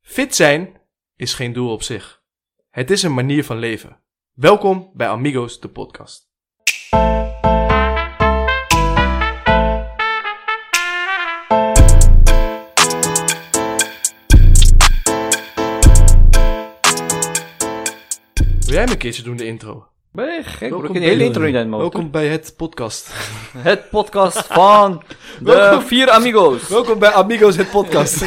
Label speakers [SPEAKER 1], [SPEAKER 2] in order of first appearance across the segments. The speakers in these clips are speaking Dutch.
[SPEAKER 1] Fit zijn is geen doel op zich. Het is een manier van leven. Welkom bij Amigos, de podcast. Wil jij me een keertje doen, de intro?
[SPEAKER 2] Ben je gek? Bro, ik heb een hele intro niet uit mijn hoofd.
[SPEAKER 1] Welkom bij het podcast.
[SPEAKER 2] Het podcast van de
[SPEAKER 1] Welkom.
[SPEAKER 2] vier amigos.
[SPEAKER 1] Welkom bij Amigos, het podcast.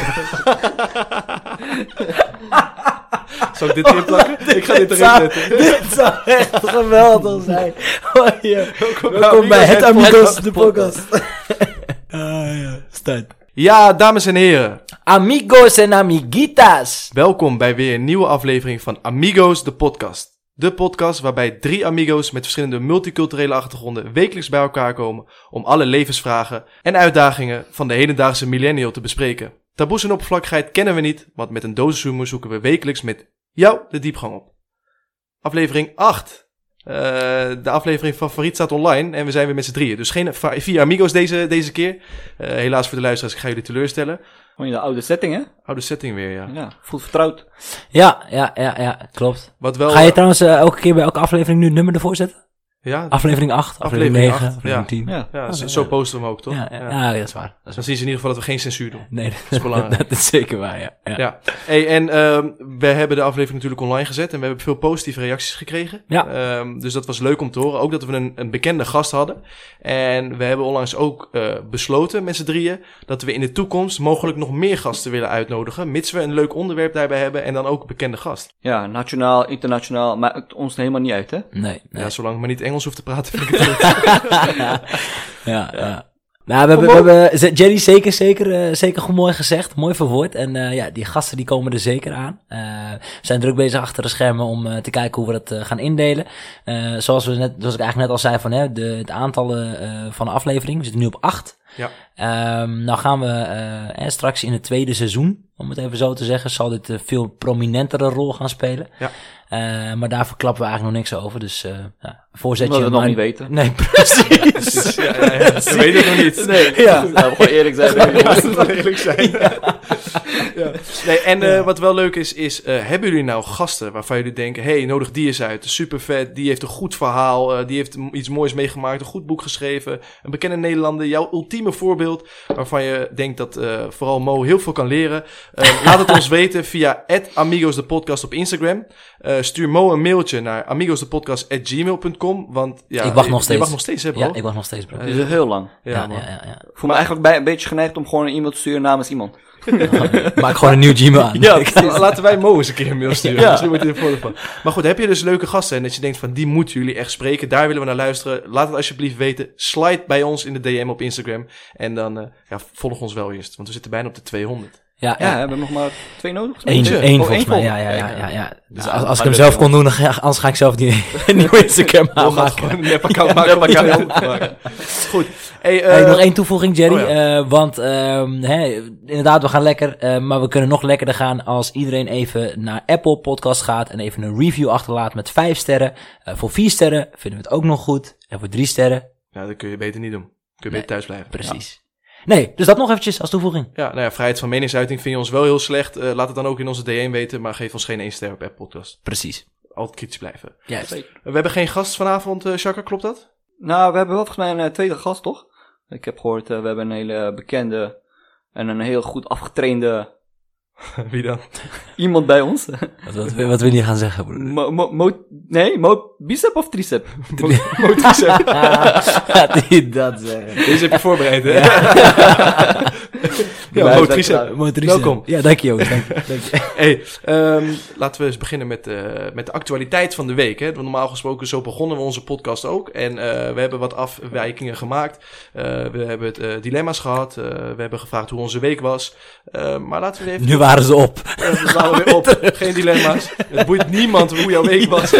[SPEAKER 1] Zal ik dit erin plakken? Ik ga dit erin zetten.
[SPEAKER 3] Dit zou echt geweldig zijn. Oh, ja.
[SPEAKER 1] Welkom,
[SPEAKER 3] Welkom bij het Amigos, de
[SPEAKER 2] podcast.
[SPEAKER 3] podcast. Ah ja, staat.
[SPEAKER 1] Ja, dames en heren.
[SPEAKER 3] Amigos en amiguitas.
[SPEAKER 1] Welkom bij weer een nieuwe aflevering van Amigos, de podcast. De podcast waarbij drie amigos met verschillende multiculturele achtergronden wekelijks bij elkaar komen om alle levensvragen en uitdagingen van de hedendaagse millennial te bespreken. Taboes en oppervlakkigheid kennen we niet, want met een dosis humor zoeken we wekelijks met jou de diepgang op. Aflevering 8. Eh, de aflevering favoriet staat online en we zijn weer met z'n drieën. Dus geen va- vier amigos deze, deze keer. Eh, helaas voor de luisteraars, ik ga jullie teleurstellen.
[SPEAKER 2] Gewoon in de oude setting, hè?
[SPEAKER 1] Oude Oh, setting weer, ja.
[SPEAKER 2] Ja, voelt vertrouwd.
[SPEAKER 3] Ja, ja, ja, ja, klopt.
[SPEAKER 1] Wat wel...
[SPEAKER 3] Ga je trouwens eh, elke keer bij elke aflevering nu een nummer ervoor zetten?
[SPEAKER 1] eh, ja,
[SPEAKER 3] Aflevering 8,
[SPEAKER 1] Aflevering
[SPEAKER 3] aflevering, 9,
[SPEAKER 1] acht,
[SPEAKER 3] aflevering
[SPEAKER 1] ja.
[SPEAKER 3] 10.
[SPEAKER 2] Ja.
[SPEAKER 1] Ja, zo,
[SPEAKER 3] Ah, ja,
[SPEAKER 1] zo
[SPEAKER 3] ja.
[SPEAKER 1] posten we hem ook, toch?
[SPEAKER 3] Ja, ja,
[SPEAKER 1] Ja.
[SPEAKER 3] ja, dat is waar. Dat is,
[SPEAKER 1] Dan zien ze in ieder geval dat we geen censuur doen.
[SPEAKER 3] nee, dat
[SPEAKER 1] is belangrijk.
[SPEAKER 3] dat is zeker waar, ja. Ja,
[SPEAKER 1] Ja. Hey, en ehm, we hebben de aflevering natuurlijk online gezet en we hebben veel positieve reacties gekregen.
[SPEAKER 3] Ja.
[SPEAKER 1] Ehm, dus dat was leuk om te horen. Ook dat we een, een bekende gast hadden. En we hebben onlangs ook eh, besloten met z'n drieën dat we in de toekomst mogelijk nog meer gasten willen uitnodigen. Mits we een leuk onderwerp daarbij hebben en dan ook een bekende gast.
[SPEAKER 2] Ja, nationaal, internationaal, maakt het ons helemaal niet uit, hè?
[SPEAKER 3] nee, nee.
[SPEAKER 1] Ja,
[SPEAKER 3] Ja,
[SPEAKER 1] zolang ik maar niet Engels hoef te praten. Vind ik het goed.
[SPEAKER 3] ja. Nou, we hebben, we hebben ze- Jerry zeker, zeker, eh, zeker goed mooi gezegd, mooi verwoord. En eh, ja, die gasten die komen er zeker aan. Eh, we zijn druk bezig achter de schermen om eh, te kijken hoe we dat eh, gaan indelen. Eh, zoals, we net, zoals ik eigenlijk net al zei, van, hè, de, het aantal eh, van de aflevering, we zitten nu op acht.
[SPEAKER 1] ja.
[SPEAKER 3] Ehm nou gaan we eh, eh, straks in het tweede seizoen, om het even zo te zeggen, zal dit een veel prominentere rol gaan spelen.
[SPEAKER 1] Ja.
[SPEAKER 3] Eh, maar daar verklappen we eigenlijk nog niks over. Dus eh ja, voorzetje.
[SPEAKER 2] Omdat we het nog niet
[SPEAKER 3] maar-
[SPEAKER 2] weten.
[SPEAKER 3] Nee, precies.
[SPEAKER 1] Ja, ja, ja. Dat weet ik nog niet.
[SPEAKER 2] Nee,
[SPEAKER 3] Ja.
[SPEAKER 2] goed, laten we gewoon eerlijk zijn. tegen jullie.
[SPEAKER 1] lelijk zijn. Nee, en eh, wat wel leuk is, is eh, hebben jullie nou gasten waarvan jullie denken... hey, nodig die eens uit, super vet, die heeft een goed verhaal... eh, die heeft m- iets moois meegemaakt, een goed boek geschreven... een bekende Nederlander, jouw ultieme voorbeeld... waarvan je denkt dat eh, vooral Mo heel veel kan leren... Eh, laat het ons weten via Amigos de Podcast op Instagram. Eh, stuur Mo een mailtje naar amigosdepodcast.gmail.com... want ja,
[SPEAKER 3] Ik wacht nog
[SPEAKER 1] je- Je
[SPEAKER 3] steeds.
[SPEAKER 1] wacht nog steeds, hè bro?
[SPEAKER 3] ja, ik wacht nog steeds, bro.
[SPEAKER 2] Het is heel lang.
[SPEAKER 3] ja,
[SPEAKER 1] man.
[SPEAKER 3] ja, ja, ja.
[SPEAKER 2] Ik voel me eigenlijk bij, een beetje geneigd om gewoon een e-mail te sturen namens iemand.
[SPEAKER 3] Maak gewoon een nieuw Gmail aan.
[SPEAKER 1] Ja, laten wij Mo eens een keer een mail sturen.
[SPEAKER 2] Ja.
[SPEAKER 1] Misschien wordt hij er voordeel van. Maar goed, heb je dus leuke gasten en dat je denkt van die moeten jullie echt spreken. Daar willen we naar luisteren. Laat het alsjeblieft weten. Slide bij ons in de DM op Instagram. En dan eh, ja, volg ons wel eerst. Want we zitten bijna op de 200.
[SPEAKER 3] Ja,
[SPEAKER 2] Ja,
[SPEAKER 3] ja.
[SPEAKER 2] hebben we nog maar twee nodig?
[SPEAKER 3] Eén,
[SPEAKER 2] Eentje.
[SPEAKER 3] één
[SPEAKER 2] Oh,
[SPEAKER 3] volgens
[SPEAKER 2] één
[SPEAKER 3] mij,
[SPEAKER 2] vol.
[SPEAKER 3] ja, ja, ja,
[SPEAKER 2] Kijk,
[SPEAKER 3] ja, ja. Dus
[SPEAKER 2] Nou,
[SPEAKER 3] als, als
[SPEAKER 2] maar
[SPEAKER 3] ik hem
[SPEAKER 2] dat
[SPEAKER 3] zelf
[SPEAKER 2] kan.
[SPEAKER 3] kon doen, dan ga, anders ga ik zelf die een nieuwe Instagram
[SPEAKER 1] Dan Nou, gaat
[SPEAKER 3] aanmaken.
[SPEAKER 1] gewoon een nep-account maken. om die account te maken. Goed. Hey, eh,
[SPEAKER 3] Hey, nog één toevoeging, Jerry.
[SPEAKER 1] oh
[SPEAKER 3] eh, want ehm, hè, inderdaad, we gaan lekker. eh, maar we kunnen nog lekkerder gaan als iedereen even naar Apple Podcast gaat. En even een review achterlaat met vijf sterren. Eh, voor vier sterren vinden we het ook nog goed. En voor drie sterren,
[SPEAKER 1] Nou, dat kun je beter niet doen. Kun je beter thuis blijven.
[SPEAKER 3] precies. Nee, dus dat nog eventjes als toevoeging.
[SPEAKER 1] Ja, nou ja, vrijheid van meningsuiting vind je ons wel heel slecht. Eh, laat het dan ook in onze DM weten. Maar geef ons geen één ster op Apple Podcast.
[SPEAKER 3] Precies.
[SPEAKER 1] Altijd kritisch blijven.
[SPEAKER 3] Juist.
[SPEAKER 1] We hebben geen gast vanavond, eh Shaka, klopt dat?
[SPEAKER 2] Nou, we hebben wel volgens mij een eh, tweede gast, toch? Ik heb gehoord, eh, we hebben een hele bekende en een heel goed afgetrainde
[SPEAKER 1] Wie dan?
[SPEAKER 2] iemand bij ons.
[SPEAKER 3] Wat, wat, wat wil je gaan zeggen, broer?
[SPEAKER 2] Mo, mo, mo- nee, mo, bicep of tricep?
[SPEAKER 3] Gaat hij dat zeggen?
[SPEAKER 1] Deze heb je voorbereid, hè?
[SPEAKER 2] Blijf
[SPEAKER 1] Mo,
[SPEAKER 2] lekker
[SPEAKER 1] Tricep.
[SPEAKER 2] uit.
[SPEAKER 3] Motoriste.
[SPEAKER 1] Welkom.
[SPEAKER 3] Ja, dank je, jongens. Dank je. Dank je.
[SPEAKER 1] Hey, ehm, laten we eens beginnen met, eh, met de actualiteit van de week. Hè? Want normaal gesproken, zo begonnen we onze podcast ook. En eh, we hebben wat afwijkingen gemaakt. Eh, we hebben het, eh, dilemma's gehad. Eh, we hebben gevraagd hoe onze week was. Eh, maar laten we even...
[SPEAKER 3] Nu waren ze op.
[SPEAKER 1] Eh, we slaan weer op. Geen dilemma's. Het boeit niemand hoe jouw week was.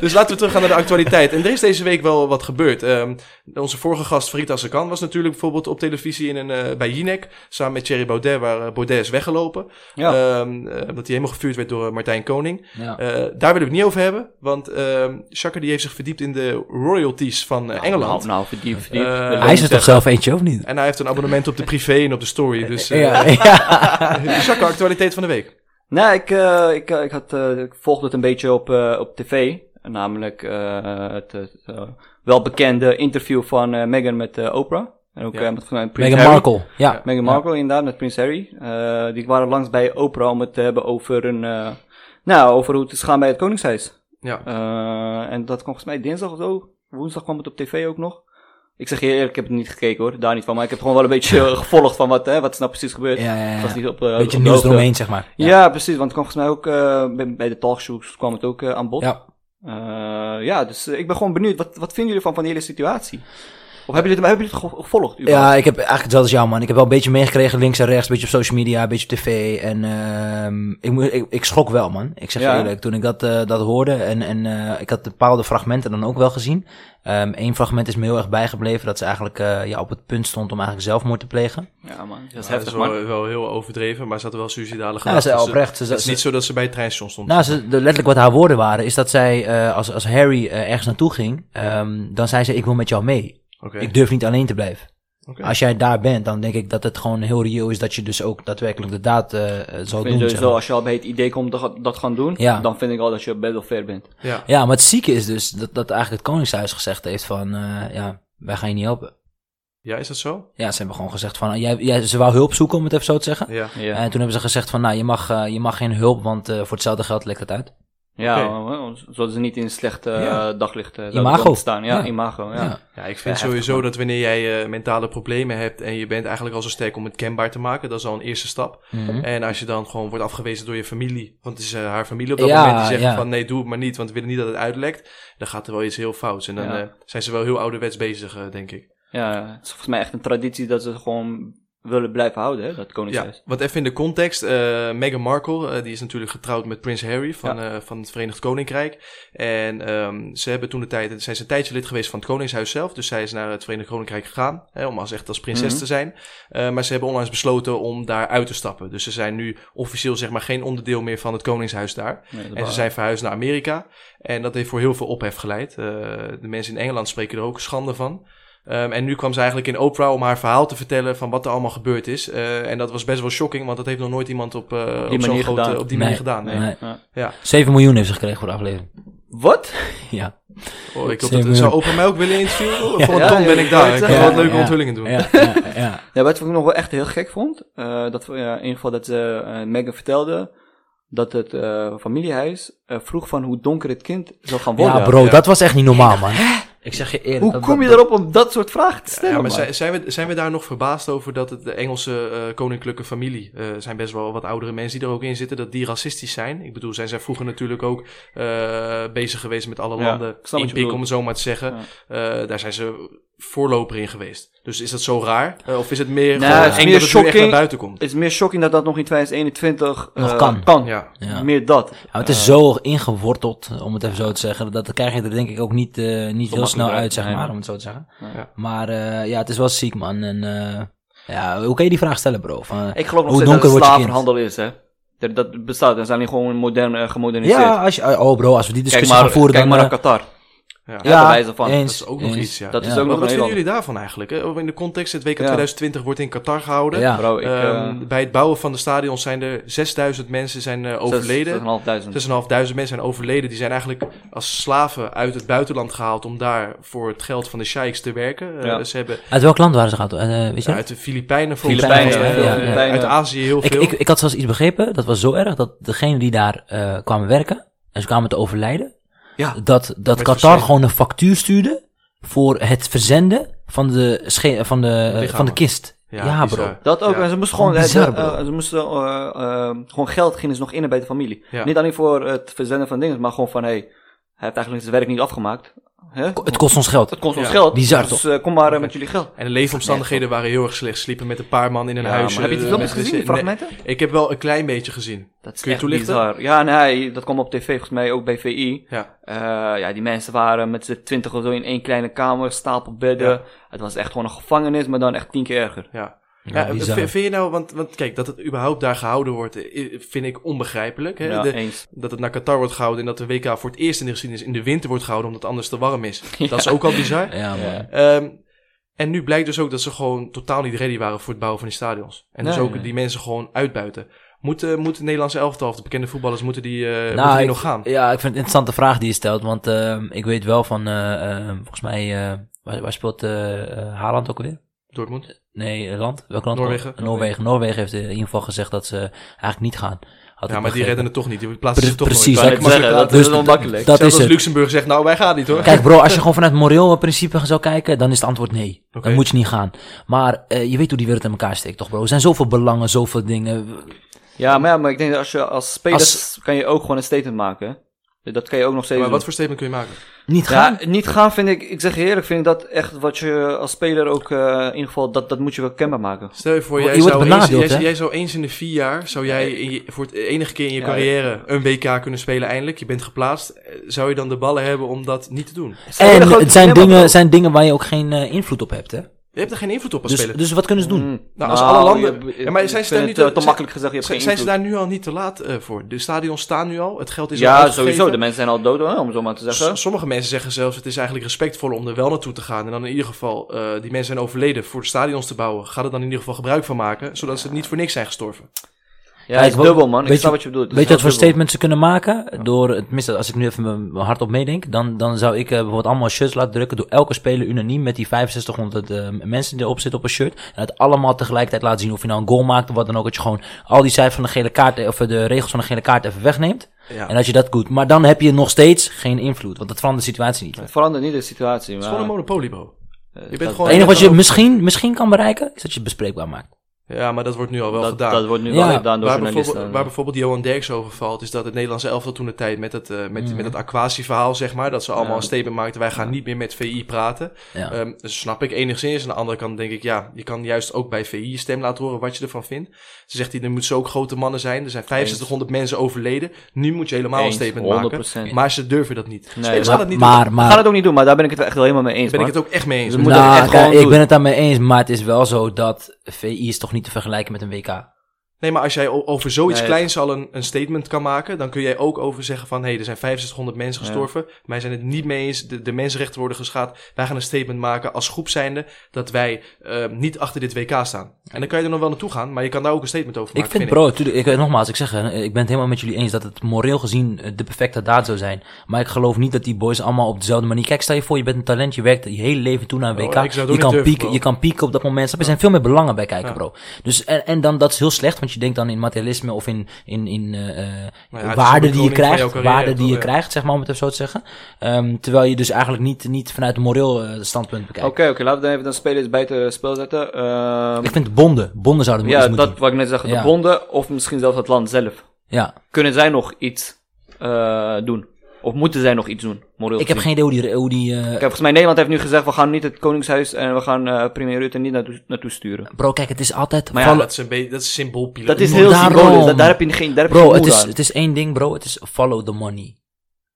[SPEAKER 1] dus laten we teruggaan naar de actualiteit. En er is deze week wel wat gebeurd. Ehm, onze vorige gast, Frita Sakan, was natuurlijk bijvoorbeeld op televisie in een, eh, bij Jinek. Samen met Thierry Baudet, waar eh, Baudet is weggelopen.
[SPEAKER 2] Ja.
[SPEAKER 1] Ehm, eh, omdat hij helemaal gevuurd werd door eh, Martijn Koning.
[SPEAKER 3] Ja.
[SPEAKER 1] Eh, daar wil ik het niet over hebben. Want ehm Chaka die heeft zich verdiept in de royalties van eh, Engeland.
[SPEAKER 2] Nou, nou verdiep, verdiep.
[SPEAKER 1] Eh,
[SPEAKER 2] Wil ik
[SPEAKER 3] Hij is er
[SPEAKER 2] niet
[SPEAKER 3] toch zelf eentje, of niet?
[SPEAKER 1] En hij heeft een abonnement op de privé en op de story. Dus eh
[SPEAKER 3] ja.
[SPEAKER 1] Chaka de actualiteit van de week.
[SPEAKER 2] Nee, ik, eh, ik, eh, ik, had, eh, ik volgde het een beetje op, eh, op tv. Namelijk eh, het, het, eh, welbekende interview van eh, Meghan met eh, Oprah. En ook
[SPEAKER 1] Ja.
[SPEAKER 2] eh, met volgens mij Prins
[SPEAKER 3] Meghan
[SPEAKER 2] Harry.
[SPEAKER 3] Markle. Ja.
[SPEAKER 2] Meghan Markle inderdaad, met Prins Harry. Eh, die waren langs bij Oprah om het te hebben over, een, eh, nou, over hoe het is gaan bij het Koningshuis.
[SPEAKER 1] Ja.
[SPEAKER 2] Eh, en dat kwam volgens mij dinsdag of zo. Woensdag kwam het op tv ook nog. Ik zeg je eerlijk, ik heb het niet gekeken hoor, daar niet van. Maar ik heb gewoon wel een beetje eh, gevolgd van wat, hè, wat is nou precies gebeurd.
[SPEAKER 3] Ja, ja, ja.
[SPEAKER 2] Ik was niet op, eh, op de
[SPEAKER 3] Beetje nieuws
[SPEAKER 2] hoogte.
[SPEAKER 3] eromheen, zeg maar.
[SPEAKER 2] Ja, precies, want het kwam volgens mij ook eh, bij, bij de talkshows kwam het ook eh, aan bod. Ja,
[SPEAKER 3] Ja.
[SPEAKER 2] ja dus eh, ik ben gewoon benieuwd, wat, wat vinden jullie van, van die hele situatie? Of hebben jullie het, hebben jullie het ge- gevolgd? überhaupt?
[SPEAKER 3] Ja, ik heb eigenlijk hetzelfde als jou, man. Ik heb wel een beetje meegekregen, links en rechts, een beetje op social media, een beetje op tv. En ehm ik, moet- ik, ik schrok wel, man. Ik zeg je
[SPEAKER 2] Ja?
[SPEAKER 3] eerlijk, toen ik dat, eh, dat hoorde en, en eh, ik had bepaalde fragmenten dan ook wel gezien. Eén fragment is me heel erg bijgebleven, dat ze eigenlijk eh, ja, op het punt stond om eigenlijk zelfmoord te plegen.
[SPEAKER 2] ja. man, dat is
[SPEAKER 1] Ja, Dat
[SPEAKER 2] heftig
[SPEAKER 1] is
[SPEAKER 2] man.
[SPEAKER 1] wel, wel heel overdreven, maar ze hadden wel suicidale
[SPEAKER 3] Ja,
[SPEAKER 1] gedachten.
[SPEAKER 3] ze
[SPEAKER 1] Dus
[SPEAKER 3] oprecht. Ze,
[SPEAKER 1] Het is
[SPEAKER 3] ze-
[SPEAKER 1] niet zo dat ze bij het treinstation stond.
[SPEAKER 3] Nou, ze, de- letterlijk wat haar woorden waren, is dat zij, eh, als, als Harry eh, ergens naartoe ging, ehm, dan zei ze, ik wil met jou mee.
[SPEAKER 1] Oké.
[SPEAKER 3] Nou, Ik durf niet alleen te blijven.
[SPEAKER 1] Oké.
[SPEAKER 3] Als jij daar bent, dan denk ik dat het gewoon heel reëel is dat je dus ook daadwerkelijk de daad eh, eh, zal
[SPEAKER 2] Ik vind
[SPEAKER 3] doen. zeg
[SPEAKER 2] sowieso,
[SPEAKER 3] maar.
[SPEAKER 2] als je al bij het idee komt dat, dat gaan doen,
[SPEAKER 3] Ja.
[SPEAKER 2] dan vind ik al dat je best wel ver bent.
[SPEAKER 1] Ja.
[SPEAKER 3] Ja, maar het zieke is dus dat, dat eigenlijk het Koningshuis gezegd heeft van, eh, ja, wij gaan je niet helpen.
[SPEAKER 1] ja, is dat zo?
[SPEAKER 3] Ja, ze hebben gewoon gezegd van, eh, jij, jij, ze wou hulp zoeken om het even zo te zeggen.
[SPEAKER 1] Ja.
[SPEAKER 2] Ja,
[SPEAKER 3] En toen hebben ze gezegd van, nou, je mag, eh, je mag geen hulp, want eh, voor hetzelfde geld lekt het uit.
[SPEAKER 2] ja
[SPEAKER 1] Oké.
[SPEAKER 2] eh, want zodat ze niet in een slechte eh,
[SPEAKER 3] Ja.
[SPEAKER 2] daglicht eh, zouden
[SPEAKER 3] Imago.
[SPEAKER 2] komen te staan. Ja,
[SPEAKER 3] Ja.
[SPEAKER 2] imago, ja.
[SPEAKER 3] Ja.
[SPEAKER 1] Ja, ik vind
[SPEAKER 2] Ja, heftig,
[SPEAKER 1] sowieso dat wanneer jij eh, mentale problemen hebt en je bent eigenlijk al zo sterk om het kenbaar te maken, dat is al een eerste stap.
[SPEAKER 3] Mhm.
[SPEAKER 1] En als je dan gewoon wordt afgewezen door je familie, want het is eh, haar familie op dat
[SPEAKER 3] Ja,
[SPEAKER 1] moment die zegt
[SPEAKER 3] ja.
[SPEAKER 1] van nee, doe het maar niet, want we willen niet dat het uitlekt, dan gaat er wel iets heel fouts. En dan
[SPEAKER 2] Ja.
[SPEAKER 1] eh, zijn ze wel heel ouderwets bezig, eh, denk ik.
[SPEAKER 2] Ja, het is volgens mij echt een traditie dat ze het gewoon willen blijven houden, hè, dat
[SPEAKER 1] Ja,
[SPEAKER 2] koningshuis.
[SPEAKER 1] want even in de context. eh Meghan Markle, eh, die is natuurlijk getrouwd met Prins Harry van, eh, van het Verenigd Koninkrijk. En ehm, ze hebben toen de tijd, zijn ze een tijdje lid geweest van het Koningshuis zelf. Dus zij is naar het Verenigd Koninkrijk gegaan, hè, om als echt als prinses
[SPEAKER 2] Mhm.
[SPEAKER 1] te zijn. Eh, maar ze hebben onlangs besloten om daar uit te stappen. Dus ze zijn nu officieel zeg maar geen onderdeel meer van het Koningshuis daar.
[SPEAKER 2] Nee, dat
[SPEAKER 1] En
[SPEAKER 2] wel-
[SPEAKER 1] ze zijn verhuisd naar Amerika. En dat heeft voor heel veel ophef geleid. Eh, de mensen in Engeland spreken er ook schande van. Ehm, en nu kwam ze eigenlijk in Oprah om haar verhaal te vertellen van wat er allemaal gebeurd is. Eh, en dat was best wel shocking, want dat heeft nog nooit iemand op, eh, op, zo'n
[SPEAKER 2] manier
[SPEAKER 1] grote-
[SPEAKER 2] gedaan.
[SPEAKER 1] op die manier
[SPEAKER 3] Nee,
[SPEAKER 1] gedaan. Nee.
[SPEAKER 3] nee.
[SPEAKER 2] Ja.
[SPEAKER 1] Ja.
[SPEAKER 3] 7 miljoen heeft ze gekregen voor de aflevering.
[SPEAKER 2] Wat?
[SPEAKER 3] ja.
[SPEAKER 1] Oh, ik hoop
[SPEAKER 3] Zeven
[SPEAKER 1] dat, zou
[SPEAKER 3] miljoen.
[SPEAKER 1] Oprah mij ook willen interviewen? Voor
[SPEAKER 2] Ja,
[SPEAKER 1] een ton
[SPEAKER 2] ja,
[SPEAKER 1] ben
[SPEAKER 2] ja,
[SPEAKER 1] ik daar.
[SPEAKER 2] ja,
[SPEAKER 1] Ik
[SPEAKER 2] ja,
[SPEAKER 1] kan wat
[SPEAKER 3] ja,
[SPEAKER 1] leuke
[SPEAKER 3] ja.
[SPEAKER 1] onthullingen doen.
[SPEAKER 3] Ja, ja, ja.
[SPEAKER 2] Ja, wat ik nog wel echt heel gek vond, eh, dat eh, in ieder geval dat ze eh, Meghan vertelde dat het eh, familiehuis eh, vroeg van hoe donker het kind zou gaan worden.
[SPEAKER 3] Ja, bro,
[SPEAKER 1] ja.
[SPEAKER 3] dat was echt niet normaal, man. Ik zeg je eerlijk.
[SPEAKER 2] Hoe
[SPEAKER 3] dat-
[SPEAKER 2] kom je
[SPEAKER 3] dat-
[SPEAKER 2] erop om dat soort vragen te stellen?
[SPEAKER 1] Ja, maar
[SPEAKER 2] man?
[SPEAKER 1] zijn, zijn we, zijn we daar nog verbaasd over dat het de Engelse eh, koninklijke familie, eh zijn best wel wat oudere mensen die er ook in zitten, dat die racistisch zijn? Ik bedoel, zijn zij vroeger natuurlijk ook eh, bezig geweest met alle
[SPEAKER 2] Ja,
[SPEAKER 1] landen
[SPEAKER 2] ik snap wat je
[SPEAKER 1] in pik,
[SPEAKER 2] bedoelt.
[SPEAKER 1] om het zo maar te zeggen. Eh, daar zijn ze voorloper in geweest. Dus is dat zo raar? Eh, of is het meer,
[SPEAKER 2] Nou,
[SPEAKER 1] gewoon
[SPEAKER 2] het is
[SPEAKER 1] eng
[SPEAKER 2] meer
[SPEAKER 1] dat het nu echt naar
[SPEAKER 2] shocking.
[SPEAKER 1] buiten komt?
[SPEAKER 2] Het is meer shocking dat dat nog in 2021
[SPEAKER 3] Nog
[SPEAKER 2] eh,
[SPEAKER 3] kan.
[SPEAKER 1] Ja.
[SPEAKER 3] Ja.
[SPEAKER 2] Meer dat.
[SPEAKER 3] Ja, maar het is zo ingeworteld, om het even zo te zeggen. Dat dat krijg je er denk ik ook niet, eh, niet heel
[SPEAKER 2] makkelijk
[SPEAKER 3] snel
[SPEAKER 2] uit,
[SPEAKER 3] uit, zeg
[SPEAKER 2] nee.
[SPEAKER 3] maar, om het zo te zeggen.
[SPEAKER 2] Ja.
[SPEAKER 3] Maar eh, ja, het is wel ziek, man. En eh, ja, hoe kan je die vraag stellen, bro? Van,
[SPEAKER 2] Ik geloof nog
[SPEAKER 3] Hoe
[SPEAKER 2] steeds dat het
[SPEAKER 3] donker wordt je kind?
[SPEAKER 2] slavenhandel is, hè. Dat, dat bestaat. Dat zijn die gewoon modern, eh, gemoderniseerd.
[SPEAKER 3] ja, als je, oh bro, als we die
[SPEAKER 2] kijk
[SPEAKER 3] discussie
[SPEAKER 2] maar,
[SPEAKER 3] gaan voeren,
[SPEAKER 2] kijk
[SPEAKER 3] dan...
[SPEAKER 2] maar
[SPEAKER 3] eh,
[SPEAKER 2] naar Qatar.
[SPEAKER 1] Ja.
[SPEAKER 2] Ja, bij wijze van.
[SPEAKER 1] Dat is ook nog
[SPEAKER 3] eens.
[SPEAKER 1] iets, ja.
[SPEAKER 2] Dat is
[SPEAKER 3] Ja.
[SPEAKER 2] ook
[SPEAKER 1] Maar
[SPEAKER 2] nog
[SPEAKER 1] wat
[SPEAKER 2] een
[SPEAKER 1] vinden
[SPEAKER 2] heel...
[SPEAKER 1] jullie daarvan eigenlijk? hè? Over In de context, het WK
[SPEAKER 2] Ja.
[SPEAKER 1] 2020 wordt in Qatar gehouden.
[SPEAKER 3] Ja.
[SPEAKER 2] Bro, ik... eh,
[SPEAKER 1] Ehm, bij het bouwen van de stadions zijn er 6000 mensen zijn, eh, overleden.
[SPEAKER 2] 6.500.
[SPEAKER 1] 6.500 mensen zijn overleden. Die zijn eigenlijk als slaven uit het buitenland gehaald om daar voor het geld van de sheiks te werken. Eh,
[SPEAKER 2] Ja.
[SPEAKER 1] ze hebben
[SPEAKER 3] Uit welk land waren ze gehaald? Eh, weet je dat?
[SPEAKER 1] uit de Filipijnen volgens
[SPEAKER 2] Filipijnen,
[SPEAKER 1] mij,
[SPEAKER 3] ja,
[SPEAKER 1] eh,
[SPEAKER 3] ja,
[SPEAKER 1] eh,
[SPEAKER 2] Filipijnen.
[SPEAKER 1] uit Azië heel
[SPEAKER 3] ik,
[SPEAKER 1] veel.
[SPEAKER 3] ik, ik had zelfs iets begrepen, dat was zo erg, dat degene die daar eh, kwamen werken, en ze kwamen te overlijden,
[SPEAKER 1] Ja.
[SPEAKER 3] dat, dat
[SPEAKER 1] Met
[SPEAKER 3] Qatar
[SPEAKER 1] verzend.
[SPEAKER 3] gewoon een factuur stuurde voor het verzenden van de, sche- van de, eh, van de
[SPEAKER 1] Lichamen.
[SPEAKER 3] kist. Ja, bro.
[SPEAKER 1] bizar.
[SPEAKER 2] Dat ook.
[SPEAKER 1] Ja.
[SPEAKER 2] En ze moesten gewoon...
[SPEAKER 3] Gewoon
[SPEAKER 2] eh,
[SPEAKER 3] bizar,
[SPEAKER 2] de-
[SPEAKER 3] bro.
[SPEAKER 2] eh, ze moesten eh, eh, gewoon geld gingen ze nog innen bij de familie.
[SPEAKER 1] Ja.
[SPEAKER 2] Niet alleen voor het verzenden van dingen, maar gewoon van... Hé, hey, hij heeft eigenlijk zijn werk niet afgemaakt. Hè?
[SPEAKER 3] Ko- Het kost ons geld.
[SPEAKER 2] Het kost ons
[SPEAKER 1] Ja.
[SPEAKER 2] geld.
[SPEAKER 3] Bizar,
[SPEAKER 2] Dus eh, kom maar eh, met jullie geld.
[SPEAKER 1] En de leefomstandigheden waren heel erg slecht. Sliepen met een paar man in een
[SPEAKER 2] Ja,
[SPEAKER 1] huisje.
[SPEAKER 2] maar heb je die
[SPEAKER 1] eh,
[SPEAKER 2] filmpjes
[SPEAKER 1] met-
[SPEAKER 2] gezien, die
[SPEAKER 1] nee,
[SPEAKER 2] fragmenten?
[SPEAKER 1] ik heb wel een klein beetje gezien.
[SPEAKER 2] Dat is
[SPEAKER 1] Kun je
[SPEAKER 2] echt
[SPEAKER 1] toelichten?
[SPEAKER 2] bizar. Ja, nee, dat kwam op tv volgens mij ook bij VI.
[SPEAKER 1] Ja.
[SPEAKER 2] Eh, ja, die mensen waren met z'n twintig of zo in één kleine kamer, stapel bedden.
[SPEAKER 1] Ja.
[SPEAKER 2] Het was echt gewoon een gevangenis, maar dan echt tien keer erger.
[SPEAKER 1] Ja.
[SPEAKER 3] Ja,
[SPEAKER 1] Ja, v-
[SPEAKER 3] bizar.
[SPEAKER 1] vind je nou, want, want kijk, dat het überhaupt daar gehouden wordt, eh, vind ik onbegrijpelijk. Hè?
[SPEAKER 2] Ja,
[SPEAKER 1] De-
[SPEAKER 2] eens.
[SPEAKER 1] dat het naar Qatar wordt gehouden en dat de WK voor het eerst in de geschiedenis in de winter wordt gehouden omdat het anders te warm is. Dat is ook al bizar.
[SPEAKER 3] Ja, man.
[SPEAKER 1] Ehm, en nu blijkt dus ook dat ze gewoon totaal niet ready waren voor het bouwen van die stadions. En dus
[SPEAKER 2] Nee,
[SPEAKER 1] ook
[SPEAKER 2] nee.
[SPEAKER 1] die mensen gewoon uitbuiten. Moeten moet het Nederlandse elftal, of de bekende voetballers, moeten die, eh,
[SPEAKER 3] Nou,
[SPEAKER 1] moeten die
[SPEAKER 3] ik-
[SPEAKER 1] nog gaan?
[SPEAKER 3] Ja, ik vind het een interessante vraag die je stelt. Want ehm, ik weet wel van, eh, eh, volgens mij, eh, waar, waar speelt eh, eh, Haaland ook weer?
[SPEAKER 1] Dortmund?
[SPEAKER 3] Nee, eh, land? Welk land?
[SPEAKER 1] Noorwegen.
[SPEAKER 3] Noorwegen. Noorwegen heeft eh, in ieder geval gezegd dat ze eigenlijk niet gaan. Had
[SPEAKER 1] Ja,
[SPEAKER 3] ik
[SPEAKER 1] maar die
[SPEAKER 3] begrepen.
[SPEAKER 1] redden het toch niet. Die plaatsen
[SPEAKER 3] Pre-
[SPEAKER 1] ze toch
[SPEAKER 3] precies,
[SPEAKER 1] nooit.
[SPEAKER 3] dat
[SPEAKER 1] Maar
[SPEAKER 3] ik
[SPEAKER 1] goed,
[SPEAKER 2] zeggen,
[SPEAKER 1] dat-
[SPEAKER 2] dat is wel makkelijk.
[SPEAKER 3] Dat
[SPEAKER 1] Zelfs
[SPEAKER 3] is
[SPEAKER 1] als
[SPEAKER 3] het.
[SPEAKER 1] Luxemburg zegt, nou, wij gaan niet hoor.
[SPEAKER 3] Kijk bro, als je gewoon vanuit moreel principe zou kijken, dan is het antwoord nee.
[SPEAKER 1] Oké.
[SPEAKER 3] Dan moet je niet gaan. Maar eh, je weet hoe die wereld in elkaar steekt toch bro? Er zijn zoveel belangen, zoveel dingen.
[SPEAKER 2] Ja, maar, ja, maar ik denk dat als je als speler
[SPEAKER 3] Als-
[SPEAKER 2] kan je ook gewoon een statement maken. Dat kan je ook nog steeds
[SPEAKER 1] Maar
[SPEAKER 2] doen.
[SPEAKER 1] wat voor statement kun je maken?
[SPEAKER 3] Niet gaan.
[SPEAKER 2] Ja, niet gaan vind ik, ik zeg je eerlijk, vind ik dat echt wat je als speler ook eh, in ieder geval, dat, dat moet je wel kenbaar maken.
[SPEAKER 1] Stel je voor,
[SPEAKER 3] Je
[SPEAKER 1] jij
[SPEAKER 3] wordt
[SPEAKER 1] zou, eens,
[SPEAKER 3] benadeeld,
[SPEAKER 1] jij,
[SPEAKER 3] hè?
[SPEAKER 1] jij zou eens in de vier jaar, zou jij in je- voor het enige keer in je
[SPEAKER 2] Ja,
[SPEAKER 1] carrière een WK kunnen spelen eindelijk. Je bent geplaatst. Eh, Zou je dan de ballen hebben om dat niet te doen?
[SPEAKER 2] Hele
[SPEAKER 3] En
[SPEAKER 2] grote
[SPEAKER 3] het zijn
[SPEAKER 2] dilemma, bro.
[SPEAKER 3] dingen, zijn dingen waar je ook geen eh, invloed op hebt hè.
[SPEAKER 1] Je hebt er geen invloed op als
[SPEAKER 3] Dus,
[SPEAKER 1] speler.
[SPEAKER 3] dus wat kunnen ze doen?
[SPEAKER 2] Mm.
[SPEAKER 1] Nou, als alle landen-
[SPEAKER 2] je-
[SPEAKER 1] Ja, maar
[SPEAKER 2] ik
[SPEAKER 1] zijn ze
[SPEAKER 2] vind
[SPEAKER 1] daar
[SPEAKER 2] het,
[SPEAKER 1] niet-
[SPEAKER 2] eh, te
[SPEAKER 1] zijn-
[SPEAKER 2] makkelijk gezegd, je hebt
[SPEAKER 1] Zijn,
[SPEAKER 2] geen
[SPEAKER 1] zijn ze
[SPEAKER 2] invloed.
[SPEAKER 1] daar nu al niet te laat eh, voor? De stadions staan nu al. Het geld is al
[SPEAKER 2] Ja,
[SPEAKER 1] uitgegeven.
[SPEAKER 2] sowieso, de mensen zijn al dood hoor, om het zo maar te zeggen.
[SPEAKER 1] S- Sommige mensen zeggen zelfs, het is eigenlijk respectvol om er wel naartoe te gaan. En dan in ieder geval, eh, die mensen zijn overleden voor de stadions te bouwen. Ga er dan in ieder geval gebruik van maken, zodat ze niet voor niks zijn gestorven.
[SPEAKER 2] Ja, het is
[SPEAKER 3] ik wil-
[SPEAKER 2] dubbel man, ik
[SPEAKER 3] weet
[SPEAKER 2] snap
[SPEAKER 3] je-
[SPEAKER 2] wat je bedoelt. Het
[SPEAKER 3] Weet
[SPEAKER 2] is
[SPEAKER 3] je wat voor
[SPEAKER 2] heel dubbel.
[SPEAKER 3] statement ze kunnen maken? Door, tenminste, als ik nu even mijn- mijn hard op meedenk, dan, dan zou ik eh, bijvoorbeeld allemaal shirts laten drukken. Door elke speler unaniem met die 6500 eh, mensen die erop zitten op een shirt. En het allemaal tegelijkertijd laten zien of je nou een goal maakt of wat dan ook. Dat je gewoon al die cijfers van de gele kaart, eh, of de regels van de gele kaart even wegneemt.
[SPEAKER 1] Ja.
[SPEAKER 3] En dat je dat doet. Maar dan heb je nog steeds geen invloed, want dat verandert de situatie niet.
[SPEAKER 2] Het verandert niet de situatie,
[SPEAKER 1] Het
[SPEAKER 2] maar...
[SPEAKER 1] is gewoon een monopolie, bro.
[SPEAKER 2] eh,
[SPEAKER 1] bent
[SPEAKER 2] dat-
[SPEAKER 1] gewoon-
[SPEAKER 3] Het enige wat je misschien, misschien kan bereiken, is dat je het bespreekbaar maakt.
[SPEAKER 1] Ja, maar dat wordt nu al wel
[SPEAKER 2] Dat,
[SPEAKER 1] gedaan.
[SPEAKER 2] dat wordt nu
[SPEAKER 3] Ja,
[SPEAKER 2] wel gedaan door
[SPEAKER 1] waar, bijvoorbeeld,
[SPEAKER 2] journalisten.
[SPEAKER 1] waar bijvoorbeeld Johan Derks over valt, is dat het Nederlandse elftal toen de tijd met het, eh, met, met het Aquasi-verhaal, zeg maar, dat ze allemaal
[SPEAKER 2] Mhm. Ja.
[SPEAKER 1] een statement maakten, wij gaan niet meer met VI praten.
[SPEAKER 2] Eh,
[SPEAKER 3] Ja.
[SPEAKER 1] Ehm, dus snap ik enigszins. Aan de andere kant denk ik, ja, je kan juist ook bij VI je stem laten horen wat je ervan vindt. Ze zegt, er moeten ook grote mannen zijn. Er zijn 6500 mensen overleden. Nu moet je helemaal
[SPEAKER 2] Eens,
[SPEAKER 1] een statement
[SPEAKER 2] 100%.
[SPEAKER 1] maken. Maar ze durven dat niet.
[SPEAKER 2] Nee,
[SPEAKER 1] Spelers
[SPEAKER 2] maar-
[SPEAKER 1] gaan dat niet doen.
[SPEAKER 3] maar,
[SPEAKER 2] We
[SPEAKER 3] maar,
[SPEAKER 2] gaan het ook niet doen, maar daar ben ik het echt wel helemaal mee eens,
[SPEAKER 1] Daar ben ik
[SPEAKER 2] man.
[SPEAKER 1] het ook echt mee eens.
[SPEAKER 2] Ze moeten het
[SPEAKER 3] nou,
[SPEAKER 2] echt
[SPEAKER 3] kijk,
[SPEAKER 2] gewoon
[SPEAKER 3] ik
[SPEAKER 2] doen.
[SPEAKER 3] ben het daarmee eens, maar het is wel zo dat VI is toch niet te vergelijken met een WK.
[SPEAKER 1] Nee, maar als jij o- over zoiets
[SPEAKER 2] Nee.
[SPEAKER 1] kleins al een, een statement kan maken, dan kun jij ook over zeggen van, hé, hey, er zijn 6500 mensen gestorven. Wij zijn het niet mee eens. De, de mensenrechten worden geschaad. Wij gaan een statement maken als groep zijnde dat wij eh, niet achter dit WK staan. En dan kan je er nog wel naartoe gaan, maar je kan daar ook een statement over maken.
[SPEAKER 3] Ik vind, bro, tuurlijk, ik, eh, nogmaals, ik zeg, hè, ik ben het helemaal met jullie eens dat het moreel gezien eh, de perfecte daad zou zijn. Maar ik geloof niet dat die boys allemaal op dezelfde manier. Kijk, stel je voor, je bent een talent, je werkt je hele leven toe naar een
[SPEAKER 1] Oh,
[SPEAKER 3] WK.
[SPEAKER 1] ik zou het ook
[SPEAKER 3] je,
[SPEAKER 1] niet
[SPEAKER 3] kan
[SPEAKER 1] durven,
[SPEAKER 3] pieken,
[SPEAKER 1] bro.
[SPEAKER 3] je kan pieken op dat moment. Snap je? Er zijn veel meer belangen bij kijken, bro. Dus, en, en dan, dat is heel slecht, want je denkt dan in materialisme of in, in, in eh, eh,
[SPEAKER 1] Nou het is de
[SPEAKER 3] waarden die je
[SPEAKER 1] beloning van jouw
[SPEAKER 3] krijgt.
[SPEAKER 1] carrière,
[SPEAKER 3] Waarden die
[SPEAKER 1] toch,
[SPEAKER 3] je
[SPEAKER 1] ja.
[SPEAKER 3] krijgt, zeg maar, om het even zo te zeggen. Ehm, terwijl je dus eigenlijk niet, niet vanuit een moreel eh, standpunt bekijkt.
[SPEAKER 2] Oké, oké, laten we dan even de spelers buiten het eh, spel zetten. Ehm,
[SPEAKER 3] Ik vind bonden, bonden zouden we
[SPEAKER 2] ja,
[SPEAKER 3] eens moeten
[SPEAKER 2] dat wat ik net zag, de
[SPEAKER 3] Ja.
[SPEAKER 2] bonden of misschien zelfs het land zelf.
[SPEAKER 3] doen. Ja.
[SPEAKER 2] Kunnen zij nog iets eh, doen? Of moeten zij nog iets doen, moreel
[SPEAKER 3] Ik heb
[SPEAKER 2] gezien?
[SPEAKER 3] geen idee hoe die, hoe die eh,
[SPEAKER 2] Kijk, volgens mij Nederland heeft nu gezegd, we gaan niet het Koningshuis en we gaan eh, premier Rutte niet naartoe, naartoe sturen.
[SPEAKER 3] Bro, kijk, het is altijd.
[SPEAKER 2] Maar ja,
[SPEAKER 1] Ja,
[SPEAKER 3] vallen-
[SPEAKER 1] dat is een beetje, dat is symboolpiloot.
[SPEAKER 2] Dat is
[SPEAKER 3] Maar
[SPEAKER 2] heel
[SPEAKER 3] daarom-
[SPEAKER 2] symbolisch, dat, daar heb je geen, daar heb je
[SPEAKER 3] bro,
[SPEAKER 2] geen
[SPEAKER 3] het
[SPEAKER 2] moed
[SPEAKER 3] is,
[SPEAKER 2] aan.
[SPEAKER 3] het is één ding, bro. Het is follow the money.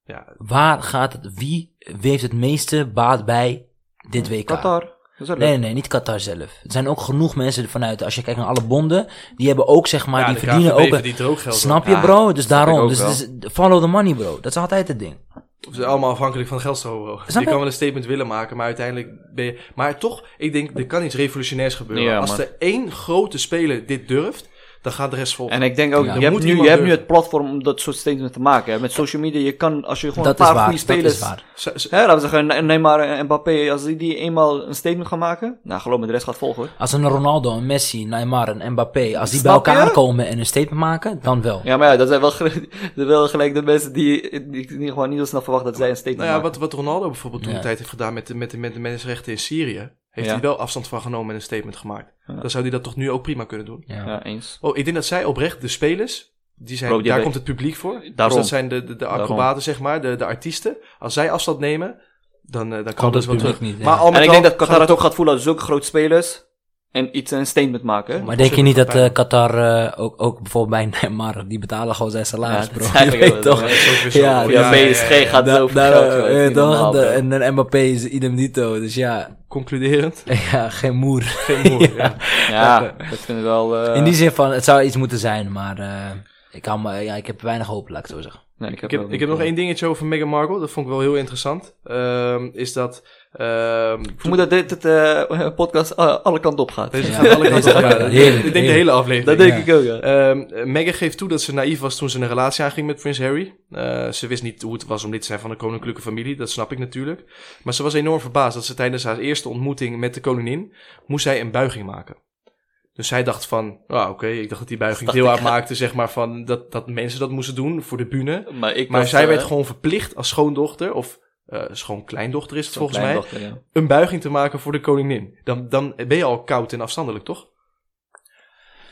[SPEAKER 1] Ja,
[SPEAKER 3] Waar gaat het? Wie, wie heeft het meeste baat bij dit WK?
[SPEAKER 2] Qatar, dat is wel
[SPEAKER 3] Nee,
[SPEAKER 2] leuk.
[SPEAKER 3] nee, nee, niet Qatar zelf. Er zijn ook genoeg mensen er vanuit. Als je kijkt naar alle bonden, die hebben ook, zeg maar,
[SPEAKER 1] Ja,
[SPEAKER 3] die
[SPEAKER 1] de
[SPEAKER 3] verdienen
[SPEAKER 1] KNVB
[SPEAKER 3] ook.
[SPEAKER 1] verdient er ook geld
[SPEAKER 3] snap
[SPEAKER 2] aan.
[SPEAKER 3] je, bro? Dus
[SPEAKER 2] ik ook
[SPEAKER 3] daarom. Dus het
[SPEAKER 2] wel.
[SPEAKER 3] is follow the money, bro. Dat is altijd het ding.
[SPEAKER 1] Ze zijn allemaal afhankelijk van de geldstroom, bro. je
[SPEAKER 3] Snap je?
[SPEAKER 1] kan wel een statement willen maken, maar uiteindelijk ben je... Maar toch, ik denk, er kan iets revolutionairs gebeuren.
[SPEAKER 2] Ja,
[SPEAKER 1] Als
[SPEAKER 2] man.
[SPEAKER 1] er één grote speler dit durft, dan gaat de rest volgen.
[SPEAKER 2] En ik denk ook,
[SPEAKER 3] Ja.
[SPEAKER 2] je,
[SPEAKER 1] Er
[SPEAKER 2] hebt
[SPEAKER 1] moet
[SPEAKER 2] nu,
[SPEAKER 1] iemand
[SPEAKER 2] je hebt nu
[SPEAKER 1] durven.
[SPEAKER 2] het platform om dat soort statements te maken. hè. Met social media, je kan, als je gewoon
[SPEAKER 3] Dat
[SPEAKER 2] een
[SPEAKER 3] is
[SPEAKER 2] paar
[SPEAKER 3] waar.
[SPEAKER 2] goede
[SPEAKER 3] Dat is
[SPEAKER 2] spelers...
[SPEAKER 3] waar.
[SPEAKER 1] Ze- ze-
[SPEAKER 2] Hè, laten we zeggen, neem maar een Mbappé, als die, die eenmaal een statement gaan maken, nou geloof me, de rest gaat volgen hoor.
[SPEAKER 3] Als een Ronaldo, een Messi, Neymar, een Mbappé, als die bij
[SPEAKER 2] Snap je?
[SPEAKER 3] elkaar komen en een statement maken, dan wel.
[SPEAKER 2] Ja, maar ja, dat zijn wel, gel- wel gelijk de mensen die, die, die gewoon niet zo snel verwachten dat zij een statement
[SPEAKER 1] Nou ja,
[SPEAKER 2] maken.
[SPEAKER 1] wat, wat Ronaldo bijvoorbeeld toen
[SPEAKER 3] Ja.
[SPEAKER 1] de tijd heeft gedaan met de, met de, met de mensenrechten in Syrië, heeft
[SPEAKER 2] Ja.
[SPEAKER 1] hij wel afstand van genomen en een statement gemaakt. Dan zou hij dat toch nu ook prima kunnen doen.
[SPEAKER 3] Ja.
[SPEAKER 2] Ja, eens.
[SPEAKER 1] Oh, ik denk dat zij oprecht, de spelers, die zijn,
[SPEAKER 2] Bro, die
[SPEAKER 1] daar
[SPEAKER 2] hebben-
[SPEAKER 1] komt het publiek voor. Dus
[SPEAKER 2] Daarom.
[SPEAKER 1] dat zijn de, de, de acrobaten,
[SPEAKER 2] Daarom.
[SPEAKER 1] zeg maar, de, de artiesten. Als zij afstand nemen, dan, eh, dan kan
[SPEAKER 3] Komt
[SPEAKER 1] dat
[SPEAKER 3] het
[SPEAKER 1] wel
[SPEAKER 3] publiek
[SPEAKER 1] terug.
[SPEAKER 3] niet, ja.
[SPEAKER 1] maar al met
[SPEAKER 2] En ik
[SPEAKER 1] al
[SPEAKER 2] denk dat
[SPEAKER 1] gaat
[SPEAKER 2] Qatar
[SPEAKER 1] het
[SPEAKER 2] het ook gaat voelen als zulke grote spelers en iets een statement maken.
[SPEAKER 3] Maar denk je niet dat eh,
[SPEAKER 1] Superpijn.
[SPEAKER 3] Qatar eh, ook, ook bijvoorbeeld bij Neymar, die betalen gewoon zijn salaris,
[SPEAKER 2] Ja, dat
[SPEAKER 3] bro.
[SPEAKER 2] is
[SPEAKER 3] Je
[SPEAKER 2] eigenlijk
[SPEAKER 3] weet
[SPEAKER 2] wel-
[SPEAKER 3] toch?
[SPEAKER 1] Ja, sowieso.
[SPEAKER 3] Ja,
[SPEAKER 1] Voor
[SPEAKER 2] Ja,
[SPEAKER 3] ja,
[SPEAKER 2] PSG gaat
[SPEAKER 3] Da-
[SPEAKER 2] zoveel
[SPEAKER 3] daar,
[SPEAKER 2] geld, joh, dat
[SPEAKER 3] eh,
[SPEAKER 2] is niet
[SPEAKER 3] toch?
[SPEAKER 2] normaal,
[SPEAKER 3] De-
[SPEAKER 2] bro.
[SPEAKER 3] en een Mbappé is idem dito. Dus ja,
[SPEAKER 1] Concluderend.
[SPEAKER 3] ja geen moer.
[SPEAKER 1] Geen moer, ja.
[SPEAKER 2] Ja, dat vind ik wel... eh,
[SPEAKER 3] In die zin van, het zou iets moeten zijn, maar eh, ik, kan, me- ja, ik heb weinig hoop, laat ik het zo zeggen.
[SPEAKER 2] nee, ik heb,
[SPEAKER 1] Ik heb,
[SPEAKER 2] wel-
[SPEAKER 1] ik heb nog één dingetje over Meghan Markle. Dat vond ik wel heel interessant. Ehm, is dat Ehm,
[SPEAKER 2] Ik vermoed dat dit het, eh, podcast a- alle kanten op gaat.
[SPEAKER 1] deze
[SPEAKER 3] Ja,
[SPEAKER 1] gaat alle
[SPEAKER 3] deze
[SPEAKER 1] kanten op.
[SPEAKER 3] gaat-
[SPEAKER 1] Ja,
[SPEAKER 3] heerlijk,
[SPEAKER 1] Ik denk de
[SPEAKER 3] heerlijk.
[SPEAKER 1] hele aflevering.
[SPEAKER 2] Dat denk ik ook, ja.
[SPEAKER 1] Ehm Meghan geeft toe dat ze naïef was toen ze een relatie aanging met prins Harry. Eh, ze wist niet hoe het was om lid te zijn van de koninklijke familie, dat snap ik natuurlijk. Maar ze was enorm verbaasd dat ze tijdens haar eerste ontmoeting met de koningin moest zij een buiging maken. Dus zij dacht van, ah oké, ik dacht dat die buiging deel uitmaakte, zeg maar, van dat, dat mensen dat moesten doen voor de bühne.
[SPEAKER 2] Maar, ik
[SPEAKER 1] Maar
[SPEAKER 2] was,
[SPEAKER 1] zij
[SPEAKER 2] eh,
[SPEAKER 1] werd gewoon verplicht als schoondochter, of eh schoonkleindochter is het
[SPEAKER 2] zo'n
[SPEAKER 1] volgens mij,
[SPEAKER 2] kleindochter, ja.
[SPEAKER 1] een buiging te maken voor de koningin. Dan, dan ben je al koud en afstandelijk, toch?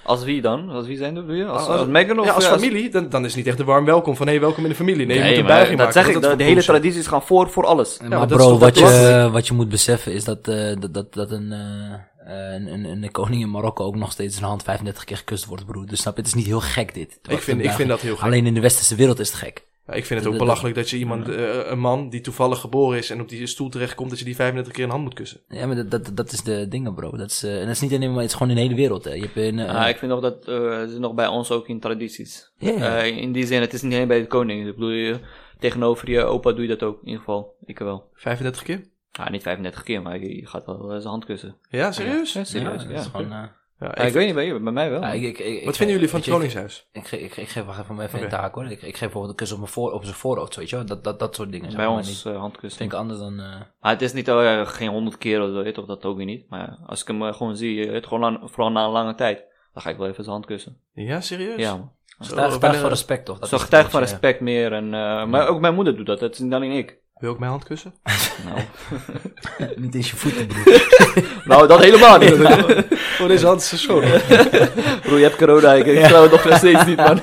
[SPEAKER 2] Als wie dan? Als wie zijn dat bedoel je? Als,
[SPEAKER 1] Als-
[SPEAKER 2] als, Meghan of
[SPEAKER 1] ja, als
[SPEAKER 2] eh,
[SPEAKER 1] familie, dan, dan is het niet echt een warm welkom van hé, hey, welkom in de familie. Nee, je
[SPEAKER 2] Nee,
[SPEAKER 1] moet een
[SPEAKER 2] maar
[SPEAKER 1] buiging
[SPEAKER 2] dat
[SPEAKER 1] maken.
[SPEAKER 2] zeg ik,
[SPEAKER 1] is
[SPEAKER 2] dat de
[SPEAKER 1] voor
[SPEAKER 2] hele
[SPEAKER 1] bullshit.
[SPEAKER 2] tradities gaan voor, voor alles.
[SPEAKER 1] maar
[SPEAKER 3] maar
[SPEAKER 1] dat is
[SPEAKER 3] bro,
[SPEAKER 1] toch
[SPEAKER 3] wat je,
[SPEAKER 1] belachelijk?
[SPEAKER 3] wat je moet beseffen is dat, eh, dat, dat, dat een, eh, een, een, een koning in Marokko ook nog steeds zijn hand 35 keer gekust wordt, broer. Dus snap je, het is niet heel gek dit.
[SPEAKER 1] Ik vind, ik vind dat heel gek.
[SPEAKER 3] Alleen in de westerse wereld is het gek.
[SPEAKER 1] Ja, ik vind het
[SPEAKER 3] dat-
[SPEAKER 1] ook
[SPEAKER 3] dat-
[SPEAKER 1] belachelijk dat je iemand, eh, een man die toevallig geboren is en op die stoel terechtkomt, dat je die 35 keer een hand moet kussen.
[SPEAKER 3] Ja, maar dat, dat, dat is de dingen, bro. Dat is, eh, en dat is niet alleen maar, het is gewoon in de hele wereld. Hè. Je hebt in, eh,
[SPEAKER 2] Ah, ik vind nog dat eh, het is nog bij ons ook in tradities.
[SPEAKER 3] Ja, ja.
[SPEAKER 2] Eh, in die zin, het is niet alleen bij de koning. Ik bedoel, je, tegenover je opa doe je dat ook, in ieder geval. Ik wel.
[SPEAKER 1] 35 keer?
[SPEAKER 2] Ah, niet 35 keer, maar je je gaat wel eh, zijn hand kussen.
[SPEAKER 1] Ja, serieus?
[SPEAKER 2] Ja,
[SPEAKER 3] ja,
[SPEAKER 2] serieus,
[SPEAKER 3] dat
[SPEAKER 2] ja.
[SPEAKER 3] is gewoon, eh,
[SPEAKER 1] Ja,
[SPEAKER 2] Ah, ik,
[SPEAKER 1] ik-
[SPEAKER 2] weet niet, bij, je, bij mij wel.
[SPEAKER 3] ja, ik- ik- ik- ik-
[SPEAKER 1] wat vinden jullie van het
[SPEAKER 3] weet je, ik-
[SPEAKER 1] Koningshuis?
[SPEAKER 3] Ik, ge- ik, ge- ik geef wacht even om even
[SPEAKER 1] Oké.
[SPEAKER 3] een taak hoor. Ik, ik geef bijvoorbeeld een kus op, mijn voor, op zijn voorhoofd, weet je wel. Dat, dat, dat soort dingen. zijn
[SPEAKER 2] bij
[SPEAKER 3] gewoon
[SPEAKER 2] ons
[SPEAKER 3] niet-
[SPEAKER 2] eh,
[SPEAKER 3] Ik
[SPEAKER 2] handkussen.
[SPEAKER 3] denk anders dan... eh,
[SPEAKER 2] Maar het is niet eh, geen honderd keer of zo, weet je, of dat ook weer niet. Maar als ik hem eh, gewoon zie, eh, het gewoon lang- vooral na een lange tijd, dan ga ik wel even zijn hand kussen.
[SPEAKER 1] Ja, serieus?
[SPEAKER 2] Ja, man.
[SPEAKER 1] Zo,
[SPEAKER 3] getuig-
[SPEAKER 1] ben
[SPEAKER 3] getuig
[SPEAKER 1] er-
[SPEAKER 3] van respect toch?
[SPEAKER 2] Zo
[SPEAKER 3] is een
[SPEAKER 2] getuig van
[SPEAKER 3] beetje,
[SPEAKER 2] respect meer. En, eh, maar ook mijn moeder doet dat, dat is niet alleen ik.
[SPEAKER 1] Wil ik mijn hand kussen?
[SPEAKER 2] Nou,
[SPEAKER 3] eh, Niet eens je voeten broer.
[SPEAKER 2] nou dat helemaal niet.
[SPEAKER 1] Oh, deze hand is zo schoon.
[SPEAKER 2] Broer, je hebt corona, ik, ik trouw het nog steeds niet, man.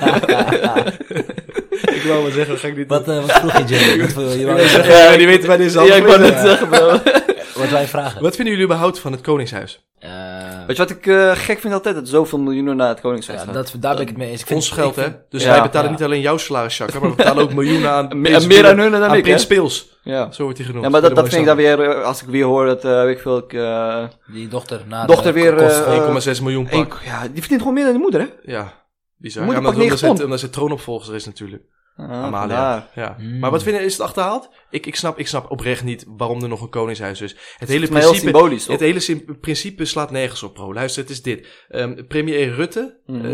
[SPEAKER 1] Ik wou maar zeggen, dat ga ik niet
[SPEAKER 3] wat, eh, wat vroeg je Jerry? Wat, wil je-
[SPEAKER 1] doen.
[SPEAKER 3] wat,
[SPEAKER 1] Ja, die weten waar deze hand
[SPEAKER 2] ja, ik wou
[SPEAKER 1] ligt.
[SPEAKER 2] net zeggen, bro.
[SPEAKER 3] wat wij vragen?
[SPEAKER 1] Wat vinden jullie überhaupt van het Koningshuis?
[SPEAKER 3] Eh,
[SPEAKER 2] Weet je wat ik eh, gek vind altijd? Dat zoveel miljoenen naar het Koningshuis
[SPEAKER 3] ja,
[SPEAKER 2] gaan.
[SPEAKER 3] dat, daar ben ik het mee eens. Ik vind-
[SPEAKER 1] Ons geld, hè?
[SPEAKER 3] ik vind-
[SPEAKER 1] Dus
[SPEAKER 2] Ja,
[SPEAKER 1] wij betalen
[SPEAKER 3] ja.
[SPEAKER 1] niet alleen jouw salaris, Jacques, maar we betalen ook miljoenen aan...
[SPEAKER 2] En
[SPEAKER 1] Prins
[SPEAKER 2] meer aan
[SPEAKER 1] Willem-
[SPEAKER 2] hun dan
[SPEAKER 1] aan
[SPEAKER 2] ik, hè?
[SPEAKER 1] Prins Pils.
[SPEAKER 2] Ja.
[SPEAKER 1] Zo wordt hij genoemd.
[SPEAKER 2] Ja, maar dat,
[SPEAKER 1] Door
[SPEAKER 2] dat
[SPEAKER 1] de
[SPEAKER 2] vind ik dan weer, eh, als ik weer hoor dat, eh, weet ik veel, ik, eh,
[SPEAKER 3] Die dochter. Na
[SPEAKER 2] Dochter
[SPEAKER 3] de-
[SPEAKER 2] weer,
[SPEAKER 3] kost-
[SPEAKER 2] eh,
[SPEAKER 1] 1,6 miljoen
[SPEAKER 2] één-
[SPEAKER 1] pak.
[SPEAKER 2] ja, die verdient gewoon meer dan die moeder, hè?
[SPEAKER 1] Ja, bizar.
[SPEAKER 2] Moet
[SPEAKER 1] Ja,
[SPEAKER 2] een
[SPEAKER 1] omdat,
[SPEAKER 2] pak
[SPEAKER 1] omdat,
[SPEAKER 2] negen
[SPEAKER 1] ze,
[SPEAKER 2] ton.
[SPEAKER 1] omdat ze troonopvolger is natuurlijk.
[SPEAKER 2] Ah,
[SPEAKER 1] Amalia.
[SPEAKER 2] vandaar.
[SPEAKER 1] Ja.
[SPEAKER 3] Hmm.
[SPEAKER 1] Maar wat vinden, is het achterhaald? Ik, ik, snap, ik snap oprecht niet waarom er nog een koningshuis is. Het hele
[SPEAKER 2] Het is heel
[SPEAKER 1] principe...
[SPEAKER 2] symbolisch, toch?
[SPEAKER 1] Het hele sim- principe slaat nergens op, bro. Luister, het is dit. Ehm, premier Rutte,
[SPEAKER 2] Mhm.
[SPEAKER 1] eh,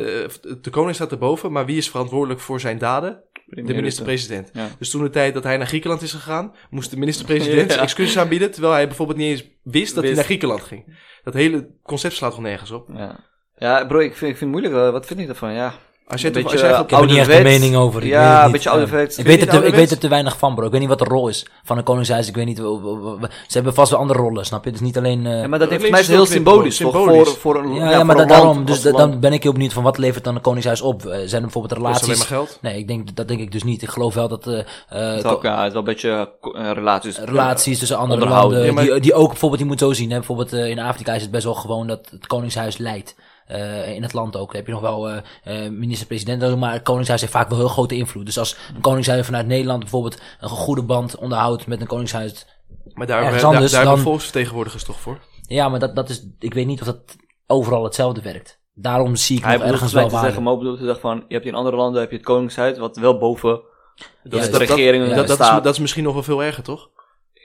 [SPEAKER 1] de koning staat erboven, maar wie is verantwoordelijk voor zijn daden? De minister-president.
[SPEAKER 2] Ja.
[SPEAKER 1] Dus toen de tijd dat hij naar Griekenland is gegaan, moest de minister-president
[SPEAKER 2] Ja.
[SPEAKER 1] excuses aanbieden, terwijl hij bijvoorbeeld niet eens wist dat hij
[SPEAKER 2] Wist.
[SPEAKER 1] naar Griekenland ging. Dat hele concept slaat gewoon nergens op.
[SPEAKER 2] Ja. Ja, bro, ik vind, ik vind het moeilijk. eh, Wat vind ik daarvan? Ja.
[SPEAKER 1] Als jij,
[SPEAKER 2] Een
[SPEAKER 1] toch- als
[SPEAKER 2] beetje,
[SPEAKER 1] jij
[SPEAKER 2] eh,
[SPEAKER 1] gaat-
[SPEAKER 3] Ik heb er niet echt een
[SPEAKER 2] Ouderwets.
[SPEAKER 3] mening over. Ik
[SPEAKER 2] Ja,
[SPEAKER 3] weet het
[SPEAKER 2] een
[SPEAKER 3] niet.
[SPEAKER 2] beetje
[SPEAKER 3] Eh,
[SPEAKER 2] ouderwets.
[SPEAKER 3] Ik
[SPEAKER 2] Vind
[SPEAKER 3] weet,
[SPEAKER 1] je
[SPEAKER 3] het,
[SPEAKER 1] het
[SPEAKER 3] ik weet
[SPEAKER 1] ouderwets?
[SPEAKER 3] er te weinig van, bro. Ik weet niet wat de rol is van een koningshuis. Ik weet niet. w- w- w- Ze hebben vast wel andere rollen, snap je? Dus niet alleen. eh,
[SPEAKER 2] Ja, maar dat heeft
[SPEAKER 1] links
[SPEAKER 2] mij
[SPEAKER 1] is
[SPEAKER 2] heel
[SPEAKER 1] ook weer
[SPEAKER 2] symbolisch,
[SPEAKER 1] gewoon
[SPEAKER 2] toch?
[SPEAKER 1] symbolisch.
[SPEAKER 2] Voor, voor een
[SPEAKER 3] ja,
[SPEAKER 2] ja,
[SPEAKER 3] ja,
[SPEAKER 2] voor
[SPEAKER 3] maar
[SPEAKER 2] een
[SPEAKER 3] dat,
[SPEAKER 2] land,
[SPEAKER 3] daarom. Dus
[SPEAKER 2] als land.
[SPEAKER 3] da- dan ben ik heel benieuwd van wat levert dan een koningshuis op? Eh, zijn er bijvoorbeeld
[SPEAKER 1] kost alleen
[SPEAKER 3] relaties?
[SPEAKER 1] maar geld.
[SPEAKER 3] Nee, ik denk dat denk ik dus niet. Ik geloof wel dat eh, eh,
[SPEAKER 2] Het is
[SPEAKER 3] ko-
[SPEAKER 2] ook, ja, het is wel een beetje eh, ko- eh, relaties.
[SPEAKER 3] relaties tussen andere
[SPEAKER 2] onderhouden.
[SPEAKER 3] landen.
[SPEAKER 1] Ja, maar-
[SPEAKER 3] die, die ook bijvoorbeeld, je moet zo zien. Hè, bijvoorbeeld eh, in Afrika is het best wel gewoon dat het Koningshuis leidt. Eh, in het land ook. Dan heb je nog wel eh eh, minister-president, ook, maar het Koningshuis heeft vaak wel heel grote invloed. Dus als een Koningshuis vanuit Nederland bijvoorbeeld een goede band onderhoudt met een Koningshuis.
[SPEAKER 1] Maar daar,
[SPEAKER 3] Ergens
[SPEAKER 1] hebben- daar,
[SPEAKER 3] anders
[SPEAKER 1] daar hebben
[SPEAKER 3] dan-
[SPEAKER 1] volksvertegenwoordigers toch voor?
[SPEAKER 3] Ja, maar dat, dat is, ik weet niet of dat overal hetzelfde werkt. Daarom zie ik
[SPEAKER 2] Hij
[SPEAKER 3] nog
[SPEAKER 2] bedoelt
[SPEAKER 3] ergens
[SPEAKER 2] het
[SPEAKER 3] wel
[SPEAKER 2] wel te
[SPEAKER 3] waar.
[SPEAKER 2] zeggen, maar ook bedoelt te zeggen van, je hebt in andere landen heb je het koningshuis, wat wel boven
[SPEAKER 1] Dat,
[SPEAKER 3] Ja,
[SPEAKER 1] is-
[SPEAKER 2] de
[SPEAKER 1] dat- dat-
[SPEAKER 2] regering
[SPEAKER 3] ja,
[SPEAKER 1] dat, dat, is,
[SPEAKER 2] staat.
[SPEAKER 1] dat is misschien nog wel veel erger, toch?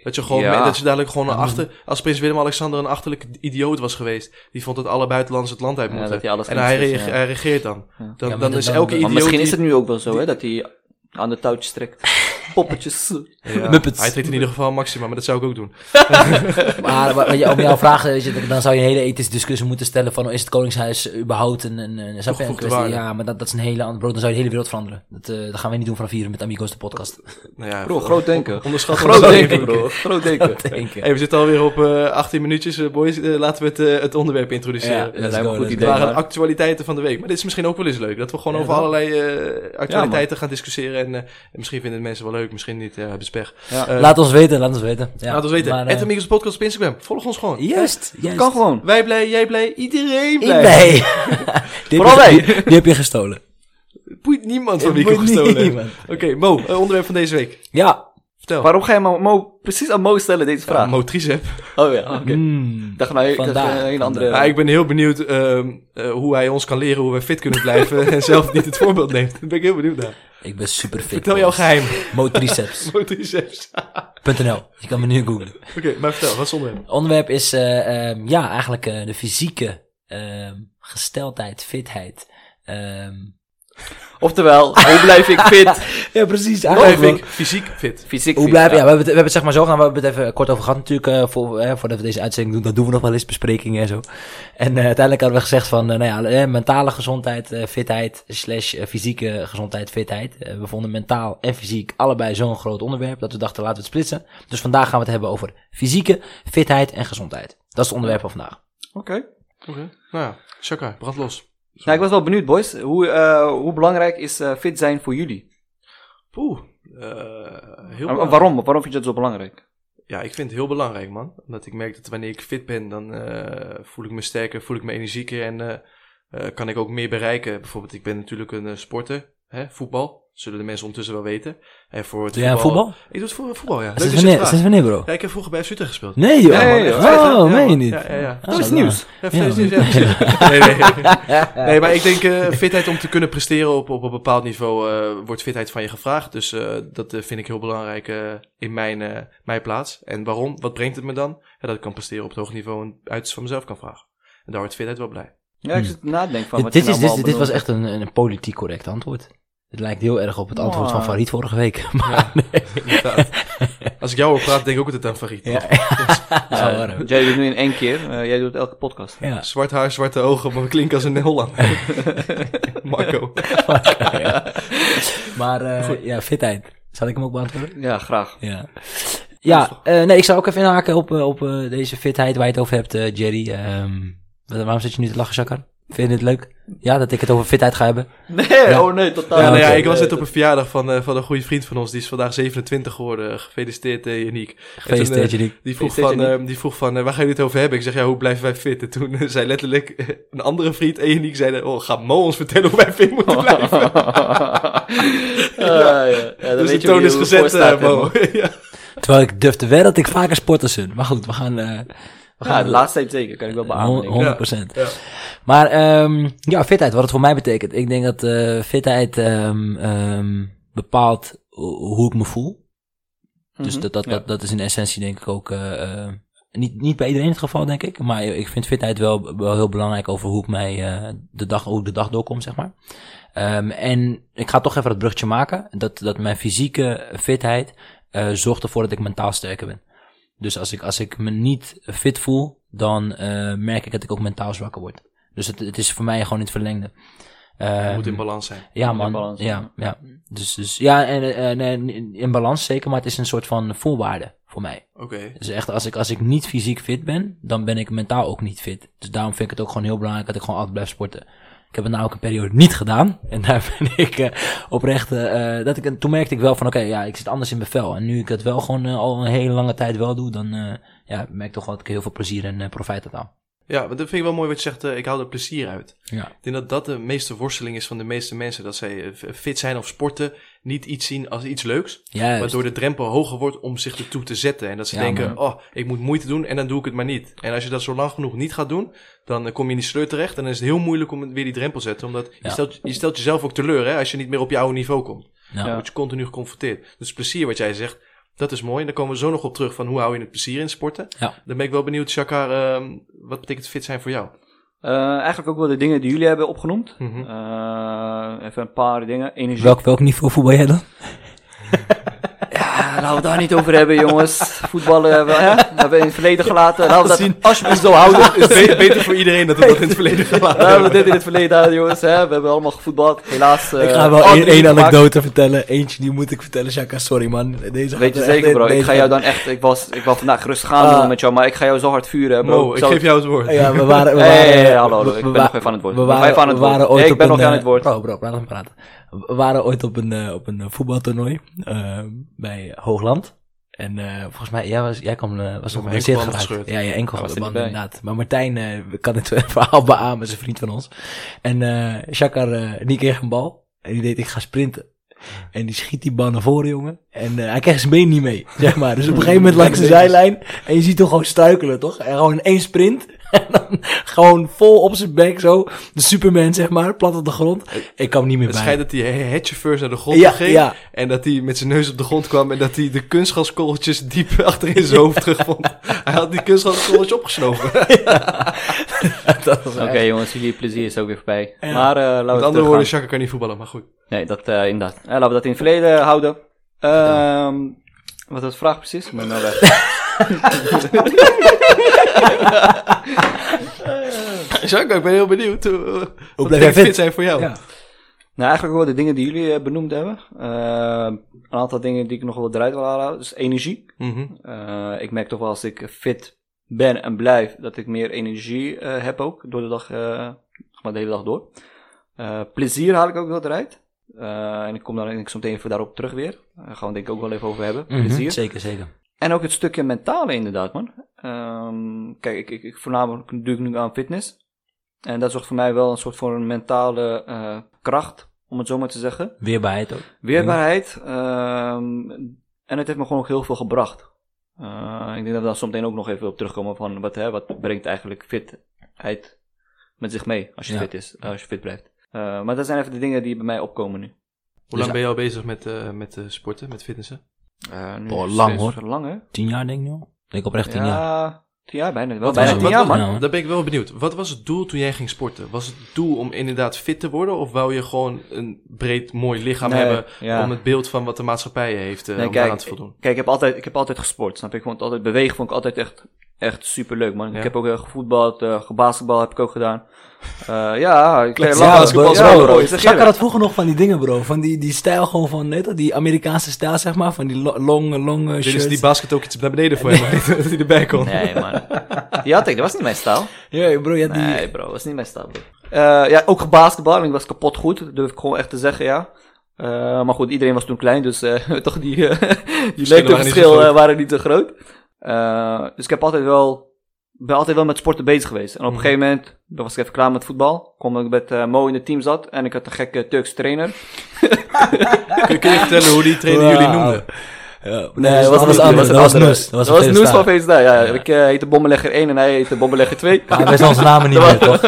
[SPEAKER 1] Dat je gewoon,
[SPEAKER 2] Ja.
[SPEAKER 1] dat je dadelijk gewoon een achter, als prins Willem-Alexander een achterlijk idioot was geweest, die vond dat alle buitenlanders het land uit
[SPEAKER 2] Ja,
[SPEAKER 1] moeten.
[SPEAKER 2] dat hij alles
[SPEAKER 1] en hij,
[SPEAKER 2] links is,
[SPEAKER 1] reage-
[SPEAKER 2] ja.
[SPEAKER 1] hij regeert dan.
[SPEAKER 2] Ja.
[SPEAKER 1] Dan,
[SPEAKER 3] Ja, maar
[SPEAKER 1] dan
[SPEAKER 3] dat-
[SPEAKER 1] is
[SPEAKER 3] dan-
[SPEAKER 1] elke
[SPEAKER 3] dan-
[SPEAKER 2] maar
[SPEAKER 1] idioot
[SPEAKER 2] misschien is
[SPEAKER 1] die-
[SPEAKER 2] het nu ook wel zo, hè, dat hij aan de touwtjes trekt. Poppetjes.
[SPEAKER 1] Ja,
[SPEAKER 3] Muppets.
[SPEAKER 1] Hij trekt in ieder geval een maxima, maar dat zou ik ook doen.
[SPEAKER 3] Maar, maar, maar om jouw vraag, weet je, dan zou je een hele ethische discussie moeten stellen van oh, is het Koningshuis überhaupt een, een, een, snap je, een
[SPEAKER 1] Toegevoegde
[SPEAKER 3] kwestie?
[SPEAKER 1] waarde.
[SPEAKER 3] Ja, maar dat, dat is een hele andere brood. Dan zou je de hele wereld veranderen. Dat, eh, dat gaan wij niet doen vanaf hier met Amigos de podcast.
[SPEAKER 1] Nou ja,
[SPEAKER 2] Bro, groot denken.
[SPEAKER 1] Onderschat
[SPEAKER 2] Groot
[SPEAKER 1] ons
[SPEAKER 2] denken,
[SPEAKER 1] niet.
[SPEAKER 2] bro. Groot denken.
[SPEAKER 3] Denk ik.
[SPEAKER 1] Hey, we zitten alweer op eh 18 minuutjes, eh, boys. Eh, laten we het, eh, het onderwerp introduceren.
[SPEAKER 3] Ja,
[SPEAKER 1] Het
[SPEAKER 2] Dat lijkt me een
[SPEAKER 3] go,
[SPEAKER 2] goed
[SPEAKER 3] let's
[SPEAKER 2] idee.
[SPEAKER 1] waren
[SPEAKER 2] maar-
[SPEAKER 1] actualiteiten van de week. Maar dit is misschien ook wel eens leuk. Dat we gewoon
[SPEAKER 3] Ja,
[SPEAKER 1] over
[SPEAKER 3] wel.
[SPEAKER 1] allerlei eh, actualiteiten gaan discussiëren. En eh, misschien vinden het mensen wel leuk, misschien niet. Ja, hebben ze pech.
[SPEAKER 2] Ja.
[SPEAKER 1] Eh,
[SPEAKER 3] Laat ons weten, laat ons weten. Ja.
[SPEAKER 1] Laat ons weten.
[SPEAKER 3] Maar,
[SPEAKER 1] Maar,
[SPEAKER 3] eh,
[SPEAKER 1] Amigos Podcast op Instagram. Volg ons gewoon.
[SPEAKER 3] juist, juist.
[SPEAKER 2] Kan gewoon.
[SPEAKER 1] Wij blij, jij blij, iedereen blij.
[SPEAKER 3] Nee. die,
[SPEAKER 2] Vooral
[SPEAKER 3] heb
[SPEAKER 2] wij.
[SPEAKER 3] je, die, die heb je gestolen.
[SPEAKER 1] Boeit niemand van wie ik
[SPEAKER 3] Boeit
[SPEAKER 1] heb gestolen.
[SPEAKER 3] niemand.
[SPEAKER 1] Oké, Mo, eh, onderwerp van deze week.
[SPEAKER 3] Ja.
[SPEAKER 1] Vertel. Ah,
[SPEAKER 2] Waarom ga je Mo, Mo- precies aan Mo stellen deze
[SPEAKER 1] Ja,
[SPEAKER 2] vraag?
[SPEAKER 1] Mo Tricep.
[SPEAKER 2] Oh ja, oké.
[SPEAKER 3] Mm.
[SPEAKER 2] Ik dacht nou, ik dacht,
[SPEAKER 3] Vandaar.
[SPEAKER 2] eh, een hele andere...
[SPEAKER 1] Ja, ik ben heel benieuwd ehm, eh, hoe hij ons kan leren hoe we fit kunnen blijven en zelf niet het voorbeeld neemt. Daar ben ik heel benieuwd naar.
[SPEAKER 3] Ik ben super fit.
[SPEAKER 1] Vertel jouw geheim.
[SPEAKER 3] Motriceps.nl.
[SPEAKER 1] Motriceps.
[SPEAKER 3] Je kan me nu googlen.
[SPEAKER 1] Oké, maar vertel, wat zonder hem?
[SPEAKER 3] Onderwerp is eh, ehm, ja, eigenlijk eh, de fysieke ehm, gesteldheid, fitheid. ehm.
[SPEAKER 2] Oftewel, hoe blijf ik fit?
[SPEAKER 3] ja, precies.
[SPEAKER 1] Blijf ik fysiek fit.
[SPEAKER 2] Fysiek
[SPEAKER 3] Hoe
[SPEAKER 2] fit,
[SPEAKER 3] blijf, ja.
[SPEAKER 2] ja.
[SPEAKER 3] we, hebben het, we hebben het zeg maar zo gedaan, we hebben het even kort over gehad natuurlijk, eh, voor, eh, voordat we deze uitzending doen, dat doen we nog wel eens, besprekingen en zo. En eh, uiteindelijk hadden we gezegd van, eh, nou ja, eh, mentale gezondheid, eh, fitheid, slash eh, fysieke gezondheid, fitheid. Eh, we vonden mentaal en fysiek allebei zo'n groot onderwerp, dat we dachten laten we het splitsen. Dus vandaag gaan we het hebben over fysieke, fitheid en gezondheid. Dat is het onderwerp van vandaag.
[SPEAKER 2] Oké.
[SPEAKER 1] Oké. Nou ja, Shaka, brand los.
[SPEAKER 2] Nou, ik was wel benieuwd, boys. Hoe, eh, hoe belangrijk is eh, fit zijn voor jullie?
[SPEAKER 1] Poeh. eh, heel
[SPEAKER 2] En- en
[SPEAKER 1] belangrijk.
[SPEAKER 2] waarom? Waarom vind je dat zo belangrijk?
[SPEAKER 1] Ja, ik vind het heel belangrijk, man. Omdat ik merk dat wanneer ik fit ben, dan eh, voel ik me sterker, voel ik me energieker en eh, eh, kan ik ook meer bereiken. Bijvoorbeeld, ik ben natuurlijk een eh, sporter, hè, voetbal. Zullen de mensen ondertussen wel weten. En voor het
[SPEAKER 3] Doe jij aan voetbal?
[SPEAKER 1] Ik doe het voor voetbal, ja. Leuk dat je
[SPEAKER 3] Sinds
[SPEAKER 1] het
[SPEAKER 3] wanneer,
[SPEAKER 1] vraagt.
[SPEAKER 3] sinds wanneer bro?
[SPEAKER 1] Ja, ik heb vroeger bij Zutter gespeeld.
[SPEAKER 3] Nee joh.
[SPEAKER 1] Ja, ja, ja. Echt, hè?
[SPEAKER 3] Oh,
[SPEAKER 1] Ja,
[SPEAKER 3] meen je
[SPEAKER 1] man.
[SPEAKER 3] niet?
[SPEAKER 1] Ja, ja, ja.
[SPEAKER 3] Ah,
[SPEAKER 2] is nieuws.
[SPEAKER 1] Ja,
[SPEAKER 3] Ja,
[SPEAKER 1] precies, ja, precies. nee, nee. nee, maar ik denk eh, fitheid om te kunnen presteren op, op een bepaald niveau eh, wordt fitheid van je gevraagd. Dus eh, dat eh, vind ik heel belangrijk eh, in mijn, eh, mijn plaats. En waarom? Wat brengt het me dan? Ja, dat ik kan presteren op het hoog niveau en uit van mezelf kan vragen. En daar wordt fitheid wel blij.
[SPEAKER 2] Ja, ik zit te nadenken van
[SPEAKER 3] Dit-
[SPEAKER 2] wat
[SPEAKER 3] dit,
[SPEAKER 2] je nou
[SPEAKER 3] is, dit,
[SPEAKER 2] allemaal
[SPEAKER 3] dit was
[SPEAKER 2] benoemt.
[SPEAKER 3] echt een, een politiek correct antwoord. Het lijkt heel erg op het antwoord van
[SPEAKER 2] Maar-
[SPEAKER 3] Farid vorige week. Maar nee.
[SPEAKER 1] Inderdaad. Als ik jou hoor praten, denk ik ook altijd aan Farid.
[SPEAKER 3] Ja.
[SPEAKER 2] Ja,
[SPEAKER 3] Zo warm.
[SPEAKER 2] Jij doet het nu in één keer. eh, jij doet het elke podcast.
[SPEAKER 3] Ja.
[SPEAKER 1] Zwart haar, zwarte ogen, maar we klinken als een Holland. Marco.
[SPEAKER 3] Maar eh, ja, fitheid. Zal ik hem ook beantwoorden?
[SPEAKER 2] Ja, graag.
[SPEAKER 3] Ja. Ja, eh, nee, ik zou ook even inhaken op, eh, op eh, deze fitheid waar je het over hebt, eh, Jerry. Ehm, wa- waarom zit je nu te lachen, Shakar? Vind je het leuk? Ja, dat ik het over fitheid ga hebben?
[SPEAKER 2] Nee,
[SPEAKER 3] Ja.
[SPEAKER 2] oh nee, totaal.
[SPEAKER 1] Ja, nou ja,
[SPEAKER 3] oké.
[SPEAKER 1] ik was net op een verjaardag van, eh, van een goede vriend van ons. Die is vandaag 27 geworden. Gefeliciteerd, eh, Yannick.
[SPEAKER 3] Gefeliciteerd, Jerry.
[SPEAKER 1] Die vroeg van,
[SPEAKER 2] PlayStation
[SPEAKER 1] ehm, die vroeg van eh, waar gaan jullie het over hebben? Ik zeg, ja, hoe blijven wij fit? En toen eh, zei letterlijk eh, een andere vriend, Enik, zei, oh, gaat Mo ons vertellen hoe wij fit moeten blijven?
[SPEAKER 2] Ah, ja, ja, ja, dan
[SPEAKER 1] dus de
[SPEAKER 2] weet je
[SPEAKER 1] toon
[SPEAKER 2] hoe-
[SPEAKER 1] is
[SPEAKER 2] hoe
[SPEAKER 1] gezet,
[SPEAKER 2] het staat,
[SPEAKER 1] eh, Mo.
[SPEAKER 2] hè,
[SPEAKER 1] ja.
[SPEAKER 3] Terwijl ik durf te wedden dat ik vaker sporters ben. Maar goed, we gaan... eh, we gaan
[SPEAKER 2] Ja, de laatste tijd zeker, kan ik wel beamen. denk ik.
[SPEAKER 3] Eh, Hon- 100%.
[SPEAKER 1] Ja, ja.
[SPEAKER 3] Maar ehm, ja, fitheid, wat het voor mij betekent. Ik denk dat eh, fitheid ehm, ehm, bepaalt ho- hoe ik me voel. Dus
[SPEAKER 2] Mhm.
[SPEAKER 3] dat, dat,
[SPEAKER 2] Ja.
[SPEAKER 3] dat, dat is in essentie denk ik ook... eh, eh, niet, niet bij iedereen het geval, denk ik. Maar ik vind fitheid wel, wel heel belangrijk over hoe ik, mij, eh, de dag, hoe ik de dag doorkom, zeg maar. Ehm, en ik ga toch even dat brugje maken. Dat, dat mijn fysieke fitheid eh, zorgt ervoor dat ik mentaal sterker ben. Dus als ik, als ik me niet fit voel, dan eh, merk ik dat ik ook mentaal zwakker word. Dus het, het is voor mij gewoon in het verlengde. Ehm,
[SPEAKER 1] moet in balans zijn.
[SPEAKER 3] ja,
[SPEAKER 2] In
[SPEAKER 3] man.
[SPEAKER 2] balans,
[SPEAKER 3] ja, ja. Dus, dus ja, en, eh, en, en in balans zeker, maar het is een soort van voorwaarde voor mij.
[SPEAKER 1] Oké.
[SPEAKER 3] Dus echt, als ik, als ik niet fysiek fit ben, dan ben ik mentaal ook niet fit. Dus daarom vind ik het ook gewoon heel belangrijk dat ik gewoon altijd blijf sporten. Ik heb het nou ook een periode niet gedaan. En daar ben ik eh, oprecht... eh, eh, dat ik, en toen merkte ik wel van, oké, ja, ik zit anders in mijn vel. En nu ik dat wel gewoon eh, al een hele lange tijd wel doe, dan eh, ja, merk ik toch wel dat ik heel veel plezier en eh, profijt uit haal.
[SPEAKER 1] Ja, maar dat vind ik wel mooi wat je zegt, eh, ik haal er plezier uit.
[SPEAKER 3] Ja.
[SPEAKER 1] Ik denk dat dat de meeste worsteling is van de meeste mensen. Dat zij eh, fit zijn of sporten, niet iets zien als iets leuks.
[SPEAKER 3] Juist.
[SPEAKER 1] Waardoor de drempel hoger wordt om zich ertoe te zetten. En dat ze
[SPEAKER 3] Ja,
[SPEAKER 1] denken, oh, ik moet moeite doen en dan doe ik het maar niet. En als je dat zo lang genoeg niet gaat doen, dan eh, kom je in die sleur terecht. En dan is het heel moeilijk om het- weer die drempel te zetten. Omdat je,
[SPEAKER 3] Ja.
[SPEAKER 1] stelt, je stelt jezelf ook teleur hè, als je niet meer op je oude niveau komt.
[SPEAKER 3] Nou,
[SPEAKER 1] Dan
[SPEAKER 2] Ja.
[SPEAKER 1] word je continu geconfronteerd. Dus plezier wat jij zegt, dat is mooi. En daar komen we zo nog op terug van hoe hou je het plezier in sporten.
[SPEAKER 3] Ja.
[SPEAKER 1] Dan ben ik wel benieuwd, Shakar, ehm, wat betekent fit zijn voor jou?
[SPEAKER 2] Eh, eigenlijk ook wel de dingen die jullie hebben opgenoemd.
[SPEAKER 1] Mhm.
[SPEAKER 2] Eh, even een paar dingen. Energie.
[SPEAKER 3] Welk, welk niveau voetbal jij dan?
[SPEAKER 2] Ja, laten we daar niet over hebben, jongens. Voetballen hebben we, hè? hebben we in het verleden gelaten. Laten we dat alsjeblieft zo houden.
[SPEAKER 1] Het is be- beter voor iedereen dat we dat in het verleden gaan laten.
[SPEAKER 2] Laten we dit in het verleden houden, jongens. Hè? We hebben allemaal gevoetbald. Helaas. eh,
[SPEAKER 3] Ik ga wel één,
[SPEAKER 2] andere
[SPEAKER 3] één
[SPEAKER 2] gemaakt.
[SPEAKER 3] anekdote vertellen. Eentje die moet ik vertellen, Shaka. Sorry man. Deze gaat
[SPEAKER 2] Weet je
[SPEAKER 3] er echt
[SPEAKER 2] zeker,
[SPEAKER 3] in.
[SPEAKER 2] bro. Ik
[SPEAKER 3] Deze
[SPEAKER 2] ga jou dan echt... Ik, was, ik wil vandaag rustig gaan
[SPEAKER 3] Ah.
[SPEAKER 2] doen met jou, maar ik ga jou zo hard vuren, Eh, bro.
[SPEAKER 1] Mo, ik
[SPEAKER 2] Zo-
[SPEAKER 1] geef jou het woord.
[SPEAKER 3] Ja, we waren... We
[SPEAKER 2] Hey,
[SPEAKER 3] waren
[SPEAKER 2] hey, hey, hallo, hallo.
[SPEAKER 3] we-
[SPEAKER 2] Ik
[SPEAKER 3] we
[SPEAKER 2] ben nog
[SPEAKER 3] wa-
[SPEAKER 2] even aan het woord.
[SPEAKER 3] we
[SPEAKER 2] Nog
[SPEAKER 3] waren-
[SPEAKER 2] even aan het
[SPEAKER 3] we
[SPEAKER 2] woord.
[SPEAKER 3] waren
[SPEAKER 2] Nee,
[SPEAKER 3] ooit
[SPEAKER 2] ik ben
[SPEAKER 3] op
[SPEAKER 2] nog
[SPEAKER 3] een,
[SPEAKER 2] aan
[SPEAKER 3] eh,
[SPEAKER 2] het woord.
[SPEAKER 3] Bro, bro, laat hem praten. We waren ooit op een, eh, op een eh, voetbaltoernooi eh, bij Hoogland. En eh, volgens mij, jij, was, jij kwam, eh, was nog
[SPEAKER 1] mijn
[SPEAKER 3] een zeer
[SPEAKER 1] enkelband
[SPEAKER 3] geraakt.
[SPEAKER 1] gescheurd.
[SPEAKER 3] Ja, je enkel
[SPEAKER 2] was
[SPEAKER 3] was
[SPEAKER 2] er niet bij.
[SPEAKER 3] inderdaad. Maar Martijn eh, kan het verhaal beamen, is een vriend van ons. En eh Shakar, eh, die kreeg een bal. En die deed, ik ga sprinten. En die schiet die bal naar voren, jongen. En eh, hij kreeg zijn been niet mee, zeg maar. Dus op een gegeven moment langs de zijlijn. En je ziet hem gewoon struikelen, toch? En gewoon in één sprint. en dan gewoon vol op zijn bek zo. De Superman, zeg maar, plat op de grond. Ik kwam niet meer
[SPEAKER 1] Het
[SPEAKER 3] bij.
[SPEAKER 1] schijnt dat hij headchauffeurs naar de grond
[SPEAKER 3] Ja,
[SPEAKER 1] ging.
[SPEAKER 3] ja.
[SPEAKER 1] En dat hij met zijn neus op de grond kwam. En dat hij de kunstgaskorreltjes diep achter in zijn hoofd terugvond. Hij had die kunstgaskorreltjes opgesnoven.
[SPEAKER 3] Dat was
[SPEAKER 2] Oké
[SPEAKER 3] echt-
[SPEAKER 2] jongens, jullie plezier is ook weer voorbij.
[SPEAKER 3] Ja.
[SPEAKER 2] Maar eh laten we
[SPEAKER 1] Met andere
[SPEAKER 2] teruggaan.
[SPEAKER 1] woorden, Chaka kan niet voetballen, maar goed.
[SPEAKER 2] Nee, dat eh, inderdaad. Eh, laten we dat in het verleden houden. Ehm, wat was de vraag precies? Maar nou weg.
[SPEAKER 1] Chaka, ik ben heel benieuwd. eh, wat
[SPEAKER 3] blijf
[SPEAKER 1] dingen
[SPEAKER 3] jij fit?
[SPEAKER 1] fit zijn voor jou?
[SPEAKER 3] Ja.
[SPEAKER 2] Nou, eigenlijk wel de dingen die jullie eh, benoemd hebben. Ehm, een aantal dingen die ik nog wel eruit wil halen. Dus energie.
[SPEAKER 1] Mhm.
[SPEAKER 2] Eh, ik merk toch wel als ik fit ben en blijf, dat ik meer energie eh, heb ook. Door de dag, eh, zeg maar de hele dag door. Eh, plezier haal ik ook wel eruit. Eh, en ik kom daar denk ik zo meteen even daarop terug weer. Daar gaan we denk ik ook wel even over hebben.
[SPEAKER 3] Mhm,
[SPEAKER 2] Plezier.
[SPEAKER 3] Zeker, zeker.
[SPEAKER 2] En ook het stukje mentale inderdaad, man. Ehm, kijk, ik, ik, ik voornamelijk doe ik nu aan fitness. En dat zorgt voor mij wel een soort voor een mentale eh, kracht, om het zo maar te zeggen.
[SPEAKER 3] Weerbaarheid ook.
[SPEAKER 2] Weerbaarheid. ehm, en het heeft me gewoon ook heel veel gebracht. Eh, ik denk dat we daar zometeen ook nog even op terugkomen van wat, hè, wat brengt eigenlijk fitheid met zich mee als je
[SPEAKER 3] Ja.
[SPEAKER 2] fit is, als je fit blijft. Eh, maar dat zijn even de dingen die bij mij opkomen nu.
[SPEAKER 3] Dus
[SPEAKER 1] Hoe lang ben je al bezig met, eh, met eh, sporten, met fitnessen?
[SPEAKER 2] Eh, nu
[SPEAKER 3] Boah,
[SPEAKER 2] is
[SPEAKER 3] lang,
[SPEAKER 2] het
[SPEAKER 3] hoor.
[SPEAKER 2] Lang hè?
[SPEAKER 3] Tien jaar denk ik nu. al. Ik denk oprecht tien jaar.
[SPEAKER 2] Ja, tien jaar bijna. Wel
[SPEAKER 1] Wat
[SPEAKER 2] bijna
[SPEAKER 1] was-
[SPEAKER 2] tien
[SPEAKER 1] wat
[SPEAKER 2] jaar
[SPEAKER 1] was-
[SPEAKER 2] man.
[SPEAKER 3] Ja, man.
[SPEAKER 1] Daar ben ik wel benieuwd. Wat was het doel toen jij ging sporten? Was het doel om inderdaad fit te worden? Of wou je gewoon een breed, mooi lichaam
[SPEAKER 2] Nee,
[SPEAKER 1] hebben?
[SPEAKER 2] ja.
[SPEAKER 1] Om het beeld van wat de maatschappij heeft, eh
[SPEAKER 2] Nee,
[SPEAKER 1] om
[SPEAKER 2] kijk,
[SPEAKER 1] daaraan te voldoen?
[SPEAKER 2] Kijk, ik heb altijd, ik heb altijd gesport, snap je? Ik vond het altijd bewegen, vond ik altijd echt, echt super leuk, man.
[SPEAKER 1] Ja.
[SPEAKER 2] Ik heb ook eh, gevoetbald, eh gebasketbal heb ik ook gedaan. Eh, ja, ik
[SPEAKER 3] Ja,
[SPEAKER 2] kreeg
[SPEAKER 3] bro,
[SPEAKER 2] basketbal,
[SPEAKER 3] bro.
[SPEAKER 2] ja, bro. Ik zeg
[SPEAKER 3] Chaka
[SPEAKER 2] eerlijk.
[SPEAKER 3] had vroeger nog van die dingen, bro. Van die, die stijl gewoon van, weet je wel, die Amerikaanse stijl, zeg maar. Van die lo- long, long eh,
[SPEAKER 1] Dit is
[SPEAKER 3] shirts.
[SPEAKER 1] dus die basket ook iets naar beneden voor hem, dat hij erbij kon.
[SPEAKER 2] Nee, man. Die had ik, dat was niet mijn stijl.
[SPEAKER 3] Ja, bro, je had die...
[SPEAKER 2] Nee, bro, dat was niet mijn stijl, bro. Eh, ja, ook gebasketbal en ik was kapot goed, dat durf ik gewoon echt te zeggen, ja. Eh, maar goed, iedereen was toen klein, dus eh, toch die, eh, die
[SPEAKER 1] waren niet zo
[SPEAKER 2] leeftijdverschil
[SPEAKER 1] groot.
[SPEAKER 2] eh, waren niet zo groot. Eh, dus ik heb altijd wel, ben altijd wel met sporten bezig geweest. En op een
[SPEAKER 1] Mhm.
[SPEAKER 2] gegeven moment dan was ik even klaar met voetbal. Kom ik met eh, Mo in het team zat en ik had een gekke Turkse trainer.
[SPEAKER 1] Kun, kun je vertellen hoe die trainer jullie
[SPEAKER 3] Wauw.
[SPEAKER 1] noemde?
[SPEAKER 3] Ja,
[SPEAKER 2] Nee,
[SPEAKER 3] dat was
[SPEAKER 2] niet-
[SPEAKER 3] anders. Dat
[SPEAKER 2] een
[SPEAKER 3] was
[SPEAKER 2] andere.
[SPEAKER 3] Noes. Dat was
[SPEAKER 2] Noes van Feestdag, ja. Ik eh, heette Bommelegger 1 en hij heette Bommelegger 2.
[SPEAKER 3] Hij wist onze namen niet meer, toch?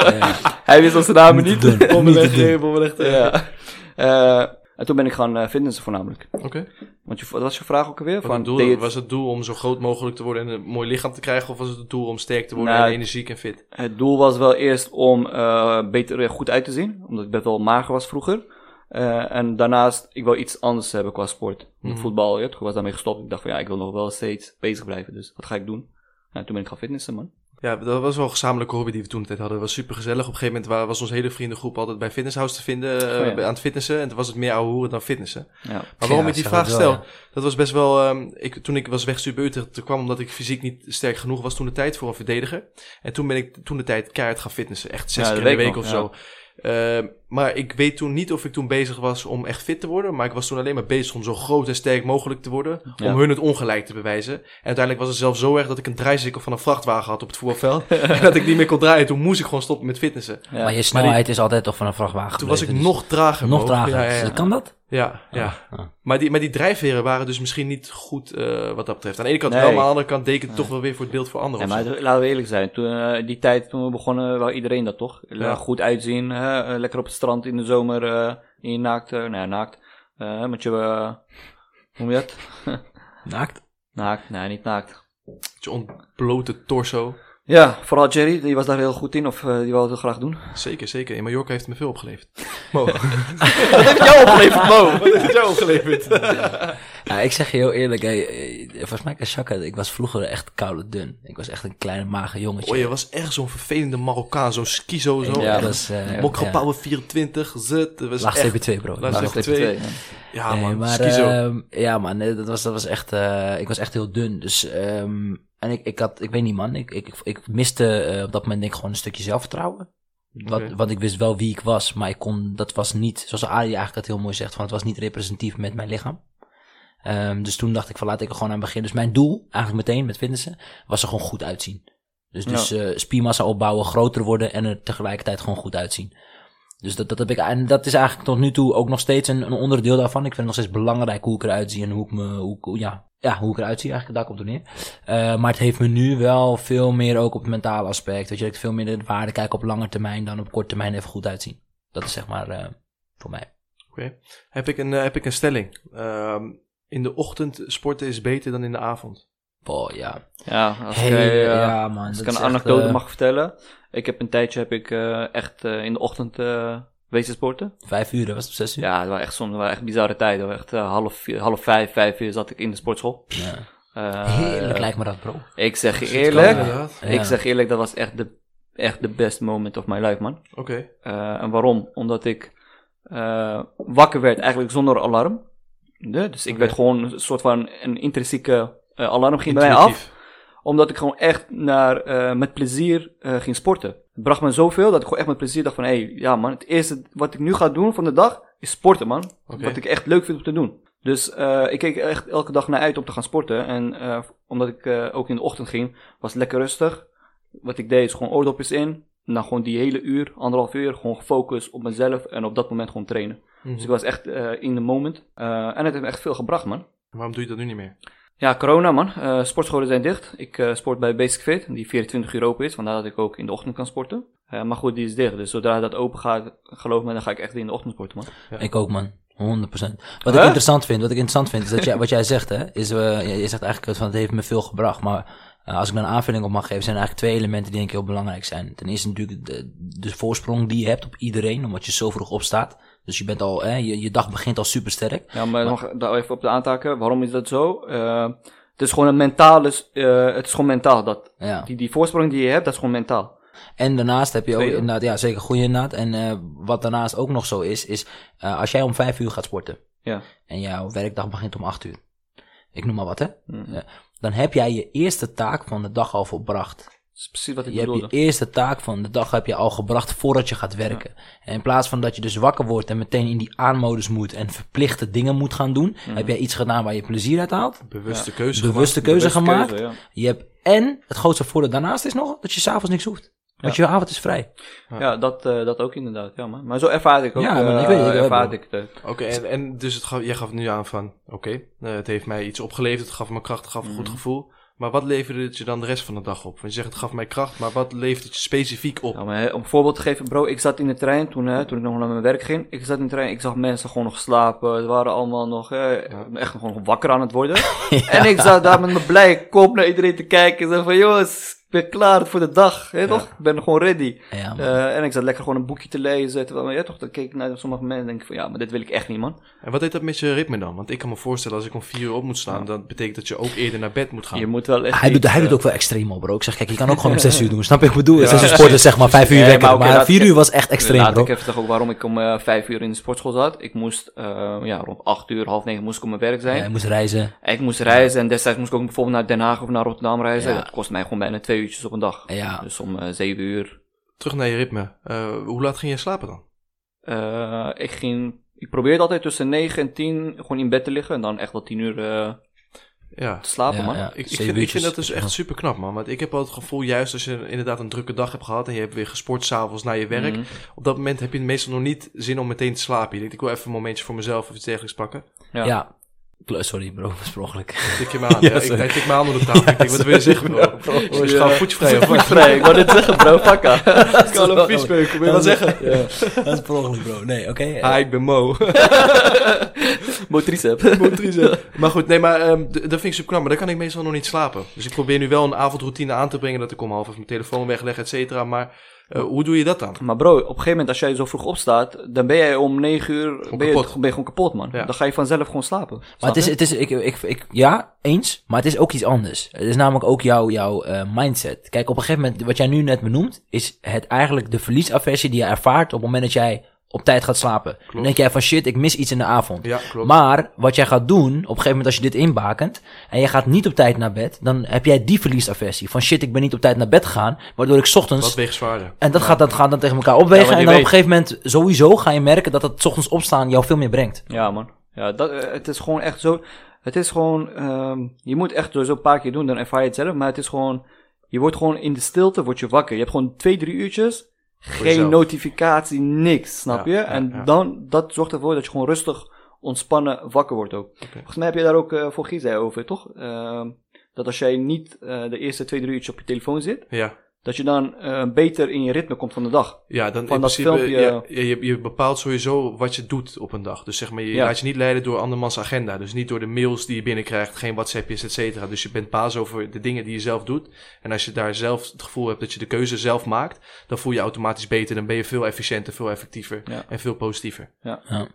[SPEAKER 2] Hij wist onze namen
[SPEAKER 3] Niet
[SPEAKER 2] niet.
[SPEAKER 3] te doen, niet te doen.
[SPEAKER 2] eh, bommelegger, ja. Eh, en toen ben ik gaan eh, fitnessen voornamelijk.
[SPEAKER 1] Oké.
[SPEAKER 2] Want je, wat was je vraag ook alweer?
[SPEAKER 1] Wat een doel-
[SPEAKER 2] deed je het-
[SPEAKER 1] was het doel om zo groot mogelijk te worden en een mooi lichaam te krijgen? Of was het het doel om sterk te worden
[SPEAKER 2] Nou,
[SPEAKER 1] en energiek en fit?
[SPEAKER 2] Het doel was wel eerst om eh, beter eh, goed uit te zien, omdat ik best wel mager was vroeger. Eh, en daarnaast, ik wil iets anders hebben qua sport.
[SPEAKER 1] Mhm.
[SPEAKER 2] Voetbal, ja, toen was daarmee gestopt. Ik dacht van ja, ik wil nog wel steeds bezig blijven, dus wat ga ik doen? Nou, toen ben ik gaan fitnessen, man.
[SPEAKER 1] Ja, dat was wel een gezamenlijke hobby die we toen tijd hadden. Het was super gezellig. Op een gegeven moment wa- was onze hele vriendengroep altijd bij Fitnesshouse te vinden eh,
[SPEAKER 2] Oh ja.
[SPEAKER 1] bij- aan het fitnessen. En toen was het meer ouwe hoeren dan fitnessen.
[SPEAKER 2] Ja.
[SPEAKER 1] Maar waarom
[SPEAKER 3] Ja,
[SPEAKER 1] ik die
[SPEAKER 3] zeg
[SPEAKER 1] vraag
[SPEAKER 3] het
[SPEAKER 1] stel,
[SPEAKER 3] wel,
[SPEAKER 1] dat was best wel... ehm, ik, toen ik was weggestuurd bij Utrecht, dat kwam omdat ik fysiek niet sterk genoeg was toen de tijd voor een verdediger. En toen ben ik toen de tijd keihard gaan fitnessen. Echt zes
[SPEAKER 2] Ja, dat
[SPEAKER 1] keer in de
[SPEAKER 2] weet
[SPEAKER 1] week
[SPEAKER 2] ik
[SPEAKER 1] of
[SPEAKER 2] nog,
[SPEAKER 1] zo. Ehm, maar ik weet toen niet of ik toen bezig was om echt fit te worden. Maar ik was toen alleen maar bezig om zo groot en sterk mogelijk te worden.
[SPEAKER 2] Ja.
[SPEAKER 1] Om hun het ongelijk te bewijzen. En uiteindelijk was het zelfs zo erg dat ik een draaisikkel van een vrachtwagen had op het voetbalveld. en dat ik niet meer kon draaien. Toen moest ik gewoon stoppen met fitnessen.
[SPEAKER 2] Ja.
[SPEAKER 3] Maar je snelheid is altijd toch van een vrachtwagen
[SPEAKER 1] Toen was ik
[SPEAKER 3] gebleven,
[SPEAKER 1] nog trager.
[SPEAKER 3] dus- nog
[SPEAKER 1] Mo.
[SPEAKER 3] trager.
[SPEAKER 1] Ja, ja,
[SPEAKER 3] Dus
[SPEAKER 1] ja.
[SPEAKER 3] Kan dat?
[SPEAKER 1] Ja, ja.
[SPEAKER 3] Ah.
[SPEAKER 1] Maar, die, maar die drijfveren waren dus misschien niet goed eh, wat dat betreft. Aan de ene kant
[SPEAKER 2] Nee.
[SPEAKER 1] wel, maar aan de andere kant deed ik het toch wel weer voor het beeld voor
[SPEAKER 2] Ja,
[SPEAKER 1] anderen.
[SPEAKER 2] maar
[SPEAKER 1] of zo.
[SPEAKER 2] het- laten we eerlijk zijn, toen, eh, die tijd toen we begonnen, wel iedereen dat toch? Eh,
[SPEAKER 1] Ja.
[SPEAKER 2] Goed uitzien, hè, eh, lekker op het strand in de zomer, eh, in je naakt, eh, nou ja, naakt, eh, met je, eh, hoe noem je dat?
[SPEAKER 3] Naakt?
[SPEAKER 2] Naakt, nee, niet naakt.
[SPEAKER 1] Met Je ontblote torso.
[SPEAKER 2] Ja, vooral Jerry, die was daar heel goed in, of eh, die wou het heel graag doen.
[SPEAKER 1] Zeker, zeker. In Mallorca heeft het me veel opgeleverd. Mo.
[SPEAKER 2] Wat heb jou opgeleverd, Mo?
[SPEAKER 1] Wat heeft het jou opgeleverd?
[SPEAKER 3] Ja, ik zeg je heel eerlijk, hey, eh, volgens mij kan Chaka, ik was vroeger echt koude dun. Ik was echt een kleine mager jongetje.
[SPEAKER 1] Oh, je was echt zo'n vervelende Marokkaan. Zo'n schizo, zo.
[SPEAKER 2] Ja,
[SPEAKER 1] Ja,
[SPEAKER 3] dat
[SPEAKER 2] dat-
[SPEAKER 3] was... eh, ja.
[SPEAKER 1] Mokkerpauwe 24, zet. Dat was echt...
[SPEAKER 3] Laagstreepje 2, bro. Ik
[SPEAKER 1] Laagstreepje
[SPEAKER 3] was-
[SPEAKER 1] Laagstreepje twee. Ja,
[SPEAKER 3] Nee,
[SPEAKER 1] man.
[SPEAKER 3] maar,
[SPEAKER 1] schizo.
[SPEAKER 2] eh,
[SPEAKER 3] ehm, ja, man, nee, dat was, dat was echt, eh, ik was echt heel dun. Dus, ehm, en ik, ik had, ik weet niet, man, ik, ik, ik miste eh, op dat moment denk ik gewoon een stukje zelfvertrouwen. Wat,
[SPEAKER 1] Oké.
[SPEAKER 3] Want ik wist wel wie ik was, maar ik kon, dat was niet, zoals Ari eigenlijk het heel mooi zegt, van het was niet representatief met mijn lichaam. Ehm, dus toen dacht ik van laat ik er gewoon aan beginnen. Dus mijn doel, eigenlijk meteen met fitnessen, was er gewoon goed uitzien. Dus, dus eh, spiermassa opbouwen, groter worden en er tegelijkertijd gewoon goed uitzien. Dus dat, dat heb ik, en dat is eigenlijk tot nu toe ook nog steeds een, een onderdeel daarvan. Ik vind het nog steeds belangrijk hoe ik eruit zie en hoe ik me, hoe, ik- hoe- ja, ja, hoe ik eruit zie eigenlijk, daar komt het op neer. Eh, maar het heeft me nu wel veel meer ook op het mentale aspect. Dat je dat ik veel meer de waarde kijk op lange termijn dan op korte termijn even goed uitzien. Dat is zeg maar eh, voor mij.
[SPEAKER 1] Heb ik een, eh, heb ik een stelling. Ehm, in de ochtend sporten is beter dan in de avond.
[SPEAKER 3] Boah, ja.
[SPEAKER 2] Ja, als ik,
[SPEAKER 3] Hele-
[SPEAKER 2] eh,
[SPEAKER 3] ja, man.
[SPEAKER 2] als
[SPEAKER 3] dat
[SPEAKER 2] ik een
[SPEAKER 3] is echt,
[SPEAKER 2] anekdote
[SPEAKER 3] eh,
[SPEAKER 2] mag vertellen. Ik heb een tijdje heb ik, eh, echt eh, in de ochtend eh wezen sporten.
[SPEAKER 3] Vijf uur, dat was het op zes uur.
[SPEAKER 2] Ja, het waren echt soms het waren echt bizarre tijden. hoor. Echt eh, half, vier- half vijf, vijf uur zat ik in de sportschool.
[SPEAKER 3] Ja.
[SPEAKER 2] Eh,
[SPEAKER 3] Heerlijk lijkt me dat, bro.
[SPEAKER 2] Ik zeg je
[SPEAKER 1] Kan
[SPEAKER 2] eerlijk,
[SPEAKER 1] inderdaad.
[SPEAKER 3] Ja.
[SPEAKER 2] ik zeg eerlijk, dat was echt de, echt de best moment of my life, man.
[SPEAKER 1] Oké.
[SPEAKER 2] Eh, en waarom? Omdat ik eh, wakker werd eigenlijk zonder alarm. De- dus ik
[SPEAKER 1] Oké.
[SPEAKER 2] werd gewoon een soort van een intrinsieke eh, alarm ging bij mij af.
[SPEAKER 1] Intuïtief.
[SPEAKER 2] Omdat ik gewoon echt naar, eh, met plezier eh, ging sporten. Het bracht me zoveel dat ik gewoon echt met plezier dacht van... Hé, hey, ja man, het eerste wat ik nu ga doen van de dag is sporten man.
[SPEAKER 1] Oké.
[SPEAKER 2] Wat ik echt leuk vind om te doen. Dus eh, ik keek echt elke dag naar uit om te gaan sporten. En eh, omdat ik eh, ook in de ochtend ging, was het lekker rustig. Wat ik deed is gewoon oordopjes in. En dan gewoon die hele uur, anderhalf uur, gewoon gefocust op mezelf. En op dat moment gewoon trainen.
[SPEAKER 1] Mhm.
[SPEAKER 2] Dus ik was echt eh, in the moment. Eh, en het heeft me echt veel gebracht man.
[SPEAKER 1] Waarom doe je dat nu niet meer?
[SPEAKER 2] Ja, corona man. Eh, sportscholen zijn dicht. Ik eh, sport bij Basic Fit, die 24 uur open is. Vandaar dat ik ook in de ochtend kan sporten. Eh, maar goed, die is dicht. Dus zodra dat open gaat, geloof me, dan ga ik echt in de ochtend sporten man.
[SPEAKER 3] Ik ook, man. 100%. Wat ik
[SPEAKER 2] Huh?
[SPEAKER 3] interessant vind, wat ik interessant vind, is dat jij, wat jij zegt, hè, is, eh je zegt eigenlijk van het heeft me veel gebracht, maar eh, als ik daar een aanvulling op mag geven, zijn er eigenlijk twee elementen die denk ik heel belangrijk zijn. Ten eerste natuurlijk de, de voorsprong die je hebt op iedereen, omdat je zo vroeg opstaat. Dus je bent al, hè, je, je dag begint al supersterk.
[SPEAKER 2] Ja, maar nog daar even op de aantaken. Waarom is dat zo? Eh, het is gewoon een mentale, s- eh, het is gewoon mentaal dat.
[SPEAKER 3] Ja.
[SPEAKER 2] Die, die voorsprong die je hebt, dat is gewoon mentaal.
[SPEAKER 3] En daarnaast heb je ook
[SPEAKER 1] Tweede.
[SPEAKER 3] inderdaad, ja, zeker goede inderdaad. En eh, wat daarnaast ook nog zo is, is eh, als jij om vijf uur gaat sporten
[SPEAKER 2] Ja.
[SPEAKER 3] en jouw werkdag begint om acht uur. Ik noem maar wat, hè.
[SPEAKER 2] Mm.
[SPEAKER 3] Ja. Dan heb jij je eerste taak van de dag al volbracht.
[SPEAKER 2] Dat is precies wat ik
[SPEAKER 3] Je hebt je
[SPEAKER 2] bedoelde.
[SPEAKER 3] eerste taak van de dag heb je al gebracht voordat je gaat werken. En in plaats van dat je dus wakker wordt en meteen in die aanmodus moet en verplichte dingen moet gaan doen, heb jij iets gedaan waar je plezier uit haalt.
[SPEAKER 1] Bewuste keuze
[SPEAKER 3] Bewuste keuze
[SPEAKER 2] Beste
[SPEAKER 3] gemaakt.
[SPEAKER 2] keuze, ja.
[SPEAKER 3] Je hebt en het grootste voordeel daarnaast is nog dat je s'avonds niks hoeft. Want je avond is vrij.
[SPEAKER 2] Ja, dat, eh, dat ook inderdaad. Ja, man. Maar zo ervaar ik ook.
[SPEAKER 3] Ja, man,
[SPEAKER 2] eh,
[SPEAKER 3] ik weet het, ik
[SPEAKER 2] ervaar
[SPEAKER 3] weet
[SPEAKER 2] ik het. eh. ook.
[SPEAKER 1] Oké, en, en dus het gaf, jij gaf nu aan van, oké, eh, het heeft mij iets opgeleverd, het gaf me kracht, het gaf een goed gevoel. Maar wat leverde het je dan de rest van de dag op? Want je zegt het gaf mij kracht, maar wat levert het je specifiek op?
[SPEAKER 2] Ja, Nou, maar hè, om een voorbeeld te geven, bro, ik zat in de trein toen, hè, toen ik nog naar mijn werk ging. Ik zat in de trein, ik zag mensen gewoon nog slapen. Het waren allemaal nog hè, echt gewoon wakker aan het worden. En ik zat daar met mijn blije kop naar iedereen te kijken. En zei van, jongens, ik ben klaar voor de dag. Hè, toch? Ik ben gewoon ready.
[SPEAKER 3] Ja, man.
[SPEAKER 2] Eh, en ik zat lekker gewoon een boekje te lezen. Terwijl, ja, toch, dan keek ik naar sommige mensen en denk ik van, ja, maar dit wil ik echt niet, man.
[SPEAKER 1] En wat deed dat met je ritme dan? Want ik kan me voorstellen, als ik om vier uur op moet staan, dat betekent dat je ook eerder naar bed moet gaan.
[SPEAKER 2] Je moet wel echt
[SPEAKER 3] hij, doet,
[SPEAKER 2] iets,
[SPEAKER 3] hij doet
[SPEAKER 2] eh,
[SPEAKER 3] ook wel extreem op, bro. Ik zeg, kijk, je kan ook gewoon om zes uur doen. Snap je? Ik bedoel,
[SPEAKER 1] Ja.
[SPEAKER 3] zes uur sporten, zeg maar, vijf uur
[SPEAKER 2] Nee, maar
[SPEAKER 3] wekken. Maar,
[SPEAKER 2] oké, laat-
[SPEAKER 3] vier uur was echt extreem,
[SPEAKER 2] Laat
[SPEAKER 3] bro.
[SPEAKER 2] ik even zeggen ook waarom ik om eh, vijf uur in de sportschool zat. Ik moest eh, ja, rond acht uur, half negen moest ik op mijn werk zijn.
[SPEAKER 3] Ja, je moest reizen.
[SPEAKER 2] Ik moest reizen en destijds moest ik ook bijvoorbeeld naar Den Haag of naar Rotterdam reizen.
[SPEAKER 3] Ja.
[SPEAKER 2] Dat kost mij gewoon bijna twee uurtjes op een dag.
[SPEAKER 3] Ja.
[SPEAKER 2] Dus om eh, zeven uur.
[SPEAKER 1] Terug naar je ritme. Eh, hoe laat ging jij slapen dan?
[SPEAKER 2] Eh, ik ging, ik probeerde altijd tussen negen en tien gewoon in bed te liggen en dan echt wel tien uur eh,
[SPEAKER 1] Ja.
[SPEAKER 2] te slapen, man.
[SPEAKER 3] ja.
[SPEAKER 2] Ja,
[SPEAKER 1] Ik, ik,
[SPEAKER 3] Zeven
[SPEAKER 1] vind, ik
[SPEAKER 3] uurtjes.
[SPEAKER 1] vind dat dus echt super knap, man. Want ik heb al het gevoel, juist als je inderdaad een drukke dag hebt gehad en je hebt weer gesport s'avonds naar je
[SPEAKER 2] Mhm.
[SPEAKER 1] werk, op dat moment heb je meestal nog niet zin om meteen te slapen. Je denkt, ik wil even een momentje voor mezelf of iets dergelijks pakken.
[SPEAKER 2] Ja.
[SPEAKER 3] Ja. Kle- Sorry, bro, oorspronkelijk.
[SPEAKER 1] Tik je me aan. Ja, ik,
[SPEAKER 3] sorry.
[SPEAKER 1] hij tikt me aan onder de tafel. ik denk, wat wil je zeggen, bro? Oh, is gewoon voetje vrij of wat?
[SPEAKER 2] ik wou dit zeggen, bro, ah. pakka.
[SPEAKER 1] Ik kan een viespeuk, wil je wat zeggen? Ah,
[SPEAKER 3] Dat is per ongeluk, bro. Nee, oké. eh,
[SPEAKER 1] Hi, ik ben Mo.
[SPEAKER 2] Motricep.
[SPEAKER 1] maar goed, nee, maar ehm, d- dat vind ik super knap. Maar dan kan ik meestal nog niet slapen. Dus ik probeer nu wel een avondroutine aan te brengen dat ik om half even mijn telefoon wegleg, et cetera. Maar eh, hoe doe je dat dan?
[SPEAKER 2] Maar bro, op een gegeven moment als jij zo vroeg opstaat, dan ben jij om negen uur ben je,
[SPEAKER 1] kapot.
[SPEAKER 2] ben je gewoon kapot, man.
[SPEAKER 1] Ja.
[SPEAKER 2] Dan ga je vanzelf gewoon slapen.
[SPEAKER 3] Maar
[SPEAKER 2] Snap
[SPEAKER 3] het is,
[SPEAKER 2] je?
[SPEAKER 3] het is ik, ik, ik, ja, eens. Maar het is ook iets anders. Het is namelijk ook jouw, jouw eh, mindset. Kijk, op een gegeven moment, wat jij nu net benoemt, is het eigenlijk de verliesaversie die je ervaart op het moment dat jij op tijd gaat slapen. Dan denk jij van shit, ik mis iets in de avond.
[SPEAKER 1] Ja, klopt.
[SPEAKER 3] Maar wat jij gaat doen, op een gegeven moment als je dit inbakent en je gaat niet op tijd naar bed, dan heb jij die verliesaversie van shit, ik ben niet op tijd naar bed gegaan, waardoor ik 's ochtends
[SPEAKER 1] Wat weegt zwaarder?
[SPEAKER 3] En dat gaat, dat gaat dan tegen elkaar opwegen.
[SPEAKER 2] Ja, want
[SPEAKER 3] en
[SPEAKER 2] je
[SPEAKER 3] dan op
[SPEAKER 2] weet-
[SPEAKER 3] een gegeven moment sowieso ga je merken dat het 's ochtends opstaan jou veel meer brengt.
[SPEAKER 2] Ja, man. Ja, dat, eh, het is gewoon echt zo. Het is gewoon. ehm, je moet echt zo een paar keer doen, dan ervaar je het zelf. Maar het is gewoon. Je wordt gewoon in de stilte word je wakker. Je hebt gewoon twee, drie uurtjes. Geen
[SPEAKER 1] jezelf.
[SPEAKER 2] notificatie, niks. Snap
[SPEAKER 1] Ja,
[SPEAKER 2] je?
[SPEAKER 1] ja,
[SPEAKER 2] en
[SPEAKER 1] ja.
[SPEAKER 2] dan. Dat zorgt ervoor dat je gewoon rustig ontspannen wakker wordt ook.
[SPEAKER 1] Oké.
[SPEAKER 2] Volgens mij heb je daar ook eh, voor Giza over, toch? Ehm, dat als jij niet eh, de eerste twee, drie uurtjes op je telefoon zit,
[SPEAKER 1] Ja.
[SPEAKER 2] dat je dan eh, beter in je ritme komt van de dag.
[SPEAKER 1] Ja, dan
[SPEAKER 2] Van
[SPEAKER 1] in
[SPEAKER 2] dat
[SPEAKER 1] principe,
[SPEAKER 2] filmpje-
[SPEAKER 1] ja, ja, je, je bepaalt sowieso wat je doet op een dag. Dus zeg maar, je
[SPEAKER 2] Ja.
[SPEAKER 1] laat je niet leiden door andermans agenda. Dus niet door de mails die je binnenkrijgt, geen WhatsAppjes, et cetera. Dus je bent baas over de dingen die je zelf doet. En als je daar zelf het gevoel hebt dat je de keuze zelf maakt, dan voel je je automatisch beter. Dan ben je veel efficiënter, veel effectiever
[SPEAKER 2] Ja.
[SPEAKER 1] en veel positiever.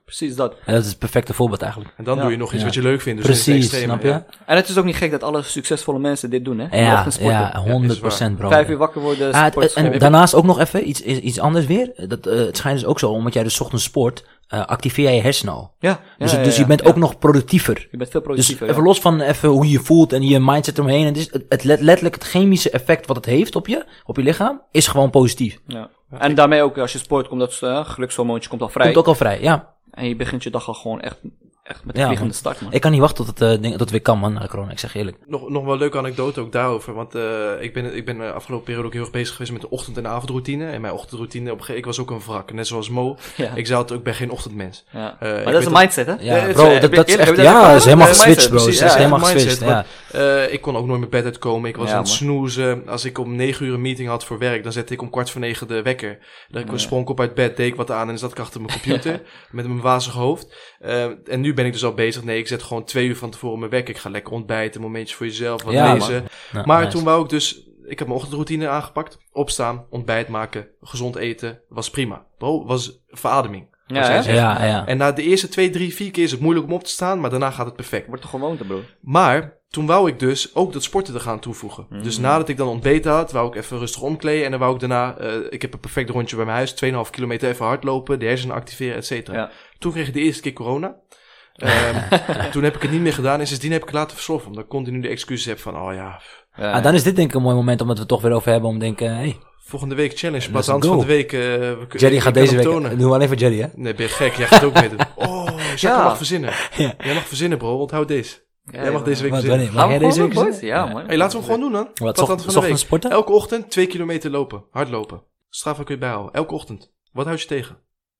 [SPEAKER 2] Precies dat.
[SPEAKER 3] En dat is het perfecte voorbeeld eigenlijk.
[SPEAKER 1] En dan
[SPEAKER 2] Ja.
[SPEAKER 1] doe je nog iets
[SPEAKER 3] Ja.
[SPEAKER 1] wat je leuk vindt. Dus dat
[SPEAKER 3] Precies,
[SPEAKER 1] is het extreme,
[SPEAKER 3] snap je?
[SPEAKER 1] ja.
[SPEAKER 3] Ja,
[SPEAKER 2] En het is ook niet gek dat alle succesvolle mensen dit doen, hè?
[SPEAKER 3] ja,
[SPEAKER 2] Ochtend sporten.
[SPEAKER 3] 100% bro.
[SPEAKER 2] Vijf uur wakker worden,
[SPEAKER 3] Ah, het-
[SPEAKER 2] sport,
[SPEAKER 3] en
[SPEAKER 2] school.
[SPEAKER 3] daarnaast ook nog even iets, i- iets anders weer. Dat, eh, het schijnt dus ook zo, omdat jij dus 's ochtends sport, eh, activeer jij je hersenen al.
[SPEAKER 2] Ja, ja,
[SPEAKER 3] Dus,
[SPEAKER 2] ja,
[SPEAKER 3] dus je
[SPEAKER 2] ja,
[SPEAKER 3] bent
[SPEAKER 2] ja.
[SPEAKER 3] ook nog productiever.
[SPEAKER 2] Je bent veel
[SPEAKER 3] Dus
[SPEAKER 2] productiever.
[SPEAKER 3] even
[SPEAKER 2] ja.
[SPEAKER 3] los van even hoe je je voelt en je mindset eromheen. Het, is, het, het let- letterlijk het chemische effect wat het heeft op je, op je lichaam, is gewoon positief.
[SPEAKER 2] Ja. En daarmee ook, als je sport, komt dat eh, gelukshormoontje komt al vrij.
[SPEAKER 3] Komt ook al vrij, ja.
[SPEAKER 2] En je begint je dag al gewoon echt, echt met een
[SPEAKER 3] Ja,
[SPEAKER 2] vliegende
[SPEAKER 3] man.
[SPEAKER 2] start, man.
[SPEAKER 3] Ik kan niet wachten tot het, eh, ding, tot het weer kan, man, na de corona. Ik zeg je eerlijk.
[SPEAKER 1] Nog, nog wel een leuke anekdote ook daarover. Want eh, ik ben, ik ben de afgelopen periode ook heel erg bezig geweest met de ochtend- en avondroutine. En mijn ochtendroutine, op een gegeven ik was ook een wrak. Net zoals Mo.
[SPEAKER 2] Ja.
[SPEAKER 1] Ik zei altijd, ik ben geen ochtendmens.
[SPEAKER 2] ja.
[SPEAKER 1] eh, ik
[SPEAKER 2] maar dat
[SPEAKER 1] weet
[SPEAKER 2] is een mindset, hè?
[SPEAKER 3] Ja,
[SPEAKER 1] het-
[SPEAKER 3] bro,
[SPEAKER 1] eh,
[SPEAKER 3] dat, dat is
[SPEAKER 2] eerlijk,
[SPEAKER 3] echt,
[SPEAKER 2] heb je dat
[SPEAKER 3] ja,
[SPEAKER 2] ervaren?
[SPEAKER 3] het is helemaal
[SPEAKER 2] Ja,
[SPEAKER 3] geswitcht,
[SPEAKER 2] mindset,
[SPEAKER 3] bro. Het is
[SPEAKER 1] precies,
[SPEAKER 3] echt
[SPEAKER 1] ja,
[SPEAKER 3] helemaal
[SPEAKER 1] Eh, mindset,
[SPEAKER 3] geswitcht, ja.
[SPEAKER 1] Eh, ik kon ook nooit mijn bed uitkomen. Ik was
[SPEAKER 2] Ja,
[SPEAKER 1] aan het
[SPEAKER 2] man.
[SPEAKER 1] snoezen. Als ik om negen uur een meeting had voor werk, dan zette ik om kwart voor negen de wekker. Dan
[SPEAKER 2] Ja.
[SPEAKER 1] sprong ik op uit bed, deed ik wat aan en zat ik achter mijn computer met mijn wazig hoofd. Eh, en nu ben ik dus al bezig. Nee, ik zet gewoon twee uur van tevoren mijn wekker. Ik ga lekker ontbijten, momentje voor jezelf, wat
[SPEAKER 3] Ja,
[SPEAKER 1] lezen.
[SPEAKER 3] Nou,
[SPEAKER 1] Maar
[SPEAKER 3] nice.
[SPEAKER 1] toen wou ik dus... Ik heb mijn ochtendroutine aangepakt. Opstaan, ontbijt maken, gezond eten. Was prima. Bro, was verademing.
[SPEAKER 2] Ja, hè?
[SPEAKER 1] Ja.
[SPEAKER 3] Ja, ja.
[SPEAKER 1] En na de eerste twee, drie, vier keer is het moeilijk om op te staan. Maar daarna gaat het perfect.
[SPEAKER 2] Wordt een gewoonte, bro.
[SPEAKER 1] Maar toen wou ik dus ook dat sporten er gaan toevoegen.
[SPEAKER 2] Mm.
[SPEAKER 1] Dus nadat ik dan ontbeten had, wou ik even rustig omkleden. En dan wou ik daarna, eh, ik heb een perfect rondje bij mijn huis. 2,5 kilometer even hardlopen, de hersenen activeren, et cetera.
[SPEAKER 2] Ja.
[SPEAKER 1] Toen kreeg ik de eerste keer corona. Ehm, toen heb ik het niet meer gedaan en sindsdien heb ik het laten versloffen. Omdat ik continu de excuses heb van, oh ja,
[SPEAKER 2] Ja,
[SPEAKER 3] Ah, dan is dit denk ik een mooi moment om het we toch weer over hebben. Om te denken, hey,
[SPEAKER 1] volgende week challenge.
[SPEAKER 3] Let's
[SPEAKER 1] Platant
[SPEAKER 3] go.
[SPEAKER 1] van de week. eh, we kun-
[SPEAKER 3] Jerry
[SPEAKER 1] ik
[SPEAKER 3] gaat
[SPEAKER 1] kan
[SPEAKER 3] deze
[SPEAKER 1] hem
[SPEAKER 3] week...
[SPEAKER 1] tonen.
[SPEAKER 3] Doen we alleen voor Jerry, hè?
[SPEAKER 1] Nee, ben je gek? Jij gaat ook meedoen. Oh, jij
[SPEAKER 2] Ja.
[SPEAKER 1] mag verzinnen.
[SPEAKER 3] Ja.
[SPEAKER 1] Jij mag verzinnen, bro. Onthoud deze.
[SPEAKER 2] Ja,
[SPEAKER 1] jij mag
[SPEAKER 2] ja.
[SPEAKER 1] deze week
[SPEAKER 3] Wat,
[SPEAKER 1] verzinnen.
[SPEAKER 3] wanneer? Mag jij deze week
[SPEAKER 2] boys?
[SPEAKER 3] zien?
[SPEAKER 2] Ja, man.
[SPEAKER 1] hey, laten we hem gewoon doen dan.
[SPEAKER 3] Wat,
[SPEAKER 1] Platant van de
[SPEAKER 3] zocht, zochtens
[SPEAKER 1] week.
[SPEAKER 3] sporten?
[SPEAKER 1] Elke ochtend twee kilometer lopen. Hardlopen. Strava kun je bijhouden. Elke ochtend. Wat houd je tegen?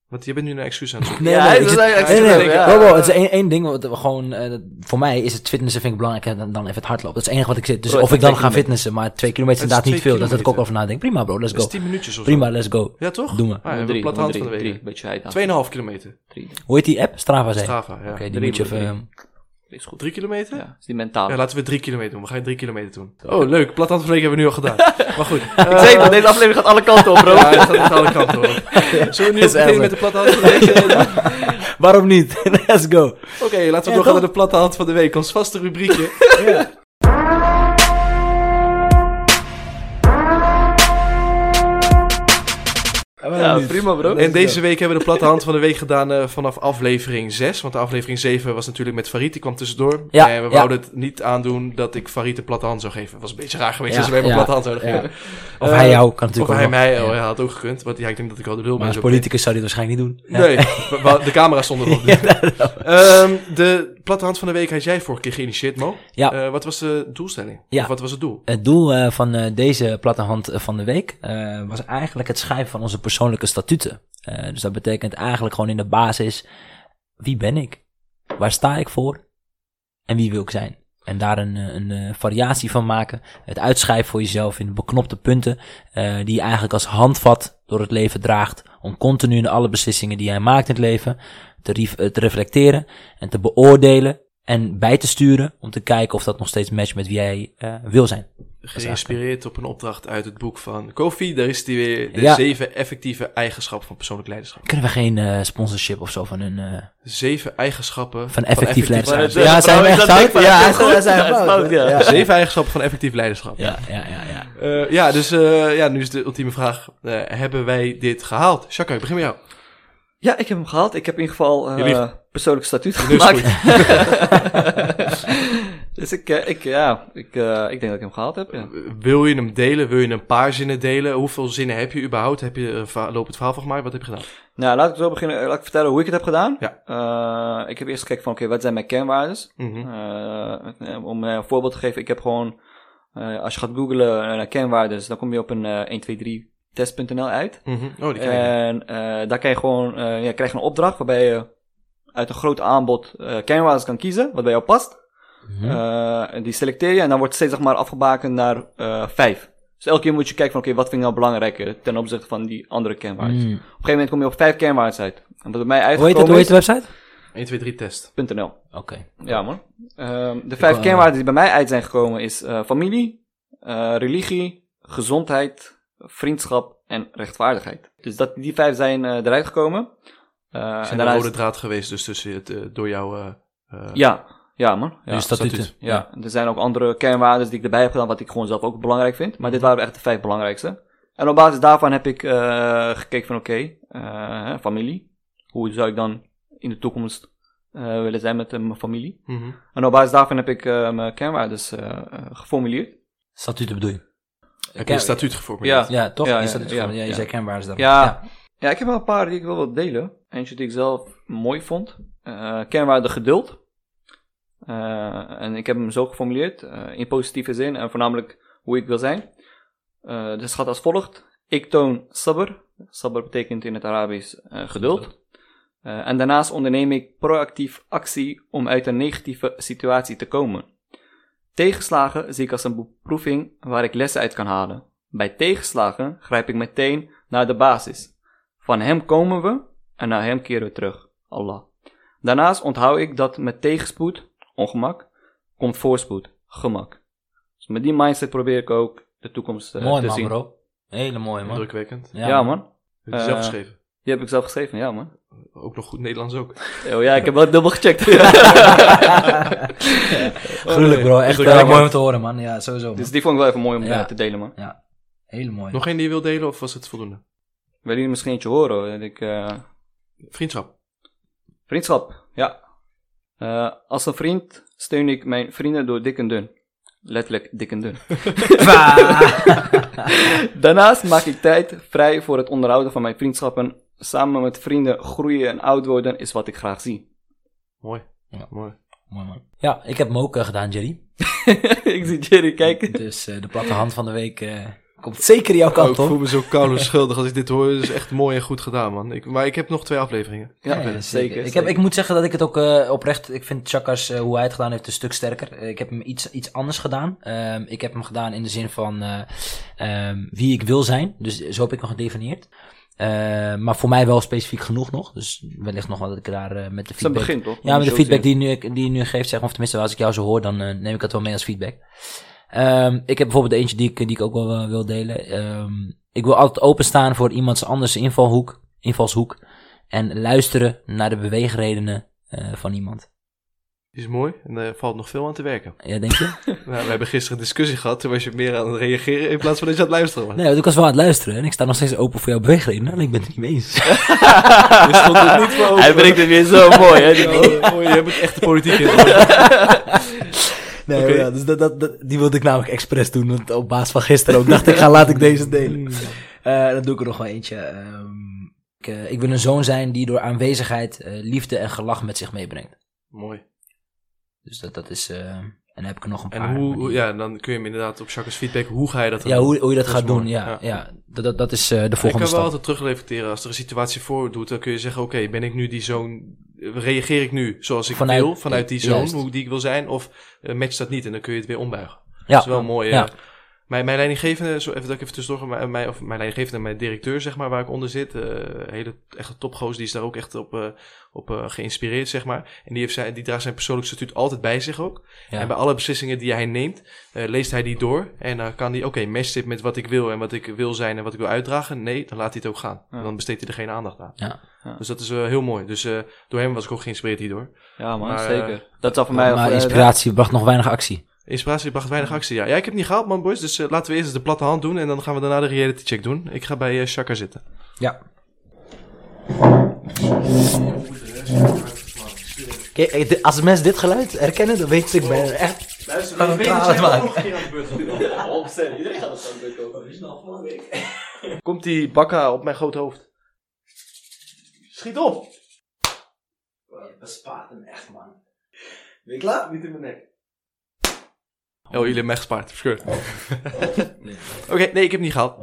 [SPEAKER 1] Want je bent nu een excuus aan het zoeken.
[SPEAKER 3] Nee,
[SPEAKER 2] Ja,
[SPEAKER 3] nee,
[SPEAKER 2] hij
[SPEAKER 3] ik
[SPEAKER 2] is-
[SPEAKER 3] zit-
[SPEAKER 2] hij is-
[SPEAKER 3] nee, nee,
[SPEAKER 2] hij is-
[SPEAKER 3] nee,
[SPEAKER 2] ja.
[SPEAKER 3] bro, bro, het is één, één ding, wat we gewoon, eh, dat- voor mij is het fitnessen vind ik belangrijker dan, dan even het hardlopen. Dat is het enige wat ik zit. Dus
[SPEAKER 2] Bro, het
[SPEAKER 3] of ik
[SPEAKER 2] zijn
[SPEAKER 3] dan
[SPEAKER 2] twee
[SPEAKER 3] ga fitnessen, maar twee kilometer is
[SPEAKER 1] Het is
[SPEAKER 3] inderdaad niet
[SPEAKER 1] twee
[SPEAKER 3] veel. Dat zit ik ook
[SPEAKER 1] kilometer.
[SPEAKER 3] over nadenken. Prima bro, let's
[SPEAKER 1] Dat is
[SPEAKER 3] go.
[SPEAKER 1] 10 minuutjes of zo.
[SPEAKER 3] Prima, let's go.
[SPEAKER 1] Ja, toch?
[SPEAKER 3] Doen we.
[SPEAKER 1] Ah, ja,
[SPEAKER 2] Drie,
[SPEAKER 1] platte hand
[SPEAKER 2] drie,
[SPEAKER 1] van de
[SPEAKER 2] drie,
[SPEAKER 1] week.
[SPEAKER 2] beetje heid aan.
[SPEAKER 1] 2,5 kilometer.
[SPEAKER 2] Drie, drie
[SPEAKER 3] Hoe heet die app? Strava zei. je? Oké,
[SPEAKER 1] Strava, ja.
[SPEAKER 3] die
[SPEAKER 1] Drie
[SPEAKER 3] moet je
[SPEAKER 1] moeten we
[SPEAKER 3] even...
[SPEAKER 1] doen.
[SPEAKER 2] is goed.
[SPEAKER 1] Drie kilometer?
[SPEAKER 2] Ja, is die mentaal.
[SPEAKER 1] Ja, laten we 3 kilometer doen. We gaan 3 kilometer doen. Oh, leuk. Platte hand van de week hebben we nu al gedaan. Maar goed. Eh,
[SPEAKER 2] Ik zei dat deze aflevering gaat alle kanten op, bro.
[SPEAKER 1] Ja, dat gaat echt alle kanten hoor. Zullen we nu
[SPEAKER 3] Is
[SPEAKER 1] beginnen met de platte hand van de week?
[SPEAKER 3] Waarom niet? let's go.
[SPEAKER 1] Oké, laten we
[SPEAKER 3] Ja,
[SPEAKER 1] doorgaan
[SPEAKER 3] toch?
[SPEAKER 1] naar de platte hand van de week. Ons vaste rubriekje.
[SPEAKER 2] Ja, prima, bro.
[SPEAKER 1] En deze week hebben we de platte hand van de week gedaan eh, vanaf aflevering 6. Want de aflevering 7 was natuurlijk met Farid, die kwam tussendoor.
[SPEAKER 3] Ja,
[SPEAKER 1] en we
[SPEAKER 3] ja.
[SPEAKER 1] wouden het niet aandoen dat ik Farid een platte hand zou geven. was een beetje raar geweest
[SPEAKER 3] Ja,
[SPEAKER 1] als wij hem een
[SPEAKER 3] ja,
[SPEAKER 1] platte hand zouden
[SPEAKER 3] ja.
[SPEAKER 1] geven.
[SPEAKER 3] Of
[SPEAKER 1] Eh,
[SPEAKER 3] hij jou kan natuurlijk
[SPEAKER 1] Of hij
[SPEAKER 3] ook wel.
[SPEAKER 1] mij, oh,
[SPEAKER 3] Ja.
[SPEAKER 1] ja, had ook gekund. Want ja, ik denk dat ik al de lul
[SPEAKER 3] Maar
[SPEAKER 1] ben.
[SPEAKER 3] als
[SPEAKER 1] zo.
[SPEAKER 3] politicus zou die het waarschijnlijk niet doen. Ja.
[SPEAKER 1] Nee, we- we- de camera stond erop. Ehm, de platte hand van de week had jij vorige keer geïnitieerd, Mo.
[SPEAKER 3] Ja.
[SPEAKER 1] Eh, wat was de doelstelling?
[SPEAKER 3] Ja.
[SPEAKER 1] Of wat was het doel?
[SPEAKER 3] Het doel eh, van eh, deze platte hand eh, van de week eh, was eigenlijk het schrijven van onze persoonlijke statuten. Eh, dus dat betekent eigenlijk gewoon in de basis, wie ben ik? Waar sta ik voor? En wie wil ik zijn? En daar een, eh, een eh, variatie van maken. Het uitschrijven voor jezelf in beknopte punten, eh, die je eigenlijk als handvat door het leven draagt. Om continu in alle beslissingen die jij maakt in het leven te, ref- eh, te reflecteren en te beoordelen. En bij te sturen om te kijken of dat nog steeds matcht met wie jij eh, wil zijn.
[SPEAKER 1] Geïnspireerd op een opdracht uit het boek van Kofi. Daar is die weer. De
[SPEAKER 3] Ja.
[SPEAKER 1] zeven effectieve eigenschappen van persoonlijk leiderschap.
[SPEAKER 3] Kunnen we geen eh, sponsorship of zo van hun... eh,
[SPEAKER 1] Zeven eigenschappen
[SPEAKER 3] Van effectief leiderschap.
[SPEAKER 2] Maar het-
[SPEAKER 3] Ja,
[SPEAKER 2] eh,
[SPEAKER 3] zijn Oh, we
[SPEAKER 2] bro,
[SPEAKER 3] echt
[SPEAKER 2] dat denk
[SPEAKER 3] fout?
[SPEAKER 2] ik,
[SPEAKER 3] Ja,
[SPEAKER 2] dat
[SPEAKER 3] hij
[SPEAKER 2] is
[SPEAKER 3] is-
[SPEAKER 2] goed.
[SPEAKER 3] hij is
[SPEAKER 2] Ja, hij is
[SPEAKER 3] fout,
[SPEAKER 2] fout,
[SPEAKER 3] ja.
[SPEAKER 2] ja.
[SPEAKER 1] Zeven eigenschappen van effectief leiderschap. Ja,
[SPEAKER 3] Ja, ja, ja, ja.
[SPEAKER 1] ja dus eh, ja, nu is de ultieme vraag. eh, hebben wij dit gehaald? Jacques, ik begin met jou.
[SPEAKER 2] Ja, ik heb hem gehaald. Ik heb in ieder geval eh,
[SPEAKER 1] Jullie-
[SPEAKER 2] persoonlijk statuut
[SPEAKER 1] neus
[SPEAKER 2] gemaakt. dus ik, eh, ik, ja, ik, eh, ik denk dat ik hem gehaald heb. Ja.
[SPEAKER 1] Wil je hem delen? Wil je een paar zinnen delen? Hoeveel zinnen heb je überhaupt? Heb je een va- lopend verhaal van gemaakt? Wat heb je gedaan?
[SPEAKER 2] Nou, laat ik zo beginnen. Laat ik vertellen hoe ik het heb gedaan.
[SPEAKER 1] Ja.
[SPEAKER 2] Eh, ik heb eerst gekeken van, oké, wat zijn mijn kernwaardes?
[SPEAKER 1] Mhm.
[SPEAKER 2] Eh, eh, om eh, een voorbeeld te geven, ik heb gewoon, eh, als je gaat googlen eh, naar kernwaardes, dan kom je op een eh, 123test.nl uit.
[SPEAKER 1] Mhm. Oh, die ken ik.
[SPEAKER 2] En eh, daar krijg je gewoon eh, ja, krijg je een opdracht waarbij je uit een groot aanbod eh kernwaardes kan kiezen, wat bij jou past.
[SPEAKER 3] Mhm.
[SPEAKER 2] Eh, en die selecteer je en dan wordt steeds zeg maar, afgebakend naar eh vijf. Dus elke keer moet je kijken van oké, wat vind ik nou belangrijker ten opzichte van die andere kernwaarden.
[SPEAKER 3] Mm.
[SPEAKER 2] Op een gegeven moment kom je op vijf kernwaarden uit. En wat bij mij
[SPEAKER 3] Hoe heet, dat,
[SPEAKER 2] uitgekomen
[SPEAKER 3] hoe heet
[SPEAKER 2] is...
[SPEAKER 3] de website?
[SPEAKER 2] Eh,
[SPEAKER 1] 1, 2, 3 test.
[SPEAKER 2] .nl.
[SPEAKER 3] Oké.
[SPEAKER 2] Ja man. Ehm, de vijf
[SPEAKER 3] eh,
[SPEAKER 2] kernwaarden die bij mij uit zijn gekomen is eh, familie, eh, religie, gezondheid, vriendschap en rechtvaardigheid. Dus dat, die vijf zijn eh, eruit gekomen. Eh, en
[SPEAKER 1] Zijn een
[SPEAKER 2] daarna is-
[SPEAKER 1] rode draad geweest dus tussen het, eh, door jouw... eh, eh,
[SPEAKER 2] Ja, ja man. Ja.
[SPEAKER 3] Nu is dat
[SPEAKER 1] statuut.
[SPEAKER 3] dit.
[SPEAKER 2] Ja, en er zijn ook andere kernwaarden die ik erbij heb gedaan, wat ik gewoon zelf ook belangrijk vind. Maar dit waren echt de vijf belangrijkste. En op basis daarvan heb ik eh, gekeken van oké, eh, hè, familie. Hoe zou ik dan in de toekomst eh, willen zijn met eh, mijn familie?
[SPEAKER 1] mhm.
[SPEAKER 2] En op basis daarvan heb ik eh, mijn kernwaardes eh, eh, geformuleerd.
[SPEAKER 3] Statuten bedoel je?
[SPEAKER 1] Heb je
[SPEAKER 3] Ja,
[SPEAKER 1] een statuut geformuleerd?
[SPEAKER 3] Ja, toch?
[SPEAKER 2] Ja,
[SPEAKER 3] Ja,
[SPEAKER 2] ja,
[SPEAKER 3] statuut
[SPEAKER 2] ja,
[SPEAKER 3] van- ja, je
[SPEAKER 2] ja.
[SPEAKER 3] zei kenbaar is dat.
[SPEAKER 2] Ja. Ja, ik heb wel een paar die ik wel wil delen. Eentje die ik zelf mooi vond. Eh kernwaarde geduld. Eh, en ik heb hem zo geformuleerd, eh, in positieve zin en voornamelijk hoe ik wil zijn. Eh dus het gaat als volgt. Ik toon sabr. Sabr betekent in het Arabisch eh, geduld. Eh, en daarnaast onderneem ik proactief actie om uit een negatieve situatie te komen. Tegenslagen zie ik als een beproeving waar ik lessen uit kan halen. Bij tegenslagen grijp ik meteen naar de basis. Van hem komen we en naar hem keren we terug. Allah. Daarnaast onthoud ik dat met tegenspoed, ongemak, komt voorspoed, gemak. Dus met die mindset probeer ik ook de toekomst eh,
[SPEAKER 3] Mooi
[SPEAKER 2] te
[SPEAKER 3] man,
[SPEAKER 2] zien.
[SPEAKER 3] bro. Hele mooie man.
[SPEAKER 1] Drukwekkend.
[SPEAKER 2] Ja, man.
[SPEAKER 1] Heb je zelf
[SPEAKER 2] Eh,
[SPEAKER 1] geschreven?
[SPEAKER 2] Die heb ik zelf geschreven, ja man.
[SPEAKER 1] Ook nog goed Nederlands ook.
[SPEAKER 2] Oh, ja, ik heb wel dubbel gecheckt. Oh,
[SPEAKER 3] Gruwelijk bro, echt
[SPEAKER 1] Indrukwekkend.
[SPEAKER 3] eh, mooi om te horen man. Ja, sowieso. man.
[SPEAKER 2] Dus die vond ik wel even mooi om
[SPEAKER 3] Ja.
[SPEAKER 2] eh, te delen, man.
[SPEAKER 3] Hele mooi.
[SPEAKER 1] Nog één die je wil delen of was het voldoende?
[SPEAKER 2] Wil jullie misschien eentje horen? hoor. Dat Ik, eh,
[SPEAKER 1] Vriendschap.
[SPEAKER 2] vriendschap, ja. Eh, als een vriend steun ik mijn vrienden door dik en dun. Letterlijk dik en dun. Daarnaast maak ik tijd vrij voor het onderhouden van mijn vriendschappen. Samen met vrienden groeien en oud worden is wat ik graag zie.
[SPEAKER 1] Mooi.
[SPEAKER 3] Ja.
[SPEAKER 1] Mooi.
[SPEAKER 3] mooi man. Ja, ik heb hem ook eh, gedaan, Jerry.
[SPEAKER 2] ik zie Jerry kijken.
[SPEAKER 3] Dus eh, de platte hand van de week eh, komt zeker jouw
[SPEAKER 1] Oh, ik
[SPEAKER 3] kant op.
[SPEAKER 1] voel me zo koud en schuldig als ik dit hoor. Dat is echt mooi en goed gedaan, man. Ik, maar ik heb nog twee afleveringen.
[SPEAKER 2] Ja,
[SPEAKER 3] Ja,
[SPEAKER 2] zeker.
[SPEAKER 3] Ik, heb,
[SPEAKER 2] zeker.
[SPEAKER 3] ik moet zeggen dat ik het ook eh, oprecht... Ik vind Chakas, eh, hoe hij het gedaan heeft, een stuk sterker. Eh, ik heb hem iets, iets anders gedaan. Ehm, ik heb hem gedaan in de zin van eh, ehm, wie ik wil zijn. Dus zo heb ik hem gedefinieerd. Eh, maar voor mij wel specifiek genoeg nog. Dus wellicht nog wel dat ik daar eh, met
[SPEAKER 2] Het is
[SPEAKER 3] de
[SPEAKER 2] een
[SPEAKER 3] feedback...
[SPEAKER 2] begin, toch?
[SPEAKER 3] Ja,
[SPEAKER 2] Moet
[SPEAKER 3] maar
[SPEAKER 2] je
[SPEAKER 3] de
[SPEAKER 2] ook
[SPEAKER 3] feedback
[SPEAKER 2] zien.
[SPEAKER 3] die je nu, die je nu geeft, zeg maar, of tenminste als ik jou zo hoor, dan eh, neem ik dat wel mee als feedback. Ehm, ik heb bijvoorbeeld eentje die ik, die ik ook wel eh, wil delen. Ehm, ik wil altijd openstaan voor iemands anders invalhoek, invalshoek. En luisteren naar de beweegredenen eh, van iemand.
[SPEAKER 1] Die is mooi en daar valt nog veel aan te werken.
[SPEAKER 3] Ja, denk je?
[SPEAKER 1] Nou, we hebben gisteren een discussie gehad. Toen was je meer aan het reageren in plaats van dat je aan het luisteren was.
[SPEAKER 3] Nee, want ik was wel aan het luisteren en ik sta nog steeds open voor jouw beweegredenen. En ik ben het er niet mee eens. Dus
[SPEAKER 1] Je stond er niet voor open.
[SPEAKER 2] Hij brengt het weer zo mooi, hè? die-
[SPEAKER 1] Oh, oh, je hebt het echt de politiek in. Oké.
[SPEAKER 3] nee,
[SPEAKER 1] Oké.
[SPEAKER 3] ja, dus dat, dat, dat- die wilde ik namelijk expres doen. Want op basis van gisteren ook dacht ik, ga, laat ik deze delen. Eh, dan doe ik er nog wel eentje. Ehm, ik, eh, ik wil een zoon zijn die door aanwezigheid eh, liefde en gelach met zich meebrengt.
[SPEAKER 1] Mooi.
[SPEAKER 3] Dus dat, dat is. eh, en dan heb ik er nog een paar.
[SPEAKER 1] En
[SPEAKER 3] maar
[SPEAKER 1] hoe,
[SPEAKER 3] Ah, die-
[SPEAKER 1] ja, dan kun je hem inderdaad op Jacques' feedback, hoe ga je dat dan
[SPEAKER 3] ja,
[SPEAKER 1] doen?
[SPEAKER 3] hoe, hoe je dat,
[SPEAKER 1] Dat is
[SPEAKER 3] gaat doen.
[SPEAKER 1] mooi,
[SPEAKER 3] Ja,
[SPEAKER 1] ja.
[SPEAKER 3] ja. dat, dat, dat is eh, de
[SPEAKER 1] Ik
[SPEAKER 3] volgende
[SPEAKER 1] kan wel
[SPEAKER 3] stap.
[SPEAKER 1] altijd terugreflecteren. Als er een situatie voordoet, dan kun je zeggen: Oké, ben ik nu die zoon? Reageer ik nu zoals ik
[SPEAKER 3] Vanuit-
[SPEAKER 1] wil, vanuit die zoon,
[SPEAKER 3] Juist.
[SPEAKER 1] hoe die ik wil zijn? Of eh, matcht dat niet en dan kun je het weer ombuigen.
[SPEAKER 3] Ja.
[SPEAKER 1] Dat is wel een mooie.
[SPEAKER 3] Ja.
[SPEAKER 1] Mijn, mijn leidinggevende, zo even dat ik even tussendoor, ga, mijn, mijn- of mijn leidinggevende en mijn directeur, zeg maar, waar ik onder zit, eh, hele echte topgoos, die is daar ook echt op, eh, op eh, geïnspireerd, zeg maar. En die, heeft zijn, die draagt zijn persoonlijk statuut altijd bij zich ook.
[SPEAKER 3] Ja.
[SPEAKER 1] En bij alle beslissingen die hij neemt, eh, leest hij die door. En dan kan hij, oké, match dit met wat ik wil en wat ik wil zijn en wat ik wil uitdragen. Nee, dan laat hij het ook gaan.
[SPEAKER 2] Ja.
[SPEAKER 1] Dan besteedt hij er geen aandacht aan.
[SPEAKER 3] Ja.
[SPEAKER 2] Ja.
[SPEAKER 1] Dus dat is eh, heel mooi. Dus eh, door hem was ik ook geïnspireerd hierdoor.
[SPEAKER 2] Ja, man,
[SPEAKER 1] Maar, eh,
[SPEAKER 2] zeker. Dat zou voor mij...
[SPEAKER 3] maar
[SPEAKER 2] eh,
[SPEAKER 3] inspiratie bracht nog weinig actie.
[SPEAKER 1] Inspiratie bracht weinig actie. Ja, ja ik heb het niet gehaald, man, boys. Dus eh, laten we eerst eens de platte hand doen en dan gaan we daarna de reality check doen. Ik ga bij eh Shaka zitten.
[SPEAKER 3] Ja. Kijk, eh, dit- als mensen dit geluid herkennen, dan weet ik, ik ben er echt
[SPEAKER 1] Luister,
[SPEAKER 3] Gaan we weet je, praten, zijn we man. nog
[SPEAKER 1] Komt die bakka op mijn groot hoofd? Schiet op!
[SPEAKER 3] Dat spaart hem echt, man.
[SPEAKER 1] Ben je klaar? Niet in mijn nek. Oh, jullie hebben mij gespaard. Verscheurd.
[SPEAKER 3] Oh.
[SPEAKER 1] Oké, nee, ik heb het niet gehaald.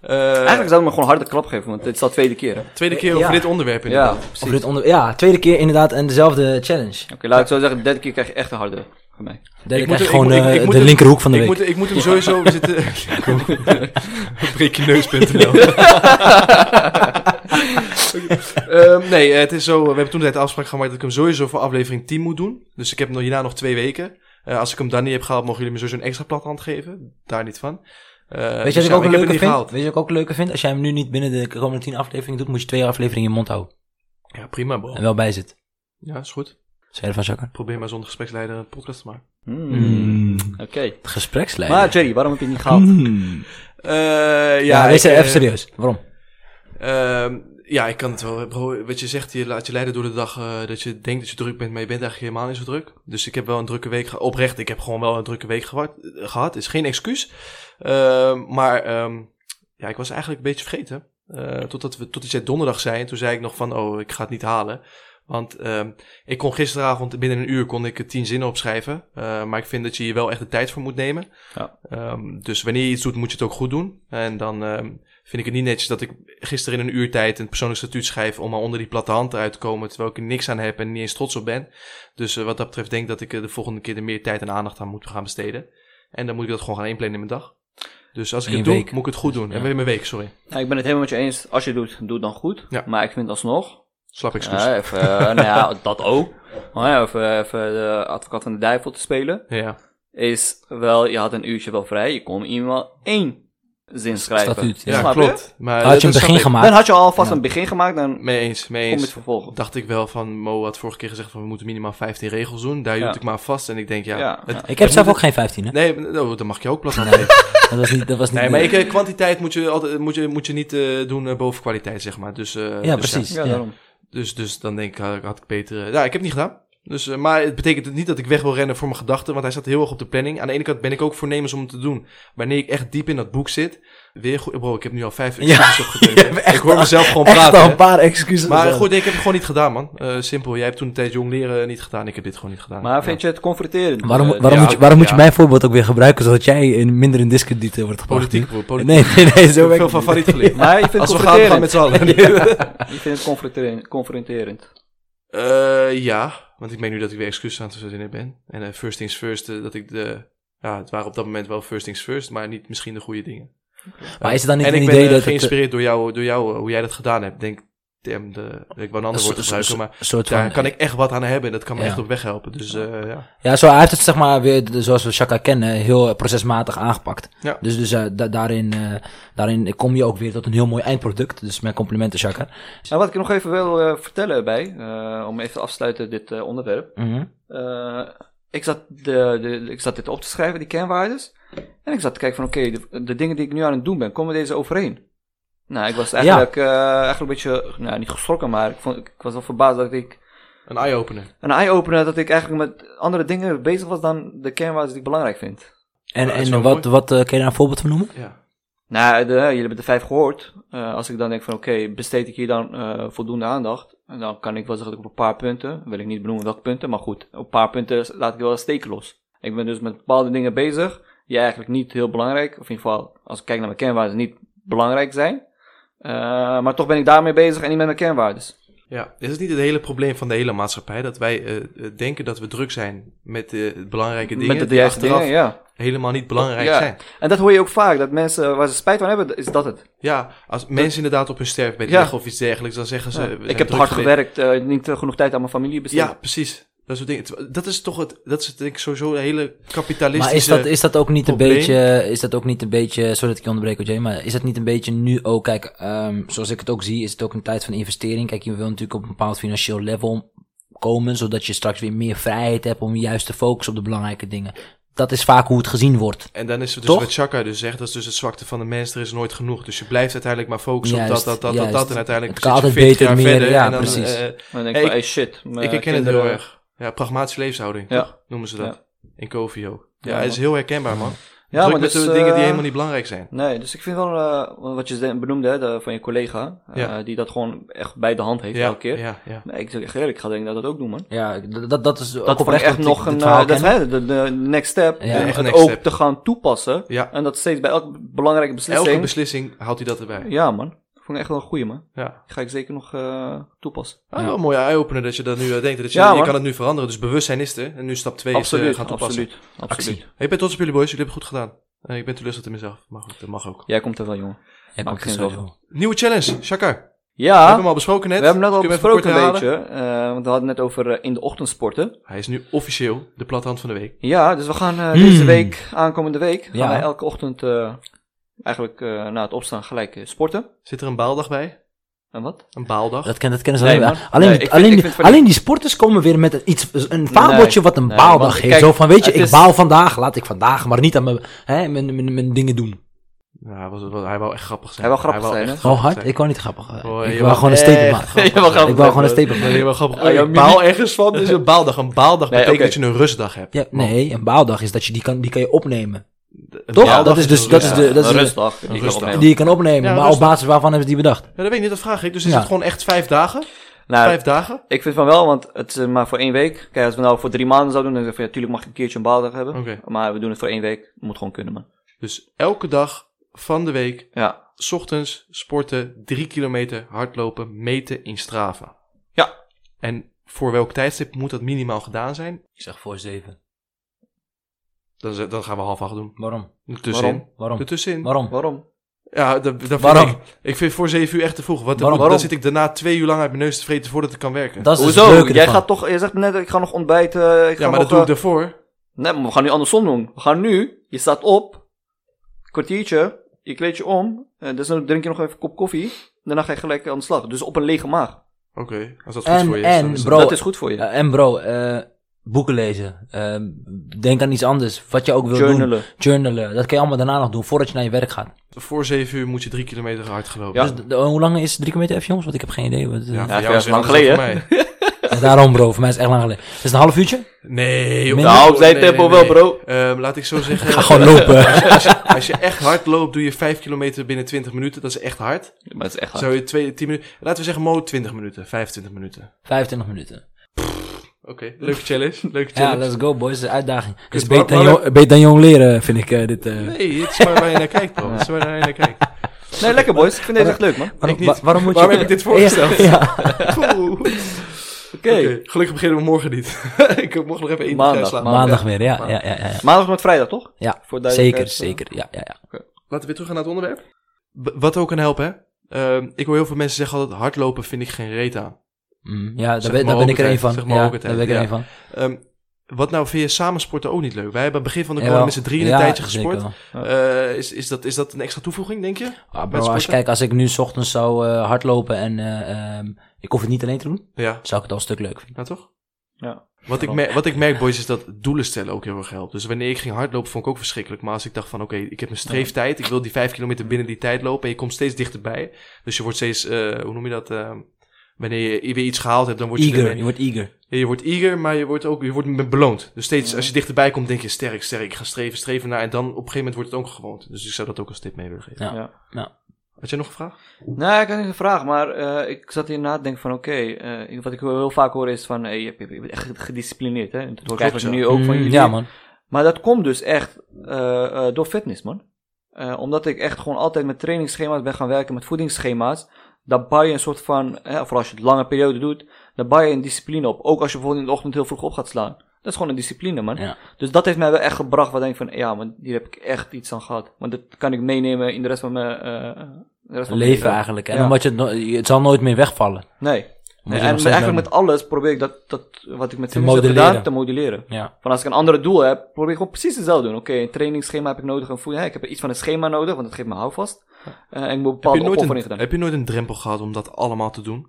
[SPEAKER 1] Eh,
[SPEAKER 2] Eigenlijk zou ik me gewoon harde klap geven, want dit is al tweede keer. hè.
[SPEAKER 1] tweede keer over
[SPEAKER 3] Ja.
[SPEAKER 1] dit onderwerp
[SPEAKER 2] Ja,
[SPEAKER 1] inderdaad.
[SPEAKER 2] precies.
[SPEAKER 3] Of
[SPEAKER 2] Oké,
[SPEAKER 3] dit onder... Ja, tweede keer inderdaad en dezelfde challenge.
[SPEAKER 2] laat ik zo zeggen, de derde keer krijg je echt een harde van mij.
[SPEAKER 3] Derde
[SPEAKER 1] Ik
[SPEAKER 3] krijg je
[SPEAKER 1] moet-
[SPEAKER 3] gewoon
[SPEAKER 1] ik moet-
[SPEAKER 3] eh,
[SPEAKER 1] ik moet
[SPEAKER 3] de
[SPEAKER 1] hem-
[SPEAKER 3] linkerhoek van de
[SPEAKER 1] ik,
[SPEAKER 3] week.
[SPEAKER 1] moet, ik moet hem sowieso we zitten... Breekjeneus.nl Ehm Nee, eh, het is zo... We hebben toen de tijd afspraak gemaakt dat ik hem sowieso voor aflevering 10 moet doen. Dus ik heb nog- hierna nog twee weken. Eh, als ik hem dan niet heb gehaald, mogen jullie me sowieso een extra plathand geven. Daar niet van. Eh, dus
[SPEAKER 3] Weet je wat ik
[SPEAKER 1] ja,
[SPEAKER 3] ook een
[SPEAKER 1] heb het
[SPEAKER 3] leuke
[SPEAKER 1] niet
[SPEAKER 3] vind?
[SPEAKER 1] gehaald.
[SPEAKER 3] Weet je wat ik ook een leuke vind? Als jij hem nu niet binnen de komende tien afleveringen doet, moet je twee afleveringen in je mond houden.
[SPEAKER 1] Ja, prima bro.
[SPEAKER 3] En wel bij zit.
[SPEAKER 1] Ja, is goed.
[SPEAKER 3] Zou je ervan zakken?
[SPEAKER 1] Probeer maar zonder gespreksleider een podcast te maken.
[SPEAKER 2] Hmm. Oké.
[SPEAKER 3] Gespreksleider.
[SPEAKER 2] Maar Jerry, waarom heb je het niet gehaald?
[SPEAKER 3] Mm.
[SPEAKER 1] Eh, ja,
[SPEAKER 3] Ja,
[SPEAKER 1] ik,
[SPEAKER 3] weet je,
[SPEAKER 1] eh,
[SPEAKER 3] even serieus. Waarom?
[SPEAKER 1] Ehm, ja, ik kan het wel. Bro, wat je zegt, je laat je leiden door de dag eh, dat je denkt dat je druk bent, maar je bent eigenlijk helemaal niet zo druk. Dus ik heb wel een drukke week gehad. Oprecht, ik heb gewoon wel een drukke week gewa- gehad. Is geen excuus. Ehm, maar ehm, ja, ik was eigenlijk een beetje vergeten. Eh, totdat, we, totdat jij donderdag zei. En toen zei ik nog van, oh, ik ga het niet halen. Want ehm, ik kon gisteravond binnen een uur kon ik eh, tien zinnen opschrijven. Eh, maar ik vind dat je hier wel echt de tijd voor moet nemen.
[SPEAKER 2] Ja.
[SPEAKER 1] Ehm, dus wanneer je iets doet, moet je het ook goed doen. En dan ehm, vind ik het niet netjes dat ik gisteren in een uur tijd een persoonlijk statuut schrijf om maar onder die platte hand eruit te komen, terwijl ik er niks aan heb en niet eens trots op ben. Dus eh, wat dat betreft denk ik dat ik eh, de volgende keer er meer tijd en aandacht aan moet gaan besteden. En dan moet ik dat gewoon gaan inplannen in mijn dag. Dus als ik
[SPEAKER 3] In
[SPEAKER 1] het
[SPEAKER 3] je
[SPEAKER 1] doe,
[SPEAKER 3] week.
[SPEAKER 1] moet ik het goed doen. En
[SPEAKER 3] Ja.
[SPEAKER 1] weer mijn week, sorry.
[SPEAKER 2] Nou, ik ben het helemaal met je eens. Als je het doet, doe het dan goed.
[SPEAKER 1] Ja.
[SPEAKER 2] Maar ik vind alsnog...
[SPEAKER 1] Slap excuus.
[SPEAKER 2] Ja, even, eh, nou ja, dat ook. Maar ja, even, even de advocaat van de duivel te spelen.
[SPEAKER 1] ja.
[SPEAKER 2] Is wel, je had een uurtje wel vrij. Je kon minimaal één zin schrijven.
[SPEAKER 3] Statuut, ja.
[SPEAKER 1] Ja,
[SPEAKER 2] Snap je?
[SPEAKER 1] klopt. Maar
[SPEAKER 3] Had
[SPEAKER 1] dat
[SPEAKER 3] je een
[SPEAKER 1] snap
[SPEAKER 3] begin
[SPEAKER 1] ik.
[SPEAKER 3] gemaakt?
[SPEAKER 2] Dan had je alvast
[SPEAKER 3] Ja.
[SPEAKER 2] een begin gemaakt. Dan
[SPEAKER 1] Mee eens, mee
[SPEAKER 2] kom je het
[SPEAKER 1] eens.
[SPEAKER 2] vervolgen.
[SPEAKER 1] Dacht ik wel van, Mo had vorige keer gezegd van we moeten minimaal 15 regels doen. Daar
[SPEAKER 2] Ja.
[SPEAKER 1] hield ik maar vast. En ik denk, ja,
[SPEAKER 2] Ja,
[SPEAKER 1] het-
[SPEAKER 2] ja.
[SPEAKER 3] Ik heb
[SPEAKER 1] moet
[SPEAKER 3] zelf
[SPEAKER 1] het-
[SPEAKER 3] ook geen 15, hè?
[SPEAKER 1] Nee, nou, dan mag je ook plat aan
[SPEAKER 3] Nee, dat was niet... Dat was niet
[SPEAKER 1] Nee, maar ik, eh, kwantiteit moet je, altijd, moet je, moet je niet eh, doen eh, boven kwaliteit, zeg maar. Dus, eh,
[SPEAKER 3] Ja,
[SPEAKER 1] dus
[SPEAKER 3] precies.
[SPEAKER 2] Ja,
[SPEAKER 3] ja.
[SPEAKER 2] daarom.
[SPEAKER 1] dus, dus dan denk ik, had, ik- had ik beter... eh, ja, ik heb het niet gedaan. Dus, eh, maar het betekent niet dat ik weg wil rennen voor mijn gedachten, want hij staat heel erg op de planning. Aan de ene kant ben ik ook voornemens om het te doen. Wanneer ik echt diep in dat boek zit, weer goed... Bro, ik heb nu al vijf excuses opgetekend.
[SPEAKER 3] je hebt echt
[SPEAKER 1] Ik hoor
[SPEAKER 3] al-
[SPEAKER 1] mezelf gewoon
[SPEAKER 3] Echt
[SPEAKER 1] praten.
[SPEAKER 3] al
[SPEAKER 1] hè.
[SPEAKER 3] een paar excuses.
[SPEAKER 1] Maar
[SPEAKER 3] gedaan.
[SPEAKER 1] goed, ik heb het gewoon niet gedaan, man. Eh, simpel, jij hebt toen een tijd jong leren niet gedaan. Ik heb dit gewoon niet gedaan.
[SPEAKER 2] Maar vind je het confronterend?
[SPEAKER 3] Waarom,
[SPEAKER 2] Eh,
[SPEAKER 3] waarom,
[SPEAKER 1] ja,
[SPEAKER 3] moet, je, waarom moet je
[SPEAKER 1] ja.
[SPEAKER 3] mijn voorbeeld ook weer gebruiken, zodat jij in minder in discrediet eh, wordt
[SPEAKER 1] Ja.
[SPEAKER 3] gebracht?
[SPEAKER 1] Politiek,
[SPEAKER 3] nu?
[SPEAKER 1] bro. Politiek.
[SPEAKER 3] Nee, nee, nee, zo
[SPEAKER 1] ik heb
[SPEAKER 3] werkt
[SPEAKER 1] veel
[SPEAKER 3] het
[SPEAKER 1] van
[SPEAKER 3] niet.
[SPEAKER 1] Farid geleerd.
[SPEAKER 2] Maar je vindt het
[SPEAKER 1] Als we gaan, we gaan
[SPEAKER 2] confronterend.
[SPEAKER 1] met z'n allen.
[SPEAKER 2] Je vindt het confronterend. confronterend.
[SPEAKER 1] Eh, ja, want ik meen nu dat ik weer excuses aan het verzinnen ben. En eh, first things first, eh, dat ik de... Ja, het waren op dat moment wel first things first, maar niet misschien de goede dingen.
[SPEAKER 3] Maar is het dan niet
[SPEAKER 1] en
[SPEAKER 3] een
[SPEAKER 1] ik
[SPEAKER 3] idee
[SPEAKER 1] ben eh,
[SPEAKER 3] dat het... eh,
[SPEAKER 1] geïnspireerd door jou, door jou, eh, hoe jij dat gedaan hebt. Ik Denk, damn, de, ik wil een ander
[SPEAKER 3] een
[SPEAKER 1] woord
[SPEAKER 3] soort-
[SPEAKER 1] gebruiken, maar
[SPEAKER 3] soort- soort
[SPEAKER 1] daar
[SPEAKER 3] van...
[SPEAKER 1] kan ik echt wat aan hebben. Dat kan me
[SPEAKER 3] Ja.
[SPEAKER 1] echt op weg helpen. Dus eh, ja.
[SPEAKER 3] Ja, zo, hij heeft het zeg maar weer, de- zoals we Chaka kennen, heel eh, procesmatig aangepakt.
[SPEAKER 1] Ja.
[SPEAKER 3] Dus, dus eh, da- daarin, eh, daarin kom je ook weer tot een heel mooi eindproduct. Dus mijn complimenten, Chaka.
[SPEAKER 2] En wat ik nog even wil eh, vertellen bij, eh, om even af te sluiten dit eh, onderwerp.
[SPEAKER 3] Mhm.
[SPEAKER 2] Eh, ik, zat de, de, ik zat dit op te schrijven, die kernwaardes. En ik zat te kijken van, oké, de, de dingen die ik nu aan het doen ben, komen deze overeen? Nou, ik was eigenlijk, eh, eigenlijk een beetje, nou, niet geschrokken, maar ik, vond, ik was wel verbaasd dat ik
[SPEAKER 1] Een eye-opener.
[SPEAKER 2] een eye-opener, dat ik eigenlijk met andere dingen bezig was dan de kernwaarden die ik belangrijk vind.
[SPEAKER 3] En,
[SPEAKER 1] Ja, dat is
[SPEAKER 3] en
[SPEAKER 1] wel
[SPEAKER 3] wat, wat eh, kun je daar een voorbeeld van noemen?
[SPEAKER 1] Ja.
[SPEAKER 2] Nou, de, jullie hebben de vijf gehoord. Eh, als ik dan denk van, oké, besteed ik hier dan eh, voldoende aandacht? En dan kan ik wel zeggen dat ik op een paar punten, wil ik niet benoemen welke punten, maar goed, op een paar punten laat ik wel steken los. Ik ben dus met bepaalde dingen bezig, die eigenlijk niet heel belangrijk, of in ieder geval, als ik kijk naar mijn kernwaarden, niet belangrijk zijn. Eh, maar toch ben ik daarmee bezig en niet met mijn kernwaardes.
[SPEAKER 1] ja. Is het niet het hele probleem van de hele maatschappij? Dat wij eh, eh, denken dat we druk zijn met de belangrijke dingen.
[SPEAKER 2] met de
[SPEAKER 1] die
[SPEAKER 2] juiste
[SPEAKER 1] achteraf
[SPEAKER 2] dingen, ja.
[SPEAKER 1] helemaal niet belangrijk
[SPEAKER 2] Ja.
[SPEAKER 1] zijn.
[SPEAKER 2] En dat hoor je ook vaak, dat mensen waar ze spijt van hebben, is dat het.
[SPEAKER 1] Ja, als mensen inderdaad op hun sterfbed
[SPEAKER 2] Ja.
[SPEAKER 1] liggen of iets dergelijks, dan zeggen ze...
[SPEAKER 2] Ja.
[SPEAKER 1] we zijn
[SPEAKER 2] ik heb te
[SPEAKER 1] druk
[SPEAKER 2] hard
[SPEAKER 1] geweest.
[SPEAKER 2] gewerkt, eh, niet eh, genoeg tijd aan mijn familie besteed.
[SPEAKER 1] Ja, precies. Dat soort dingen. Terwijl- Dat is toch het, dat is het, denk ik sowieso een hele kapitalistische...
[SPEAKER 3] Maar is dat, is dat ook niet een
[SPEAKER 1] probleem.
[SPEAKER 3] beetje, is dat ook niet een beetje, sorry dat ik je onderbreek, OJ, maar is dat niet een beetje nu ook, kijk, ehm, zoals ik het ook zie, is het ook een tijd van investering. Kijk, je wil natuurlijk op een bepaald financieel level komen, zodat je straks weer meer vrijheid hebt om juist te focussen op de belangrijke dingen. Dat is vaak hoe het gezien wordt.
[SPEAKER 1] En dan is het dus
[SPEAKER 3] Toch?
[SPEAKER 1] wat Chaka dus zegt, dat is dus het zwakte van de mens, er is nooit genoeg. Dus je blijft uiteindelijk maar focussen
[SPEAKER 3] Juist,
[SPEAKER 1] op dat, dat, dat, dat,
[SPEAKER 3] juist.
[SPEAKER 1] dat. En uiteindelijk
[SPEAKER 3] Het kan
[SPEAKER 1] zit je
[SPEAKER 3] altijd
[SPEAKER 1] 40
[SPEAKER 3] beter,
[SPEAKER 1] jaar
[SPEAKER 3] meer,
[SPEAKER 1] verder
[SPEAKER 3] ja,
[SPEAKER 1] en dan,
[SPEAKER 3] precies.
[SPEAKER 1] eh,
[SPEAKER 2] En dan denk
[SPEAKER 1] Hey,
[SPEAKER 2] ik van, hey shit.
[SPEAKER 1] ik
[SPEAKER 2] mijn
[SPEAKER 1] herken het
[SPEAKER 2] kinderen-
[SPEAKER 1] heel erg. Ja, pragmatische levenshouding.
[SPEAKER 2] eh, Ja.
[SPEAKER 1] toch? Noemen ze dat.
[SPEAKER 2] Ja.
[SPEAKER 1] In Kofi ook.
[SPEAKER 2] Ja,
[SPEAKER 1] Ja, het is heel herkenbaar, man. Ja,
[SPEAKER 2] maar
[SPEAKER 1] met
[SPEAKER 2] dus,
[SPEAKER 1] de dingen
[SPEAKER 2] eh,
[SPEAKER 1] die helemaal niet belangrijk zijn.
[SPEAKER 2] Nee, dus ik vind wel eh, wat je ze- benoemde hè, de- van je collega, eh,
[SPEAKER 1] Ja.
[SPEAKER 2] die dat gewoon echt bij de hand heeft
[SPEAKER 1] ja,
[SPEAKER 2] elke keer.
[SPEAKER 1] Ja, ja.
[SPEAKER 2] Nee, ik zeg echt eerlijk, ik ga denk ik dat dat ook doen, man.
[SPEAKER 3] Ja, d- dat, dat is
[SPEAKER 2] Dat
[SPEAKER 3] ook
[SPEAKER 2] vond ik
[SPEAKER 3] oprecht
[SPEAKER 2] echt
[SPEAKER 3] dat
[SPEAKER 2] nog
[SPEAKER 3] dit
[SPEAKER 2] een,
[SPEAKER 3] verhaal
[SPEAKER 2] eh, dat,
[SPEAKER 3] ken.
[SPEAKER 2] hè, de, de next step,
[SPEAKER 3] Ja,
[SPEAKER 2] om
[SPEAKER 1] echt
[SPEAKER 2] het
[SPEAKER 1] next
[SPEAKER 2] ook
[SPEAKER 1] step.
[SPEAKER 2] te gaan toepassen.
[SPEAKER 1] Ja.
[SPEAKER 2] En dat steeds bij elke belangrijke beslissing.
[SPEAKER 1] Elke beslissing houdt hij dat erbij.
[SPEAKER 2] ja, man. Vond ik echt wel een goeie, man.
[SPEAKER 1] Ja.
[SPEAKER 2] Die ga ik zeker nog eh, toepassen.
[SPEAKER 1] Ah,
[SPEAKER 3] Ja.
[SPEAKER 1] Wel een mooie eye-opener dat je dat nu eh, denkt. Dat je,
[SPEAKER 2] Ja,
[SPEAKER 1] je
[SPEAKER 2] man.
[SPEAKER 1] kan het nu veranderen. Dus bewustzijn is er. En nu stap 2 is eh,
[SPEAKER 2] absoluut,
[SPEAKER 1] gaan toepassen.
[SPEAKER 2] absoluut, absoluut.
[SPEAKER 3] Actie.
[SPEAKER 1] Ik ben trots op jullie boys. Jullie hebben het goed gedaan. Eh, ik ben teleurgesteld in mezelf. Maar goed, dat mag ook.
[SPEAKER 2] Jij komt er wel, jongen.
[SPEAKER 3] Ja,
[SPEAKER 2] Maak
[SPEAKER 3] komt er
[SPEAKER 2] geen
[SPEAKER 3] zo.
[SPEAKER 2] zorgen.
[SPEAKER 1] Nieuwe challenge. Shaka. We hebben
[SPEAKER 2] Ja,
[SPEAKER 1] hem al besproken net.
[SPEAKER 2] Ah? we hebben net al
[SPEAKER 1] Kun je hem even
[SPEAKER 2] besproken
[SPEAKER 1] kort
[SPEAKER 2] een
[SPEAKER 1] herhalen?
[SPEAKER 2] beetje. eh, want we hadden het net over eh, in de ochtend sporten.
[SPEAKER 1] Hij is nu officieel de plathand van de week.
[SPEAKER 2] Ja, dus we gaan eh,
[SPEAKER 3] Hmm.
[SPEAKER 2] deze week, aankomende week, gaan
[SPEAKER 3] Ja.
[SPEAKER 2] wij elke ochtend eh, eigenlijk eh, na het opstaan gelijk eh, sporten.
[SPEAKER 1] Zit er een baaldag bij?
[SPEAKER 2] En wat?
[SPEAKER 1] Een baaldag?
[SPEAKER 3] Dat, ken, dat kennen ze
[SPEAKER 2] Nee,
[SPEAKER 3] alleen wel.
[SPEAKER 2] man.
[SPEAKER 3] Alleen,
[SPEAKER 2] Nee, ik vind-
[SPEAKER 3] alleen,
[SPEAKER 2] ik
[SPEAKER 3] die-
[SPEAKER 2] vind van die-
[SPEAKER 3] alleen die sporters komen weer met een, iets, een vaarbordje wat een
[SPEAKER 2] nee,
[SPEAKER 3] baaldag
[SPEAKER 2] want
[SPEAKER 3] heeft.
[SPEAKER 2] kijk,
[SPEAKER 3] Zo van, weet je,
[SPEAKER 2] het
[SPEAKER 3] ik
[SPEAKER 2] is-
[SPEAKER 3] baal vandaag, laat ik vandaag, maar niet aan mijn, hè, mijn, mijn, mijn dingen doen.
[SPEAKER 1] Nou, hij, was, was- hij wou echt grappig zijn.
[SPEAKER 2] Hij wou grappig zijn,
[SPEAKER 1] echt
[SPEAKER 2] hè?
[SPEAKER 3] Oh,
[SPEAKER 1] grappig
[SPEAKER 3] hard?
[SPEAKER 1] zijn.
[SPEAKER 3] Ik wou niet grappig. eh,
[SPEAKER 1] Oh,
[SPEAKER 3] ik
[SPEAKER 1] je
[SPEAKER 3] wou
[SPEAKER 1] wou
[SPEAKER 3] gewoon een statement maken.
[SPEAKER 2] Je wou grappig zijn,
[SPEAKER 3] Ik wou gewoon een
[SPEAKER 2] man.
[SPEAKER 1] Nee,
[SPEAKER 3] statement
[SPEAKER 1] Oh,
[SPEAKER 3] maken.
[SPEAKER 1] je wou grappig.
[SPEAKER 2] Ah, ja,
[SPEAKER 1] ik baal ergens van,
[SPEAKER 3] dus
[SPEAKER 1] is een baaldag. Een baaldag
[SPEAKER 2] Nee,
[SPEAKER 1] betekent
[SPEAKER 2] oké.
[SPEAKER 1] dat je een rustdag hebt.
[SPEAKER 3] Ja, nee, een baaldag is dat je die kan, die kan je opnemen.
[SPEAKER 1] Een
[SPEAKER 3] Toch?
[SPEAKER 1] baaldag
[SPEAKER 3] Dat is dus-
[SPEAKER 1] een
[SPEAKER 3] dat is
[SPEAKER 1] rustdag.
[SPEAKER 3] de- dat is
[SPEAKER 2] een
[SPEAKER 3] de-
[SPEAKER 2] rustdag. die ik
[SPEAKER 1] rustdag.
[SPEAKER 2] opneem.
[SPEAKER 3] Die je kan opnemen,
[SPEAKER 1] Ja,
[SPEAKER 3] maar
[SPEAKER 1] rustig.
[SPEAKER 3] op basis waarvan hebben ze die bedacht?
[SPEAKER 1] Ja, dat weet ik niet, dat vraag ik. Dus is
[SPEAKER 3] Ja.
[SPEAKER 1] het gewoon echt vijf dagen?
[SPEAKER 2] Nou,
[SPEAKER 1] Vijf dagen?
[SPEAKER 2] Ik vind van wel, want het is eh, maar voor één week. Kijk, als we nou voor drie maanden zouden doen, dan zeg ik van ja, tuurlijk mag ik een keertje een baaldag hebben.
[SPEAKER 1] Oké.
[SPEAKER 2] Maar we doen het voor één week. Moet gewoon kunnen, man.
[SPEAKER 1] Dus elke dag van de week,
[SPEAKER 2] Ja.
[SPEAKER 1] s ochtends sporten, drie kilometer hardlopen, meten in Strava.
[SPEAKER 2] Ja.
[SPEAKER 1] En voor welk tijdstip moet dat minimaal gedaan zijn?
[SPEAKER 3] Ik zeg voor zeven.
[SPEAKER 1] Dan, z- dan gaan we half acht doen.
[SPEAKER 3] Waarom?
[SPEAKER 1] Tussenin.
[SPEAKER 3] Waarom?
[SPEAKER 1] Tussenin.
[SPEAKER 3] Waarom?
[SPEAKER 2] Waarom?
[SPEAKER 1] Ja, dat, dat
[SPEAKER 3] Waarom?
[SPEAKER 1] Vind ik, ik vind voor zeven uur echt te vroeg. Want dan
[SPEAKER 3] Waarom? Waarom?
[SPEAKER 1] zit ik daarna twee uur lang uit mijn neus te vreten voordat ik kan werken.
[SPEAKER 3] Dat is dus het
[SPEAKER 2] Hoezo?
[SPEAKER 3] leuke
[SPEAKER 2] Jij
[SPEAKER 3] ervan.
[SPEAKER 2] gaat toch, je zegt net, ik ga nog ontbijten. Ik ga
[SPEAKER 1] ja, maar dat
[SPEAKER 2] nog,
[SPEAKER 1] doe ik
[SPEAKER 2] eh,
[SPEAKER 1] daarvoor.
[SPEAKER 2] Nee, maar we gaan nu andersom doen. We gaan nu, je staat op, kwartiertje, je kleed je om, eh, dus dan drink je nog even een kop koffie. Daarna ga je gelijk aan de slag. Dus op een lege maag.
[SPEAKER 1] Oké, als dat goed
[SPEAKER 3] En-
[SPEAKER 1] voor je is.
[SPEAKER 3] en
[SPEAKER 1] dan is het-
[SPEAKER 3] Bro,
[SPEAKER 2] dat is goed voor je.
[SPEAKER 3] Eh, en bro, eh, boeken lezen. Eh, denk aan iets anders. Wat je ook wil doen.
[SPEAKER 2] Journalen.
[SPEAKER 3] Journalen. Dat kan je allemaal daarna nog doen, voordat je naar je werk gaat.
[SPEAKER 1] Voor zeven uur moet je drie kilometer hard gelopen.
[SPEAKER 2] Ja.
[SPEAKER 1] Dus-
[SPEAKER 3] Dus de- de- hoe lang is 3 kilometer F, jongens? Want ik heb geen idee. Wat, eh,
[SPEAKER 1] Ja,
[SPEAKER 2] ja,
[SPEAKER 1] voor jou is
[SPEAKER 2] is lang
[SPEAKER 1] het anders dan
[SPEAKER 2] geleden,
[SPEAKER 1] voor mij.
[SPEAKER 3] eh, Daarom bro, voor mij is het echt lang geleden. Is het een half uurtje?
[SPEAKER 1] Nee,
[SPEAKER 3] Minder?
[SPEAKER 2] Nou, op zijn tempo wel, bro.
[SPEAKER 1] Ehm, laat ik zo zeggen.
[SPEAKER 3] Ga gewoon lopen.
[SPEAKER 1] Als je, als je echt hard loopt, doe je 5 kilometer binnen 20 minuten. Dat is echt hard.
[SPEAKER 2] Maar het is echt hard.
[SPEAKER 1] Zou je 2, 10 minuten. Laten we zeggen, Mo 20 minuten, 25 minuten.
[SPEAKER 3] 25 minuten.
[SPEAKER 1] Oké, leuke challenge. Leuke
[SPEAKER 3] Ja,
[SPEAKER 1] challenge.
[SPEAKER 3] let's go boys, de uitdaging. Het is
[SPEAKER 1] maar-
[SPEAKER 3] beter dan,
[SPEAKER 1] maar-
[SPEAKER 3] jong, beter dan jong leren, vind ik eh, dit. eh.
[SPEAKER 1] Nee, het is maar waar je naar kijkt, bro. Het is maar waar je naar kijkt.
[SPEAKER 2] Nee, lekker boys. Ik vind deze echt leuk, man.
[SPEAKER 3] Waarom,
[SPEAKER 1] ik niet.
[SPEAKER 3] wa- waarom moet je...
[SPEAKER 1] Waarom heb ik dit voorgesteld?
[SPEAKER 3] Ja, ja.
[SPEAKER 1] Oeh. Oké,
[SPEAKER 2] Oké.
[SPEAKER 1] gelukkig beginnen we morgen niet. ik mocht nog even één
[SPEAKER 2] Maandag,
[SPEAKER 1] uur slaan.
[SPEAKER 2] maandag.
[SPEAKER 3] Maandag weer, ja. ja, ja, ja, ja.
[SPEAKER 2] Maandag met vrijdag, toch?
[SPEAKER 3] Ja,
[SPEAKER 2] Voor
[SPEAKER 3] zeker,
[SPEAKER 2] duidelijkheid, eh.
[SPEAKER 3] zeker. Ja, ja, ja.
[SPEAKER 1] Laten we weer terug gaan naar het onderwerp. B- wat ook kan helpen, hè. Ehm, ik hoor heel veel mensen zeggen altijd, hardlopen vind ik geen reet aan.
[SPEAKER 3] Mm, ja, daar
[SPEAKER 1] Zeg
[SPEAKER 3] ben,
[SPEAKER 1] maar
[SPEAKER 3] daar ben
[SPEAKER 1] ook
[SPEAKER 3] ik
[SPEAKER 1] het
[SPEAKER 3] er één van.
[SPEAKER 1] eind, zeg maar
[SPEAKER 3] Ja,
[SPEAKER 1] ook
[SPEAKER 3] daar
[SPEAKER 1] het
[SPEAKER 3] ben ik
[SPEAKER 1] eind,
[SPEAKER 3] er
[SPEAKER 1] ja. Ehm,
[SPEAKER 3] één van.
[SPEAKER 1] wat nou, vind je samensporten ook niet leuk? Wij hebben aan het begin van de corona
[SPEAKER 3] Jawel.
[SPEAKER 1] met z'n drieën een
[SPEAKER 3] Ja,
[SPEAKER 1] tijdje
[SPEAKER 3] zeker
[SPEAKER 1] gesport.
[SPEAKER 3] wel.
[SPEAKER 1] Eh, is, is, dat, is dat een extra toevoeging, denk je?
[SPEAKER 3] Ah,
[SPEAKER 1] Met
[SPEAKER 3] bro, als je
[SPEAKER 1] sporten?
[SPEAKER 3] kijkt, als ik nu 's ochtends zou eh, hardlopen en eh, ehm, ik hoef het niet alleen te doen,
[SPEAKER 1] Ja,
[SPEAKER 3] zou ik het al een stuk leuk vinden.
[SPEAKER 1] nou toch?
[SPEAKER 2] Ja.
[SPEAKER 1] Wat ik, mer- wat ik merk, boys, is dat doelen stellen ook heel erg helpt. Dus wanneer ik ging hardlopen, vond ik ook verschrikkelijk. Maar als ik dacht van, oké, ik heb mijn streeftijd. Ik wil die vijf kilometer binnen die tijd lopen. En je komt steeds dichterbij. Dus je wordt steeds, eh, hoe noem je dat? eh, wanneer je weer iets gehaald hebt, dan word je...
[SPEAKER 3] Eager,
[SPEAKER 1] ermee-
[SPEAKER 3] je wordt eager.
[SPEAKER 1] Ja, je wordt eager, maar je wordt ook je wordt be- beloond. Dus steeds als je dichterbij komt, denk je sterk, sterk, ik ga streven, streven naar. En dan op een gegeven moment wordt het ook gewoond. Dus ik zou dat ook als tip mee willen geven.
[SPEAKER 3] Ja.
[SPEAKER 1] Had jij nog een vraag?
[SPEAKER 2] Nou, ik had niet een vraag, maar eh, ik zat hier na te denken van oké, eh, wat ik heel vaak hoor is van hey, je, hebt- je bent echt gedisciplineerd hè. Dat hoor ik
[SPEAKER 1] Klopt,
[SPEAKER 2] eigenlijk
[SPEAKER 1] ja.
[SPEAKER 2] nu ook van
[SPEAKER 3] Mm,
[SPEAKER 2] jullie.
[SPEAKER 3] ja, man.
[SPEAKER 2] Maar dat komt dus echt eh, eh, door fitness man. Eh, omdat ik echt gewoon altijd met trainingsschema's ben gaan werken, met voedingsschema's. Daar bouw je een soort van, hè, vooral als je het lange periode doet, daar bouw je een discipline op. Ook als je bijvoorbeeld in de ochtend heel vroeg op gaat slaan. Dat is gewoon een discipline man.
[SPEAKER 3] Ja.
[SPEAKER 2] Dus dat heeft mij wel echt gebracht waar ik denk van ja man, hier heb ik echt iets aan gehad. Want dat kan ik meenemen in de rest van mijn... eh, de rest van mijn
[SPEAKER 3] Leven eigenlijk. En
[SPEAKER 2] Ja.
[SPEAKER 3] omdat je het, no- je- het zal nooit meer wegvallen.
[SPEAKER 2] Nee.
[SPEAKER 3] Moet je nog
[SPEAKER 2] en
[SPEAKER 3] steeds
[SPEAKER 2] eigenlijk
[SPEAKER 3] doen.
[SPEAKER 2] met alles probeer ik dat, dat wat ik met fitness
[SPEAKER 3] Te
[SPEAKER 2] heb
[SPEAKER 3] modelleren.
[SPEAKER 2] gedaan, te modelleren.
[SPEAKER 3] Ja.
[SPEAKER 2] Van als ik een ander doel heb, probeer ik gewoon precies hetzelfde te doen. Oké, een trainingsschema heb ik nodig. Een voeding, hè, ik heb iets van een schema nodig, want dat geeft me houvast. Eh, en ik moet
[SPEAKER 1] Heb je,
[SPEAKER 2] bepaalde
[SPEAKER 1] nooit
[SPEAKER 2] opoffering
[SPEAKER 1] een,
[SPEAKER 2] gedaan.
[SPEAKER 1] heb je nooit een drempel gehad om dat allemaal te doen?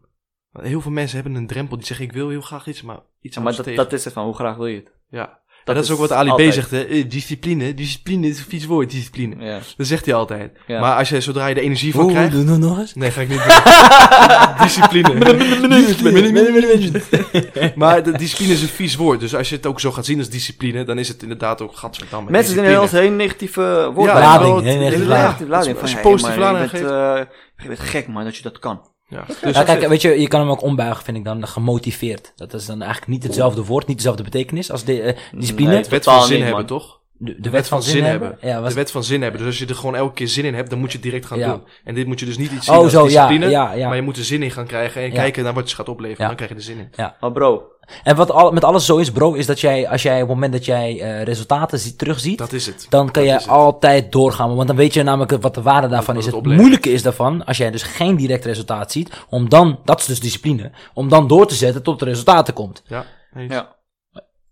[SPEAKER 1] Want Heel veel mensen hebben een drempel. Die zeggen, ik wil heel graag iets, maar iets
[SPEAKER 2] Ja,
[SPEAKER 1] aan
[SPEAKER 2] maar
[SPEAKER 1] ons
[SPEAKER 2] dat,
[SPEAKER 1] tegen.
[SPEAKER 2] dat is het van, hoe graag wil je het?
[SPEAKER 1] Ja. Dat, dat is ook wat Ali
[SPEAKER 2] altijd.
[SPEAKER 1] B zegt, hè? Eh, Discipline. Discipline is een vies woord, discipline.
[SPEAKER 2] Ja.
[SPEAKER 1] Dat zegt hij altijd.
[SPEAKER 2] Ja.
[SPEAKER 1] Maar als je, zodra je de energie van
[SPEAKER 3] Oeh,
[SPEAKER 1] krijgt...
[SPEAKER 3] doe doe nog eens.
[SPEAKER 1] Nee, ga ik niet doen. discipline. maar de, discipline is een vies woord. Dus als je het ook zo gaat zien als discipline, dan is het inderdaad ook gadverdamme.
[SPEAKER 2] Mensen zijn
[SPEAKER 1] discipline.
[SPEAKER 2] inderdaad heel negatieve woorden.
[SPEAKER 1] Ja,
[SPEAKER 3] Lading,
[SPEAKER 1] wel,
[SPEAKER 3] hè,
[SPEAKER 1] het-
[SPEAKER 3] echt
[SPEAKER 2] Hele
[SPEAKER 1] inderdaad.
[SPEAKER 3] lading.
[SPEAKER 2] negatieve lading.
[SPEAKER 1] Als
[SPEAKER 2] Van,
[SPEAKER 1] je
[SPEAKER 2] hey,
[SPEAKER 1] positieve
[SPEAKER 2] maar
[SPEAKER 1] lading
[SPEAKER 2] je, eh, bent,
[SPEAKER 1] geeft.
[SPEAKER 2] eh, je bent gek man dat je dat kan.
[SPEAKER 1] Ja, dus
[SPEAKER 3] Ja,
[SPEAKER 1] dat is
[SPEAKER 3] kijk,
[SPEAKER 1] het.
[SPEAKER 3] weet je, je kan hem ook ombuigen, vind ik dan, gemotiveerd. Dat is dan eigenlijk niet hetzelfde woord, niet dezelfde betekenis als de eh, discipline.
[SPEAKER 2] Nee,
[SPEAKER 1] de wet
[SPEAKER 2] totaal
[SPEAKER 1] van zin
[SPEAKER 2] niet,
[SPEAKER 1] hebben,
[SPEAKER 2] man.
[SPEAKER 1] toch?
[SPEAKER 3] de, de
[SPEAKER 1] De wet van zin hebben.
[SPEAKER 3] Ja, was
[SPEAKER 1] De wet van zin hebben. Dus als je er gewoon elke keer zin in hebt, dan moet je het direct gaan
[SPEAKER 3] Ja.
[SPEAKER 1] doen. En dit moet je dus niet iets zien
[SPEAKER 3] Oh,
[SPEAKER 1] als
[SPEAKER 3] zo, ja,
[SPEAKER 1] discipline,
[SPEAKER 3] ja, ja.
[SPEAKER 1] maar je moet er zin in gaan krijgen en
[SPEAKER 3] Ja.
[SPEAKER 1] kijken naar wat je gaat opleveren.
[SPEAKER 3] Ja.
[SPEAKER 1] Dan krijg je er zin in.
[SPEAKER 2] Maar Oh, bro,
[SPEAKER 3] En wat al, met alles zo is, bro, is dat jij, als jij op het moment dat jij eh, resultaten ziet, terugziet,
[SPEAKER 1] Dat is het.
[SPEAKER 3] dan kan
[SPEAKER 1] is
[SPEAKER 3] je
[SPEAKER 1] het.
[SPEAKER 3] altijd doorgaan. Want dan weet je namelijk wat de waarde daarvan
[SPEAKER 1] Wat
[SPEAKER 3] is.
[SPEAKER 1] het
[SPEAKER 3] Het
[SPEAKER 1] oplevert.
[SPEAKER 3] moeilijke is daarvan, als jij dus geen direct resultaat ziet, om dan, dat is dus discipline, om dan door te zetten tot de resultaten komt.
[SPEAKER 1] Ja. eens.
[SPEAKER 2] ja.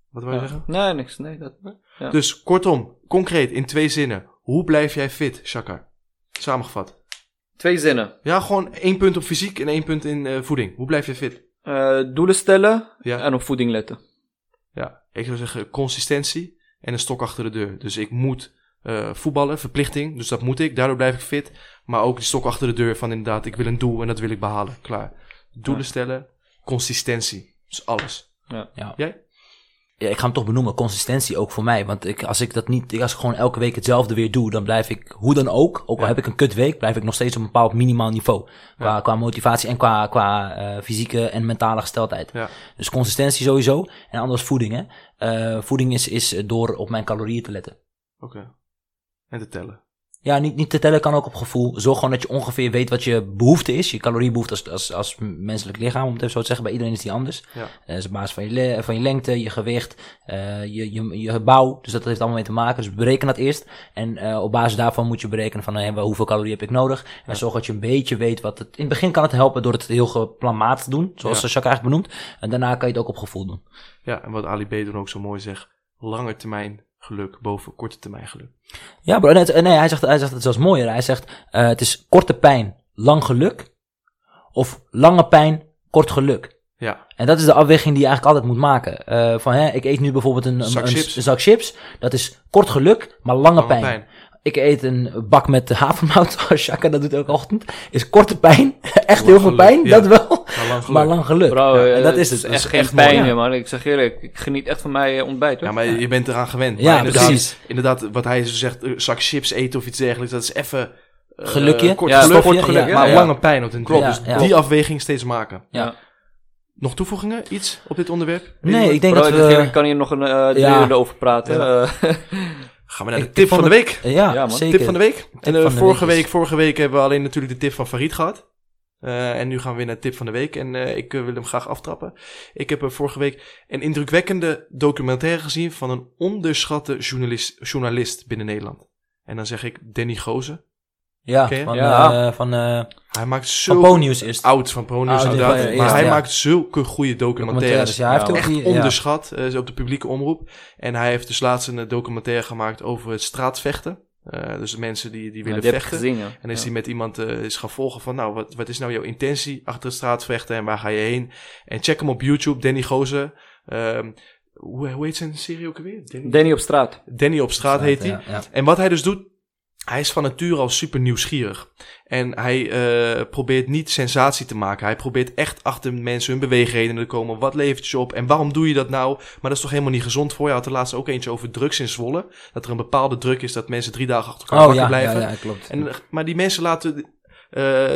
[SPEAKER 1] Wat wil je zeggen?
[SPEAKER 2] Nee, niks. Nee, dat... Ja.
[SPEAKER 1] Dus kortom, concreet in twee zinnen. Hoe blijf jij fit, Shakar? Samengevat.
[SPEAKER 2] Twee zinnen.
[SPEAKER 1] Ja, gewoon één punt op fysiek en één punt in eh, voeding. Hoe blijf je fit?
[SPEAKER 2] Eh, doelen stellen
[SPEAKER 1] Ja.
[SPEAKER 2] en op voeding letten.
[SPEAKER 1] Ja, ik zou zeggen consistentie en een stok achter de deur. Dus ik moet eh, voetballen, verplichting, dus dat moet ik. Daardoor blijf ik fit. Maar ook die stok achter de deur van inderdaad, ik wil een doel en dat wil ik behalen. Klaar. Doelen
[SPEAKER 2] Ja.
[SPEAKER 1] stellen, consistentie. Dus alles.
[SPEAKER 3] Ja, ik ga hem toch benoemen, consistentie ook voor mij. Want ik, als ik dat niet, ik- als ik gewoon elke week hetzelfde weer doe, dan blijf ik, hoe dan ook, ook al
[SPEAKER 1] Ja.
[SPEAKER 3] heb ik een kutweek, blijf ik nog steeds op een bepaald minimaal niveau. Qua,
[SPEAKER 1] Ja.
[SPEAKER 3] qua motivatie en qua, qua eh, fysieke en mentale gesteldheid.
[SPEAKER 1] Ja.
[SPEAKER 3] Dus consistentie sowieso. En anders voeding, hè. Eh, voeding is, is door op mijn calorieën te letten.
[SPEAKER 1] Oké. En te tellen.
[SPEAKER 3] Ja, niet, niet te tellen kan ook op gevoel. Zorg gewoon dat je ongeveer weet wat je behoefte is. Je caloriebehoefte als, als, als menselijk lichaam, om het even zo te zeggen. Bij iedereen is die anders.
[SPEAKER 1] Ja.
[SPEAKER 3] Eh, is op basis van je, le- van je lengte, je gewicht, eh, je, je, je bouw. Dus dat heeft allemaal mee te maken. Dus bereken dat eerst. En eh, op basis daarvan moet je berekenen van eh, hoeveel calorieën heb ik nodig. En zorg dat je een beetje weet wat het... In het begin kan het helpen door het heel geplamaat te doen. Zoals
[SPEAKER 1] Ja.
[SPEAKER 3] Jacques eigenlijk benoemt. En daarna kan je het ook op gevoel doen.
[SPEAKER 1] Ja, en wat Ali B. dan ook zo mooi zegt. Lange termijn geluk boven korte termijn geluk.
[SPEAKER 3] Ja, bro. Nee, nee, hij, zegt, hij zegt het zelfs mooier. Hij zegt, eh, het is korte pijn, lang geluk. Of lange pijn, kort geluk.
[SPEAKER 1] Ja,
[SPEAKER 3] En dat is de afweging die je eigenlijk altijd moet maken. Eh, van, hè, ik eet nu bijvoorbeeld een, een-
[SPEAKER 1] Zak
[SPEAKER 3] een
[SPEAKER 1] chips.
[SPEAKER 3] een zak chips. Dat is kort geluk, maar lange,
[SPEAKER 1] lange
[SPEAKER 3] pijn.
[SPEAKER 1] pijn.
[SPEAKER 3] Ik eet een bak met havermout, zoals Shaka dat doet elke ochtend. Is korte pijn, echt heel veel
[SPEAKER 1] geluk,
[SPEAKER 3] pijn,
[SPEAKER 1] ja.
[SPEAKER 3] dat wel.
[SPEAKER 1] Maar lang geluk.
[SPEAKER 3] Maar lang geluk.
[SPEAKER 2] Bro,
[SPEAKER 3] Ja,
[SPEAKER 2] eh,
[SPEAKER 3] en dat is het.
[SPEAKER 2] is
[SPEAKER 3] Dat
[SPEAKER 2] echt
[SPEAKER 3] is
[SPEAKER 2] geen
[SPEAKER 3] echt mooi.
[SPEAKER 2] pijn
[SPEAKER 3] Ja.
[SPEAKER 2] meer, man. Ik zeg eerlijk, ik geniet echt van mijn eh, ontbijt, hoor.
[SPEAKER 1] Ja, maar je bent eraan gewend.
[SPEAKER 3] Ja,
[SPEAKER 1] maar inderdaad,
[SPEAKER 3] precies.
[SPEAKER 1] Inderdaad, wat hij zo zegt, een zak chips eten of iets dergelijks, dat is even... eh,
[SPEAKER 3] Gelukje.
[SPEAKER 1] Kort
[SPEAKER 2] Ja,
[SPEAKER 1] geluk,
[SPEAKER 3] stofje,
[SPEAKER 1] kort geluk,
[SPEAKER 3] ja.
[SPEAKER 1] maar
[SPEAKER 2] Ja, ja.
[SPEAKER 1] lange pijn op den klopt.
[SPEAKER 3] Ja,
[SPEAKER 1] dus
[SPEAKER 3] ja.
[SPEAKER 1] die afweging steeds maken.
[SPEAKER 3] ja.
[SPEAKER 1] Nog toevoegingen? Iets op dit onderwerp?
[SPEAKER 3] Nee, ik denk
[SPEAKER 2] Bro,
[SPEAKER 3] dat
[SPEAKER 2] ik
[SPEAKER 3] we...
[SPEAKER 2] ik kan hier nog een eh drie
[SPEAKER 3] Ja.
[SPEAKER 2] uur over praten. eh.
[SPEAKER 1] Gaan we naar de
[SPEAKER 3] Ik
[SPEAKER 1] tip van
[SPEAKER 3] vond
[SPEAKER 1] de week.
[SPEAKER 3] Ja,
[SPEAKER 2] Ja, man.
[SPEAKER 3] zeker.
[SPEAKER 1] Tip van de week. En eh,
[SPEAKER 3] van de
[SPEAKER 1] vorige,
[SPEAKER 3] week is-
[SPEAKER 1] week, vorige week hebben we alleen natuurlijk de tip van Farid gehad. Eh, en nu gaan we weer naar tip van de week. En eh, ik eh, wil hem graag aftrappen. Ik heb eh, vorige week een indrukwekkende documentaire gezien van een onderschatte journalist, journalist binnen Nederland. En dan zeg ik Danny Gozen.
[SPEAKER 3] Ja,
[SPEAKER 1] Ken je?
[SPEAKER 3] van,
[SPEAKER 2] Ja.
[SPEAKER 3] eh, van, eh,
[SPEAKER 1] Hij maakt
[SPEAKER 3] van
[SPEAKER 1] zulke...
[SPEAKER 3] Ponyus is het.
[SPEAKER 1] Oud van Ponyus,
[SPEAKER 3] Oud, ja,
[SPEAKER 1] inderdaad.
[SPEAKER 3] ja, ja,
[SPEAKER 1] maar
[SPEAKER 3] ja.
[SPEAKER 1] hij
[SPEAKER 3] Ja.
[SPEAKER 1] maakt zulke goede documentaires.
[SPEAKER 3] Documentaires. Ja, hij heeft
[SPEAKER 2] Ja,
[SPEAKER 3] ook
[SPEAKER 1] Echt
[SPEAKER 3] die- ja.
[SPEAKER 1] onderschat eh, op de publieke omroep. En hij heeft dus laatst een eh, documentaire gemaakt over het straatvechten. Eh, dus de mensen die, die willen
[SPEAKER 2] die heb ik
[SPEAKER 1] vechten.
[SPEAKER 2] gezien, ja.
[SPEAKER 1] En is
[SPEAKER 2] Ja.
[SPEAKER 1] hij met iemand eh, is gaan volgen van, nou, wat, wat is nou jouw intentie achter het straatvechten en waar ga je heen? En check hem op YouTube, Danny Gozen. Ehm, hoe, hoe heet zijn serie ook alweer? Danny,
[SPEAKER 2] Danny op straat.
[SPEAKER 1] Danny op straat heet hij.
[SPEAKER 3] Ja, ja.
[SPEAKER 1] En wat hij dus doet, hij is van nature al super nieuwsgierig. En hij eh, probeert niet sensatie te maken. Hij probeert echt achter mensen hun beweegredenen te komen. Wat levert je op en waarom doe je dat nou? Maar dat is toch helemaal niet gezond voor je? Hij had er laatst ook eentje over drugs in Zwolle. Dat er een bepaalde druk is dat mensen drie dagen achter elkaar
[SPEAKER 3] Oh
[SPEAKER 1] wakker
[SPEAKER 3] ja,
[SPEAKER 1] blijven.
[SPEAKER 3] ja, ja, klopt.
[SPEAKER 1] En, eh, maar die mensen laten... eh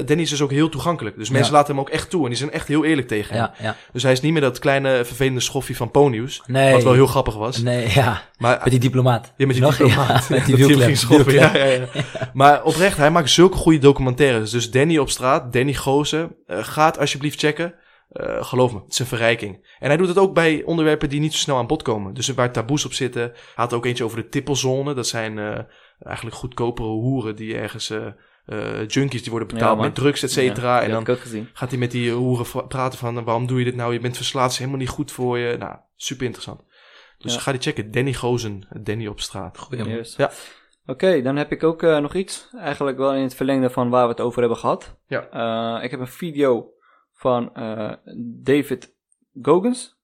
[SPEAKER 1] Danny is dus ook heel toegankelijk. Dus mensen
[SPEAKER 3] Ja.
[SPEAKER 1] laten hem ook echt toe. En die zijn echt heel eerlijk tegen hem.
[SPEAKER 3] ja, ja.
[SPEAKER 1] Dus hij is niet meer dat kleine vervelende schoffie van Ponius.
[SPEAKER 3] Nee.
[SPEAKER 1] Wat wel heel grappig was.
[SPEAKER 3] Nee, ja.
[SPEAKER 1] Maar
[SPEAKER 3] Met die diplomaat.
[SPEAKER 1] ja, met die
[SPEAKER 3] Nog-
[SPEAKER 1] diplomaat.
[SPEAKER 3] Ja, met
[SPEAKER 1] Dat hij hem
[SPEAKER 3] die wielklem.
[SPEAKER 1] ging schoppen.
[SPEAKER 3] Wielklem.
[SPEAKER 1] Ja, ja, ja. Maar oprecht, hij maakt zulke goede documentaires. Dus Danny op straat, Danny Gozen. eh, ga het alsjeblieft checken. Eh, geloof me, het is een verrijking. En hij doet het ook bij onderwerpen die niet zo snel aan bod komen. Dus waar taboes op zitten. Hij had ook eentje over de tippelzone. Dat zijn eh, eigenlijk goedkopere hoeren die ergens... eh, eh, junkies die worden
[SPEAKER 2] Ja,
[SPEAKER 1] betaald
[SPEAKER 2] man.
[SPEAKER 1] met drugs, et cetera.
[SPEAKER 2] Ja,
[SPEAKER 1] en
[SPEAKER 2] die
[SPEAKER 1] dan
[SPEAKER 2] heb ik ook gezien.
[SPEAKER 1] gaat hij met die hoeren vra- praten van... eh, waarom doe je dit nou? Je bent verslaafd, het is helemaal niet goed voor je. Nou, super interessant. Dus
[SPEAKER 2] Ja.
[SPEAKER 1] ga die checken. Danny Gozen, Danny op straat.
[SPEAKER 3] Goeie man.
[SPEAKER 2] Yes.
[SPEAKER 1] Ja.
[SPEAKER 2] Oké, dan heb ik ook eh, nog iets. Eigenlijk wel in het verlengde van waar we het over hebben gehad.
[SPEAKER 1] Ja.
[SPEAKER 2] Eh, ik heb een video van eh, David Goggins.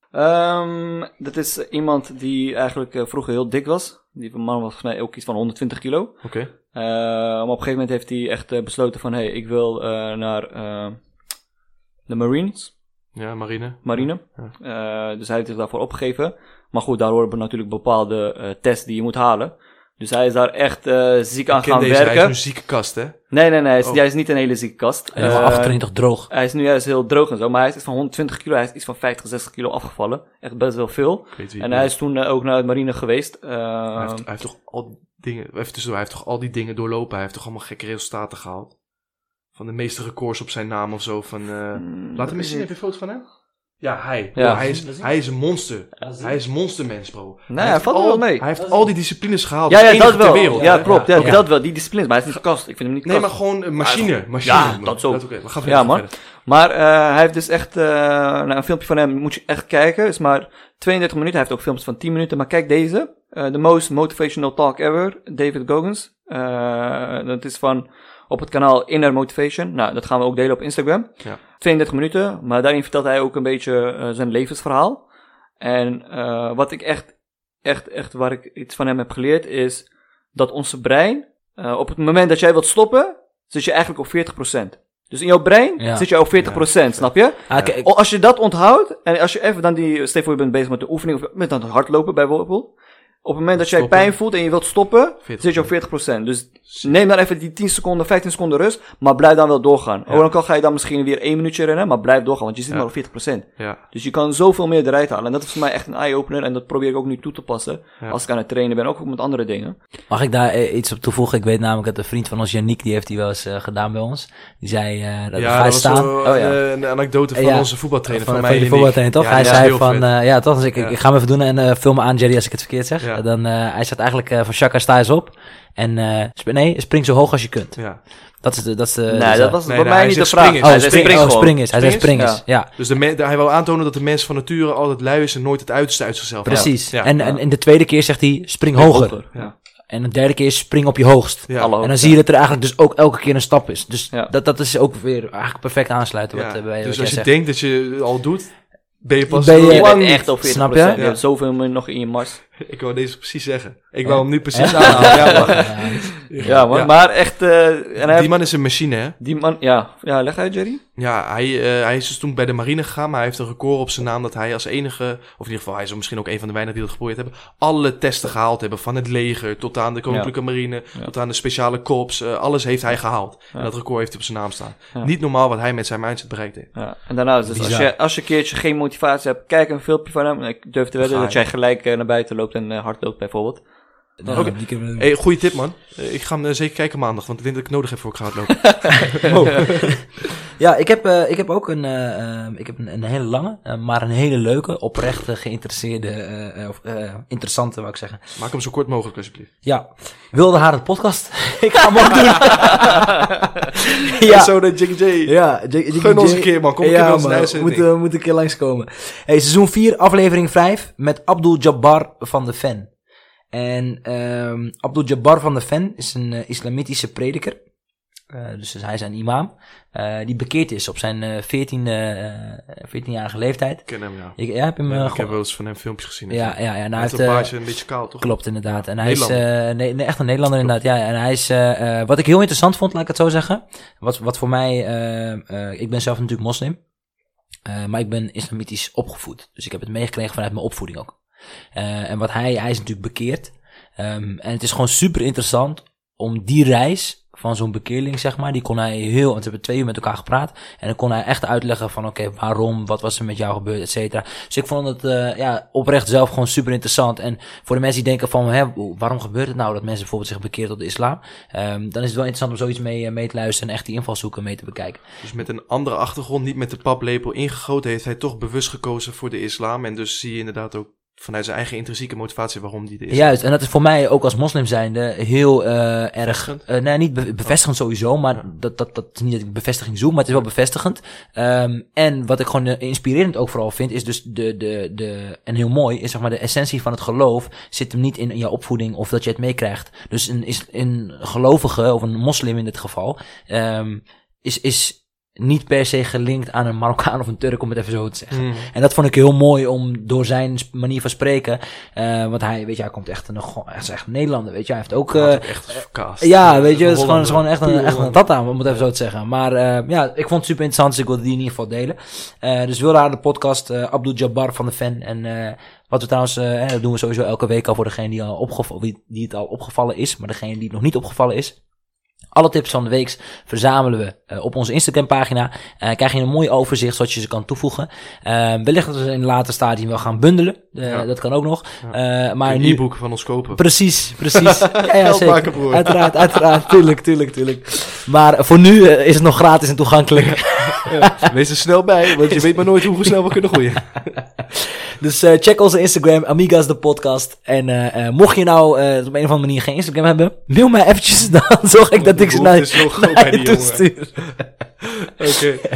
[SPEAKER 2] Ehm, dat is iemand die eigenlijk eh, vroeger heel dik was. Die man was volgens mij ook iets van 120 kilo.
[SPEAKER 1] Oké.
[SPEAKER 2] Eh, maar op een gegeven moment heeft hij echt eh, besloten van... hé, hey, ik wil eh, naar eh, de Marines,
[SPEAKER 1] Ja, Marine.
[SPEAKER 2] marine. Eh, dus hij heeft zich daarvoor opgegeven. Maar goed, daar horen natuurlijk bepaalde eh, tests die je moet halen. Dus hij is daar echt eh, ziek aan
[SPEAKER 1] Ik ken
[SPEAKER 2] gaan
[SPEAKER 1] deze, hij is
[SPEAKER 2] werken.
[SPEAKER 1] een zieke kast, hè?
[SPEAKER 2] Nee, nee, nee. Hij is,
[SPEAKER 1] Oh.
[SPEAKER 2] hij is niet een hele zieke kast.
[SPEAKER 3] Helemaal
[SPEAKER 2] Eh,
[SPEAKER 3] achterin toch droog.
[SPEAKER 2] hij is nu juist heel droog en zo. Maar hij is iets van 120 kilo. Hij is iets van 50, 60 kilo afgevallen. Echt best wel veel.
[SPEAKER 1] Ik weet wie.
[SPEAKER 2] En hij is toen eh, ook naar de marine geweest. Eh,
[SPEAKER 1] hij, heeft, hij heeft toch al dingen... Even tussendoor, hij heeft toch al die dingen doorlopen? Hij heeft toch allemaal gekke resultaten gehaald? Van de meeste records op zijn naam of zo, van... eh,
[SPEAKER 2] mm,
[SPEAKER 1] Laat hem eens zien, heb je een foto van hem? Ja, hij.
[SPEAKER 2] Ja.
[SPEAKER 1] Ja, hij, is, hij is een monster. Hij is een monstermens, bro.
[SPEAKER 2] Nee, hij
[SPEAKER 1] heeft
[SPEAKER 2] valt
[SPEAKER 1] al-
[SPEAKER 2] wel mee.
[SPEAKER 1] Hij heeft al die disciplines gehaald.
[SPEAKER 2] Ja,
[SPEAKER 1] Als
[SPEAKER 2] ja,
[SPEAKER 1] Oh, enige
[SPEAKER 2] dat wel.
[SPEAKER 1] ter wereld.
[SPEAKER 2] Ja, klopt. Ja,
[SPEAKER 1] Oké.
[SPEAKER 2] Dat wel. Die discipline. Maar hij is niet kast. Ik vind hem niet
[SPEAKER 1] Nee,
[SPEAKER 2] kast.
[SPEAKER 1] maar gewoon een machine. machine
[SPEAKER 2] Ah, Ja,
[SPEAKER 1] bro.
[SPEAKER 2] dat zo.
[SPEAKER 1] oké. We gaan
[SPEAKER 2] Ja,
[SPEAKER 1] verder.
[SPEAKER 2] man.
[SPEAKER 1] verder.
[SPEAKER 2] Maar eh, hij heeft dus echt, eh, nou, een filmpje van hem moet je echt kijken. Is maar 32 minuten. Hij heeft ook filmpjes van 10 minuten. Maar kijk deze. Eh, the most motivational talk ever. David Goggins. Eh, dat is van op het kanaal Inner Motivation. Nou, dat gaan we ook delen op Instagram.
[SPEAKER 1] Ja.
[SPEAKER 2] 32 minuten. Maar daarin vertelt hij ook een beetje eh, zijn levensverhaal. En eh, wat ik echt, echt, echt waar ik iets van hem heb geleerd is dat onze brein eh, op het moment dat jij wilt stoppen, zit je eigenlijk op 40%. Dus in jouw brein
[SPEAKER 3] Ja.
[SPEAKER 2] zit je op 40%, snap je?
[SPEAKER 3] Ah, kijk,
[SPEAKER 2] O, Als je dat onthoudt, en als je even dan die, stel je voor je bent bezig met de oefening, of met aan het hardlopen bijvoorbeeld. Op het moment dat jij
[SPEAKER 1] Stoppen.
[SPEAKER 2] pijn voelt en je wilt stoppen,
[SPEAKER 1] 40%.
[SPEAKER 2] zit je op 40%. Dus neem dan even die 10 seconden, 15 seconden rust, maar blijf dan wel doorgaan.
[SPEAKER 1] Ja.
[SPEAKER 2] Ook dan kan- ga je dan misschien weer 1 minuutje rennen, maar blijf doorgaan, want je zit
[SPEAKER 1] Ja.
[SPEAKER 2] maar op 40%.
[SPEAKER 1] Ja,
[SPEAKER 2] Dus je kan zoveel meer eruit halen. En dat is voor mij echt een eye-opener en dat probeer ik ook nu toe te passen.
[SPEAKER 1] Ja.
[SPEAKER 2] Als ik aan het trainen ben, ook met andere dingen.
[SPEAKER 3] Mag ik daar eh, iets op toevoegen? Ik weet namelijk dat een vriend van ons, Yannick, die heeft die wel eens eh, gedaan bij ons. Die zei, eh dat
[SPEAKER 1] ja
[SPEAKER 3] ga je
[SPEAKER 1] dat was
[SPEAKER 3] staan.
[SPEAKER 1] zo,
[SPEAKER 2] Oh, ja.
[SPEAKER 1] eh, een anekdote van
[SPEAKER 3] Ja.
[SPEAKER 1] onze voetbaltrainer. Van,
[SPEAKER 3] van,
[SPEAKER 1] mij
[SPEAKER 3] van
[SPEAKER 1] en
[SPEAKER 3] die
[SPEAKER 1] ik.
[SPEAKER 3] voetbaltrainer, toch?
[SPEAKER 1] Ja,
[SPEAKER 3] hij
[SPEAKER 1] die is
[SPEAKER 3] zei
[SPEAKER 1] heel
[SPEAKER 3] van,
[SPEAKER 1] vet.
[SPEAKER 3] eh, ja, toch? Dus ik,
[SPEAKER 1] Ja.
[SPEAKER 3] ik ga hem even doen en eh film me aan, Jerry, als ik het verkeerd zeg.
[SPEAKER 1] Ja.
[SPEAKER 3] Dan, eh, hij zegt eigenlijk eh, van, Shaka, sta eens op. En eh, sp- nee, spring zo hoog als je kunt.
[SPEAKER 1] ja.
[SPEAKER 3] Dat is de... Dat is de
[SPEAKER 2] nee, Dus dat was
[SPEAKER 1] nee,
[SPEAKER 2] bij
[SPEAKER 1] nee,
[SPEAKER 2] mij
[SPEAKER 1] hij
[SPEAKER 2] niet de
[SPEAKER 1] zegt
[SPEAKER 2] vraag.
[SPEAKER 1] springen.
[SPEAKER 3] Oh,
[SPEAKER 2] Hij zei
[SPEAKER 3] spring, oh,
[SPEAKER 2] gewoon.
[SPEAKER 3] spring is. Hij zei
[SPEAKER 1] Spring
[SPEAKER 3] spring
[SPEAKER 2] is?
[SPEAKER 3] is, ja.
[SPEAKER 1] Dus de men- de- hij wil aantonen dat de mens van nature altijd lui is en nooit het uiterste uit zichzelf haalt.
[SPEAKER 3] Precies.
[SPEAKER 1] Ja.
[SPEAKER 3] En, en, en de tweede keer zegt hij, spring hoger.
[SPEAKER 1] Ja.
[SPEAKER 3] En de derde keer is spring op je hoogst.
[SPEAKER 1] Ja.
[SPEAKER 2] Alle
[SPEAKER 3] En
[SPEAKER 2] hoogte.
[SPEAKER 3] dan zie je dat er eigenlijk dus ook elke keer een stap is. Dus
[SPEAKER 2] Ja.
[SPEAKER 3] dat, dat is ook weer eigenlijk perfect aansluiten wat,
[SPEAKER 1] Ja.
[SPEAKER 3] eh, bij wat
[SPEAKER 1] dus
[SPEAKER 3] jij
[SPEAKER 1] als je
[SPEAKER 3] zegt.
[SPEAKER 1] denkt dat je al doet, ben je pas...
[SPEAKER 3] Ben
[SPEAKER 2] Je
[SPEAKER 3] Lang
[SPEAKER 2] bent
[SPEAKER 3] niet,
[SPEAKER 2] echt op 40%.
[SPEAKER 3] snap je?
[SPEAKER 2] je?
[SPEAKER 1] Ja.
[SPEAKER 2] hebt zoveel meer nog in je mars.
[SPEAKER 1] Ik wou deze precies zeggen. Ik
[SPEAKER 3] Ja.
[SPEAKER 1] wou hem nu precies
[SPEAKER 3] Ja.
[SPEAKER 1] aanhalen. Ja, man.
[SPEAKER 3] Ja.
[SPEAKER 2] Ja, man,
[SPEAKER 1] Ja.
[SPEAKER 2] maar echt... eh, en hij
[SPEAKER 1] Die man is een machine, hè?
[SPEAKER 2] Die man, ja. Ja, leg uit, Jerry.
[SPEAKER 1] Ja, hij, eh, hij is dus toen bij de marine gegaan, maar hij heeft een record op zijn naam dat hij als enige, of in ieder geval hij is misschien ook een van de weinigen die dat geprobeerd hebben, alle testen gehaald hebben. Van het leger tot aan de koninklijke marine,
[SPEAKER 2] Ja.
[SPEAKER 1] tot aan de speciale korps. eh, alles heeft hij gehaald.
[SPEAKER 2] Ja.
[SPEAKER 1] En dat record heeft hij op zijn naam staan.
[SPEAKER 2] Ja.
[SPEAKER 1] Niet normaal wat hij met zijn mindset bereikt heeft.
[SPEAKER 2] Ja. En daarnaast, dus als
[SPEAKER 3] Bizar.
[SPEAKER 2] je, als je een keertje geen motivatie hebt, kijk een filmpje van hem. En Ik durf te wedden
[SPEAKER 1] Ga
[SPEAKER 2] dat
[SPEAKER 1] je.
[SPEAKER 2] jij gelijk eh, naar buiten loopt en eh, hard loopt bijvoorbeeld.
[SPEAKER 3] Ja,
[SPEAKER 1] Oké.
[SPEAKER 3] die kunnen we-
[SPEAKER 1] Hey, goede tip man. Eh, ik ga hem eh, zeker kijken maandag, want ik denk dat ik het nodig heb voor ik ga hardlopen.
[SPEAKER 3] Oh. Ja, ik heb, eh, ik heb ook een, eh, ehm, ik heb een, een hele lange, eh, maar een hele leuke, oprechte, geïnteresseerde, eh, eh, of eh, interessante, wou ik zeggen.
[SPEAKER 1] Maak hem zo kort mogelijk alsjeblieft.
[SPEAKER 3] Ja, wilde haar het podcast? ik ga hem ook doen.
[SPEAKER 1] Ja.
[SPEAKER 3] ja,
[SPEAKER 1] Zo dat Jig J.
[SPEAKER 3] ja, J- J-
[SPEAKER 1] Gun
[SPEAKER 3] J-
[SPEAKER 1] ons een keer man, kom een
[SPEAKER 3] ja,
[SPEAKER 1] keer bij ons in de
[SPEAKER 3] man,
[SPEAKER 1] uitzending.
[SPEAKER 3] moet, eh, moet een keer langskomen. Hey, seizoen 4, aflevering 5, met Abdul Jabbar van de Fan. En ehm Abdul Jabbar van de Fan is een eh, islamitische prediker. Eh, dus hij is een imam. eh, die bekeerd is op zijn eh 14, eh, 14-jarige leeftijd.
[SPEAKER 1] Ik ken hem ja.
[SPEAKER 3] Ik, ja, heb je hem eh,
[SPEAKER 1] Ja, ik
[SPEAKER 3] gewoon-
[SPEAKER 1] heb wel eens van hem filmpjes gezien.
[SPEAKER 3] ja, ja, ja. En hij
[SPEAKER 1] Hij heeft
[SPEAKER 3] heeft,
[SPEAKER 1] een
[SPEAKER 3] eh,
[SPEAKER 1] baardje een beetje kaal toch?
[SPEAKER 3] Klopt, inderdaad. En hij is
[SPEAKER 1] Nederlander.
[SPEAKER 3] eh, nee, nee, echt een Nederlander, inderdaad. Ja, en hij is, eh, eh, wat ik heel interessant vond, laat ik het zo zeggen. Wat, wat voor mij, eh, eh, ik ben zelf natuurlijk moslim. eh, maar ik ben islamitisch opgevoed. Dus ik heb het meegekregen vanuit mijn opvoeding ook. Eh, en wat hij, hij is natuurlijk bekeerd. Ehm, en het is gewoon super interessant om die reis van zo'n bekeerling, zeg maar, die kon hij heel, want we hebben twee uur met elkaar gepraat. En dan kon hij echt uitleggen van, oké, waarom, wat was er met jou gebeurd, et cetera. Dus ik vond het eh, ja, oprecht zelf gewoon super interessant. En voor de mensen die denken van, hè, waarom gebeurt het nou dat mensen bijvoorbeeld zich bekeren tot de islam? Ehm, dan is het wel interessant om zoiets mee, eh, mee te luisteren en echt die invalshoeken mee te bekijken.
[SPEAKER 1] Dus met een andere achtergrond, niet met de paplepel ingegoten, heeft hij toch bewust gekozen voor de islam. En dus zie je inderdaad ook vanuit zijn eigen intrinsieke motivatie waarom die er is.
[SPEAKER 3] Juist, en dat is voor mij ook als moslim zijnde heel eh, erg.
[SPEAKER 1] Bevestigend?
[SPEAKER 3] eh, nee, niet be- bevestigend sowieso, maar
[SPEAKER 1] Ja.
[SPEAKER 3] dat, dat, dat is niet dat ik bevestiging zoek, maar het is wel bevestigend. Ehm, en wat ik gewoon eh, inspirerend ook vooral vind, is dus de, de, de, en heel mooi, is zeg maar de essentie van het geloof zit hem niet in jouw opvoeding of dat je het meekrijgt. Dus een, is, een gelovige, of een moslim in dit geval, ehm, is, is niet per se gelinkt aan een Marokkaan of een Turk, om het even zo te zeggen.
[SPEAKER 1] Hmm.
[SPEAKER 3] En dat vond ik heel mooi om door zijn sp- manier van spreken. eh, want hij, weet je, hij komt echt een, gewoon- hij is echt een Nederlander, weet je. Hij heeft ook. eh,
[SPEAKER 1] Laat ook echt verkaast.
[SPEAKER 3] ja, weet je, het is gewoon,
[SPEAKER 1] Hollander.
[SPEAKER 3] het is gewoon echt
[SPEAKER 1] Puur
[SPEAKER 3] een, echt een
[SPEAKER 1] Hollander.
[SPEAKER 3] tata, om het even zo te zeggen. Maar eh, ja, ik vond het super interessant, dus ik wilde die in ieder geval delen. Eh, dus wilde haar de podcast eh Abdul Jabbar van de fan. En eh, wat we trouwens, eh, hè, dat doen we sowieso elke week al voor degene die, al opgevallen, die, die het al opgevallen is. Maar degene die het nog niet opgevallen is. Alle tips van de week verzamelen we eh, op onze Instagram pagina. Eh, krijg je een mooi overzicht zodat je ze kan toevoegen. Eh, wellicht dat we ze in een later stadium wel gaan bundelen. Eh,
[SPEAKER 1] Ja.
[SPEAKER 3] Dat kan ook nog. Eh, maar
[SPEAKER 1] Een
[SPEAKER 3] nu,
[SPEAKER 1] e-book van ons kopen.
[SPEAKER 3] Precies, precies. ja, ja,
[SPEAKER 1] Geld
[SPEAKER 3] zeker.
[SPEAKER 1] maken, broer.
[SPEAKER 3] Uiteraard, uiteraard. Tuurlijk, tuurlijk, tuurlijk. Maar voor nu eh, is het nog gratis en toegankelijk.
[SPEAKER 1] Wees er snel bij, want je weet maar nooit hoe snel we kunnen groeien.
[SPEAKER 3] Dus eh, check onze Instagram, Amigas de podcast. En eh, eh, mocht je nou eh, op een of andere manier geen Instagram hebben, mail mij eventjes. Dan zorg ik dat ik ze naar,
[SPEAKER 1] Het is zo groot bij
[SPEAKER 3] naar je
[SPEAKER 1] die
[SPEAKER 3] toe
[SPEAKER 1] jongen.
[SPEAKER 3] stuur.
[SPEAKER 1] Oké.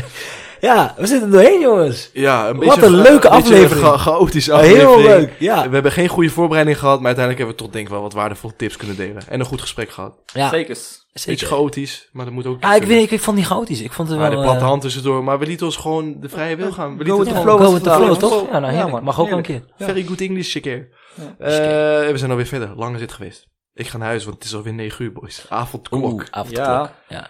[SPEAKER 3] Ja, we zitten er doorheen, jongens.
[SPEAKER 1] Ja, een
[SPEAKER 3] Wat
[SPEAKER 1] beetje
[SPEAKER 3] een
[SPEAKER 1] cha-
[SPEAKER 3] leuke
[SPEAKER 1] beetje
[SPEAKER 3] aflevering.
[SPEAKER 1] Een cha- chaotische aflevering.
[SPEAKER 3] Heel leuk, ja.
[SPEAKER 1] We hebben geen goede voorbereiding gehad, maar uiteindelijk hebben we toch denk ik wel wat waardevolle tips kunnen delen. En een goed gesprek gehad.
[SPEAKER 3] ja
[SPEAKER 2] Zeker.
[SPEAKER 1] Beetje
[SPEAKER 3] zeker.
[SPEAKER 1] chaotisch, maar dat moet ook
[SPEAKER 3] Ah, ik,
[SPEAKER 1] natuurlijk.
[SPEAKER 3] weet, ik, ik vond die chaotisch. Ik vond het
[SPEAKER 1] Ja,
[SPEAKER 3] wel...
[SPEAKER 1] de platte
[SPEAKER 3] eh,
[SPEAKER 1] hand tussendoor, maar we lieten ons gewoon de vrije wil gaan. We lieten
[SPEAKER 2] go with
[SPEAKER 1] het
[SPEAKER 2] the
[SPEAKER 1] gewoon.
[SPEAKER 2] flow.
[SPEAKER 3] go with the
[SPEAKER 2] vertalen,
[SPEAKER 3] flow,
[SPEAKER 1] man.
[SPEAKER 3] toch? Ja, nou heerlijk.
[SPEAKER 2] man,
[SPEAKER 3] Mag ook wel een keer.
[SPEAKER 2] heerlijk.
[SPEAKER 1] Very good English, checker.
[SPEAKER 2] Ja.
[SPEAKER 1] Eh we zijn alweer verder. Lang is het geweest. Ik ga naar huis, want het is alweer 9 uur, boys. Avondklok.
[SPEAKER 3] Oeh, avondklok.
[SPEAKER 2] Ja.
[SPEAKER 3] Ja.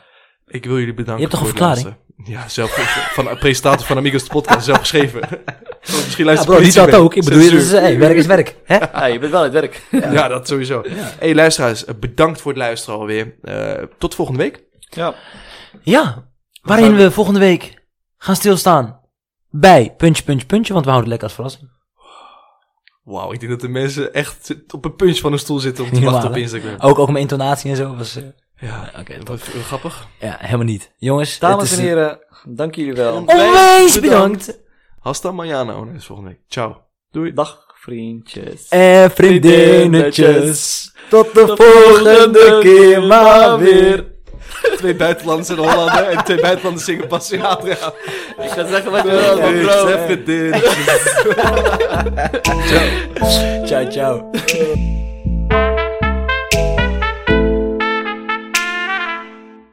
[SPEAKER 1] Ik wil jullie bedanken.
[SPEAKER 3] Je hebt toch
[SPEAKER 1] voor het
[SPEAKER 3] een verklaring?
[SPEAKER 1] luisteren. Ja, zelf, van de presentator van Amigos de Podcast, zelf geschreven. Misschien luistert
[SPEAKER 3] Ja, bro, die
[SPEAKER 1] politie
[SPEAKER 3] dat
[SPEAKER 1] mee.
[SPEAKER 3] ook. Ik bedoel, het
[SPEAKER 1] Censuur.
[SPEAKER 3] is, hey, werk is werk. Hè?
[SPEAKER 2] Ja, je bent wel aan het werk.
[SPEAKER 1] Ja. dat sowieso. hey, luisteraars, eh, bedankt voor het luisteren alweer. Eh, tot volgende week.
[SPEAKER 2] Ja.
[SPEAKER 3] Ja, waarin we volgende week gaan stilstaan bij puntje, puntje, puntje, want we houden het lekker als verrassing.
[SPEAKER 1] Wauw, ik denk dat de mensen echt op een punch van hun stoel zitten om te
[SPEAKER 3] Niet
[SPEAKER 1] wachten op
[SPEAKER 3] normaal, hè?
[SPEAKER 1] Instagram.
[SPEAKER 3] Ook, ook mijn intonatie en zo was... eh,
[SPEAKER 1] Ja,
[SPEAKER 3] Oké,
[SPEAKER 1] dat was eh, grappig.
[SPEAKER 3] ja, helemaal niet. Jongens, het
[SPEAKER 2] Dames
[SPEAKER 3] is-
[SPEAKER 2] en heren, dank jullie wel.
[SPEAKER 3] onwijs bedankt.
[SPEAKER 1] Hasta mañana. Oh nee, dat is volgende week. Ciao. Doei.
[SPEAKER 2] Dag, vriendjes.
[SPEAKER 3] En Eh, vriendinnetjes, tot de volgende keer maar weer.
[SPEAKER 1] Twee buitenlanders en Hollander en twee buitenlanders zingen Passionatra.
[SPEAKER 2] Ik ga zeggen wat ik
[SPEAKER 1] Ja,
[SPEAKER 2] wil, maar bro.
[SPEAKER 1] dit.
[SPEAKER 3] Ciao, ciao.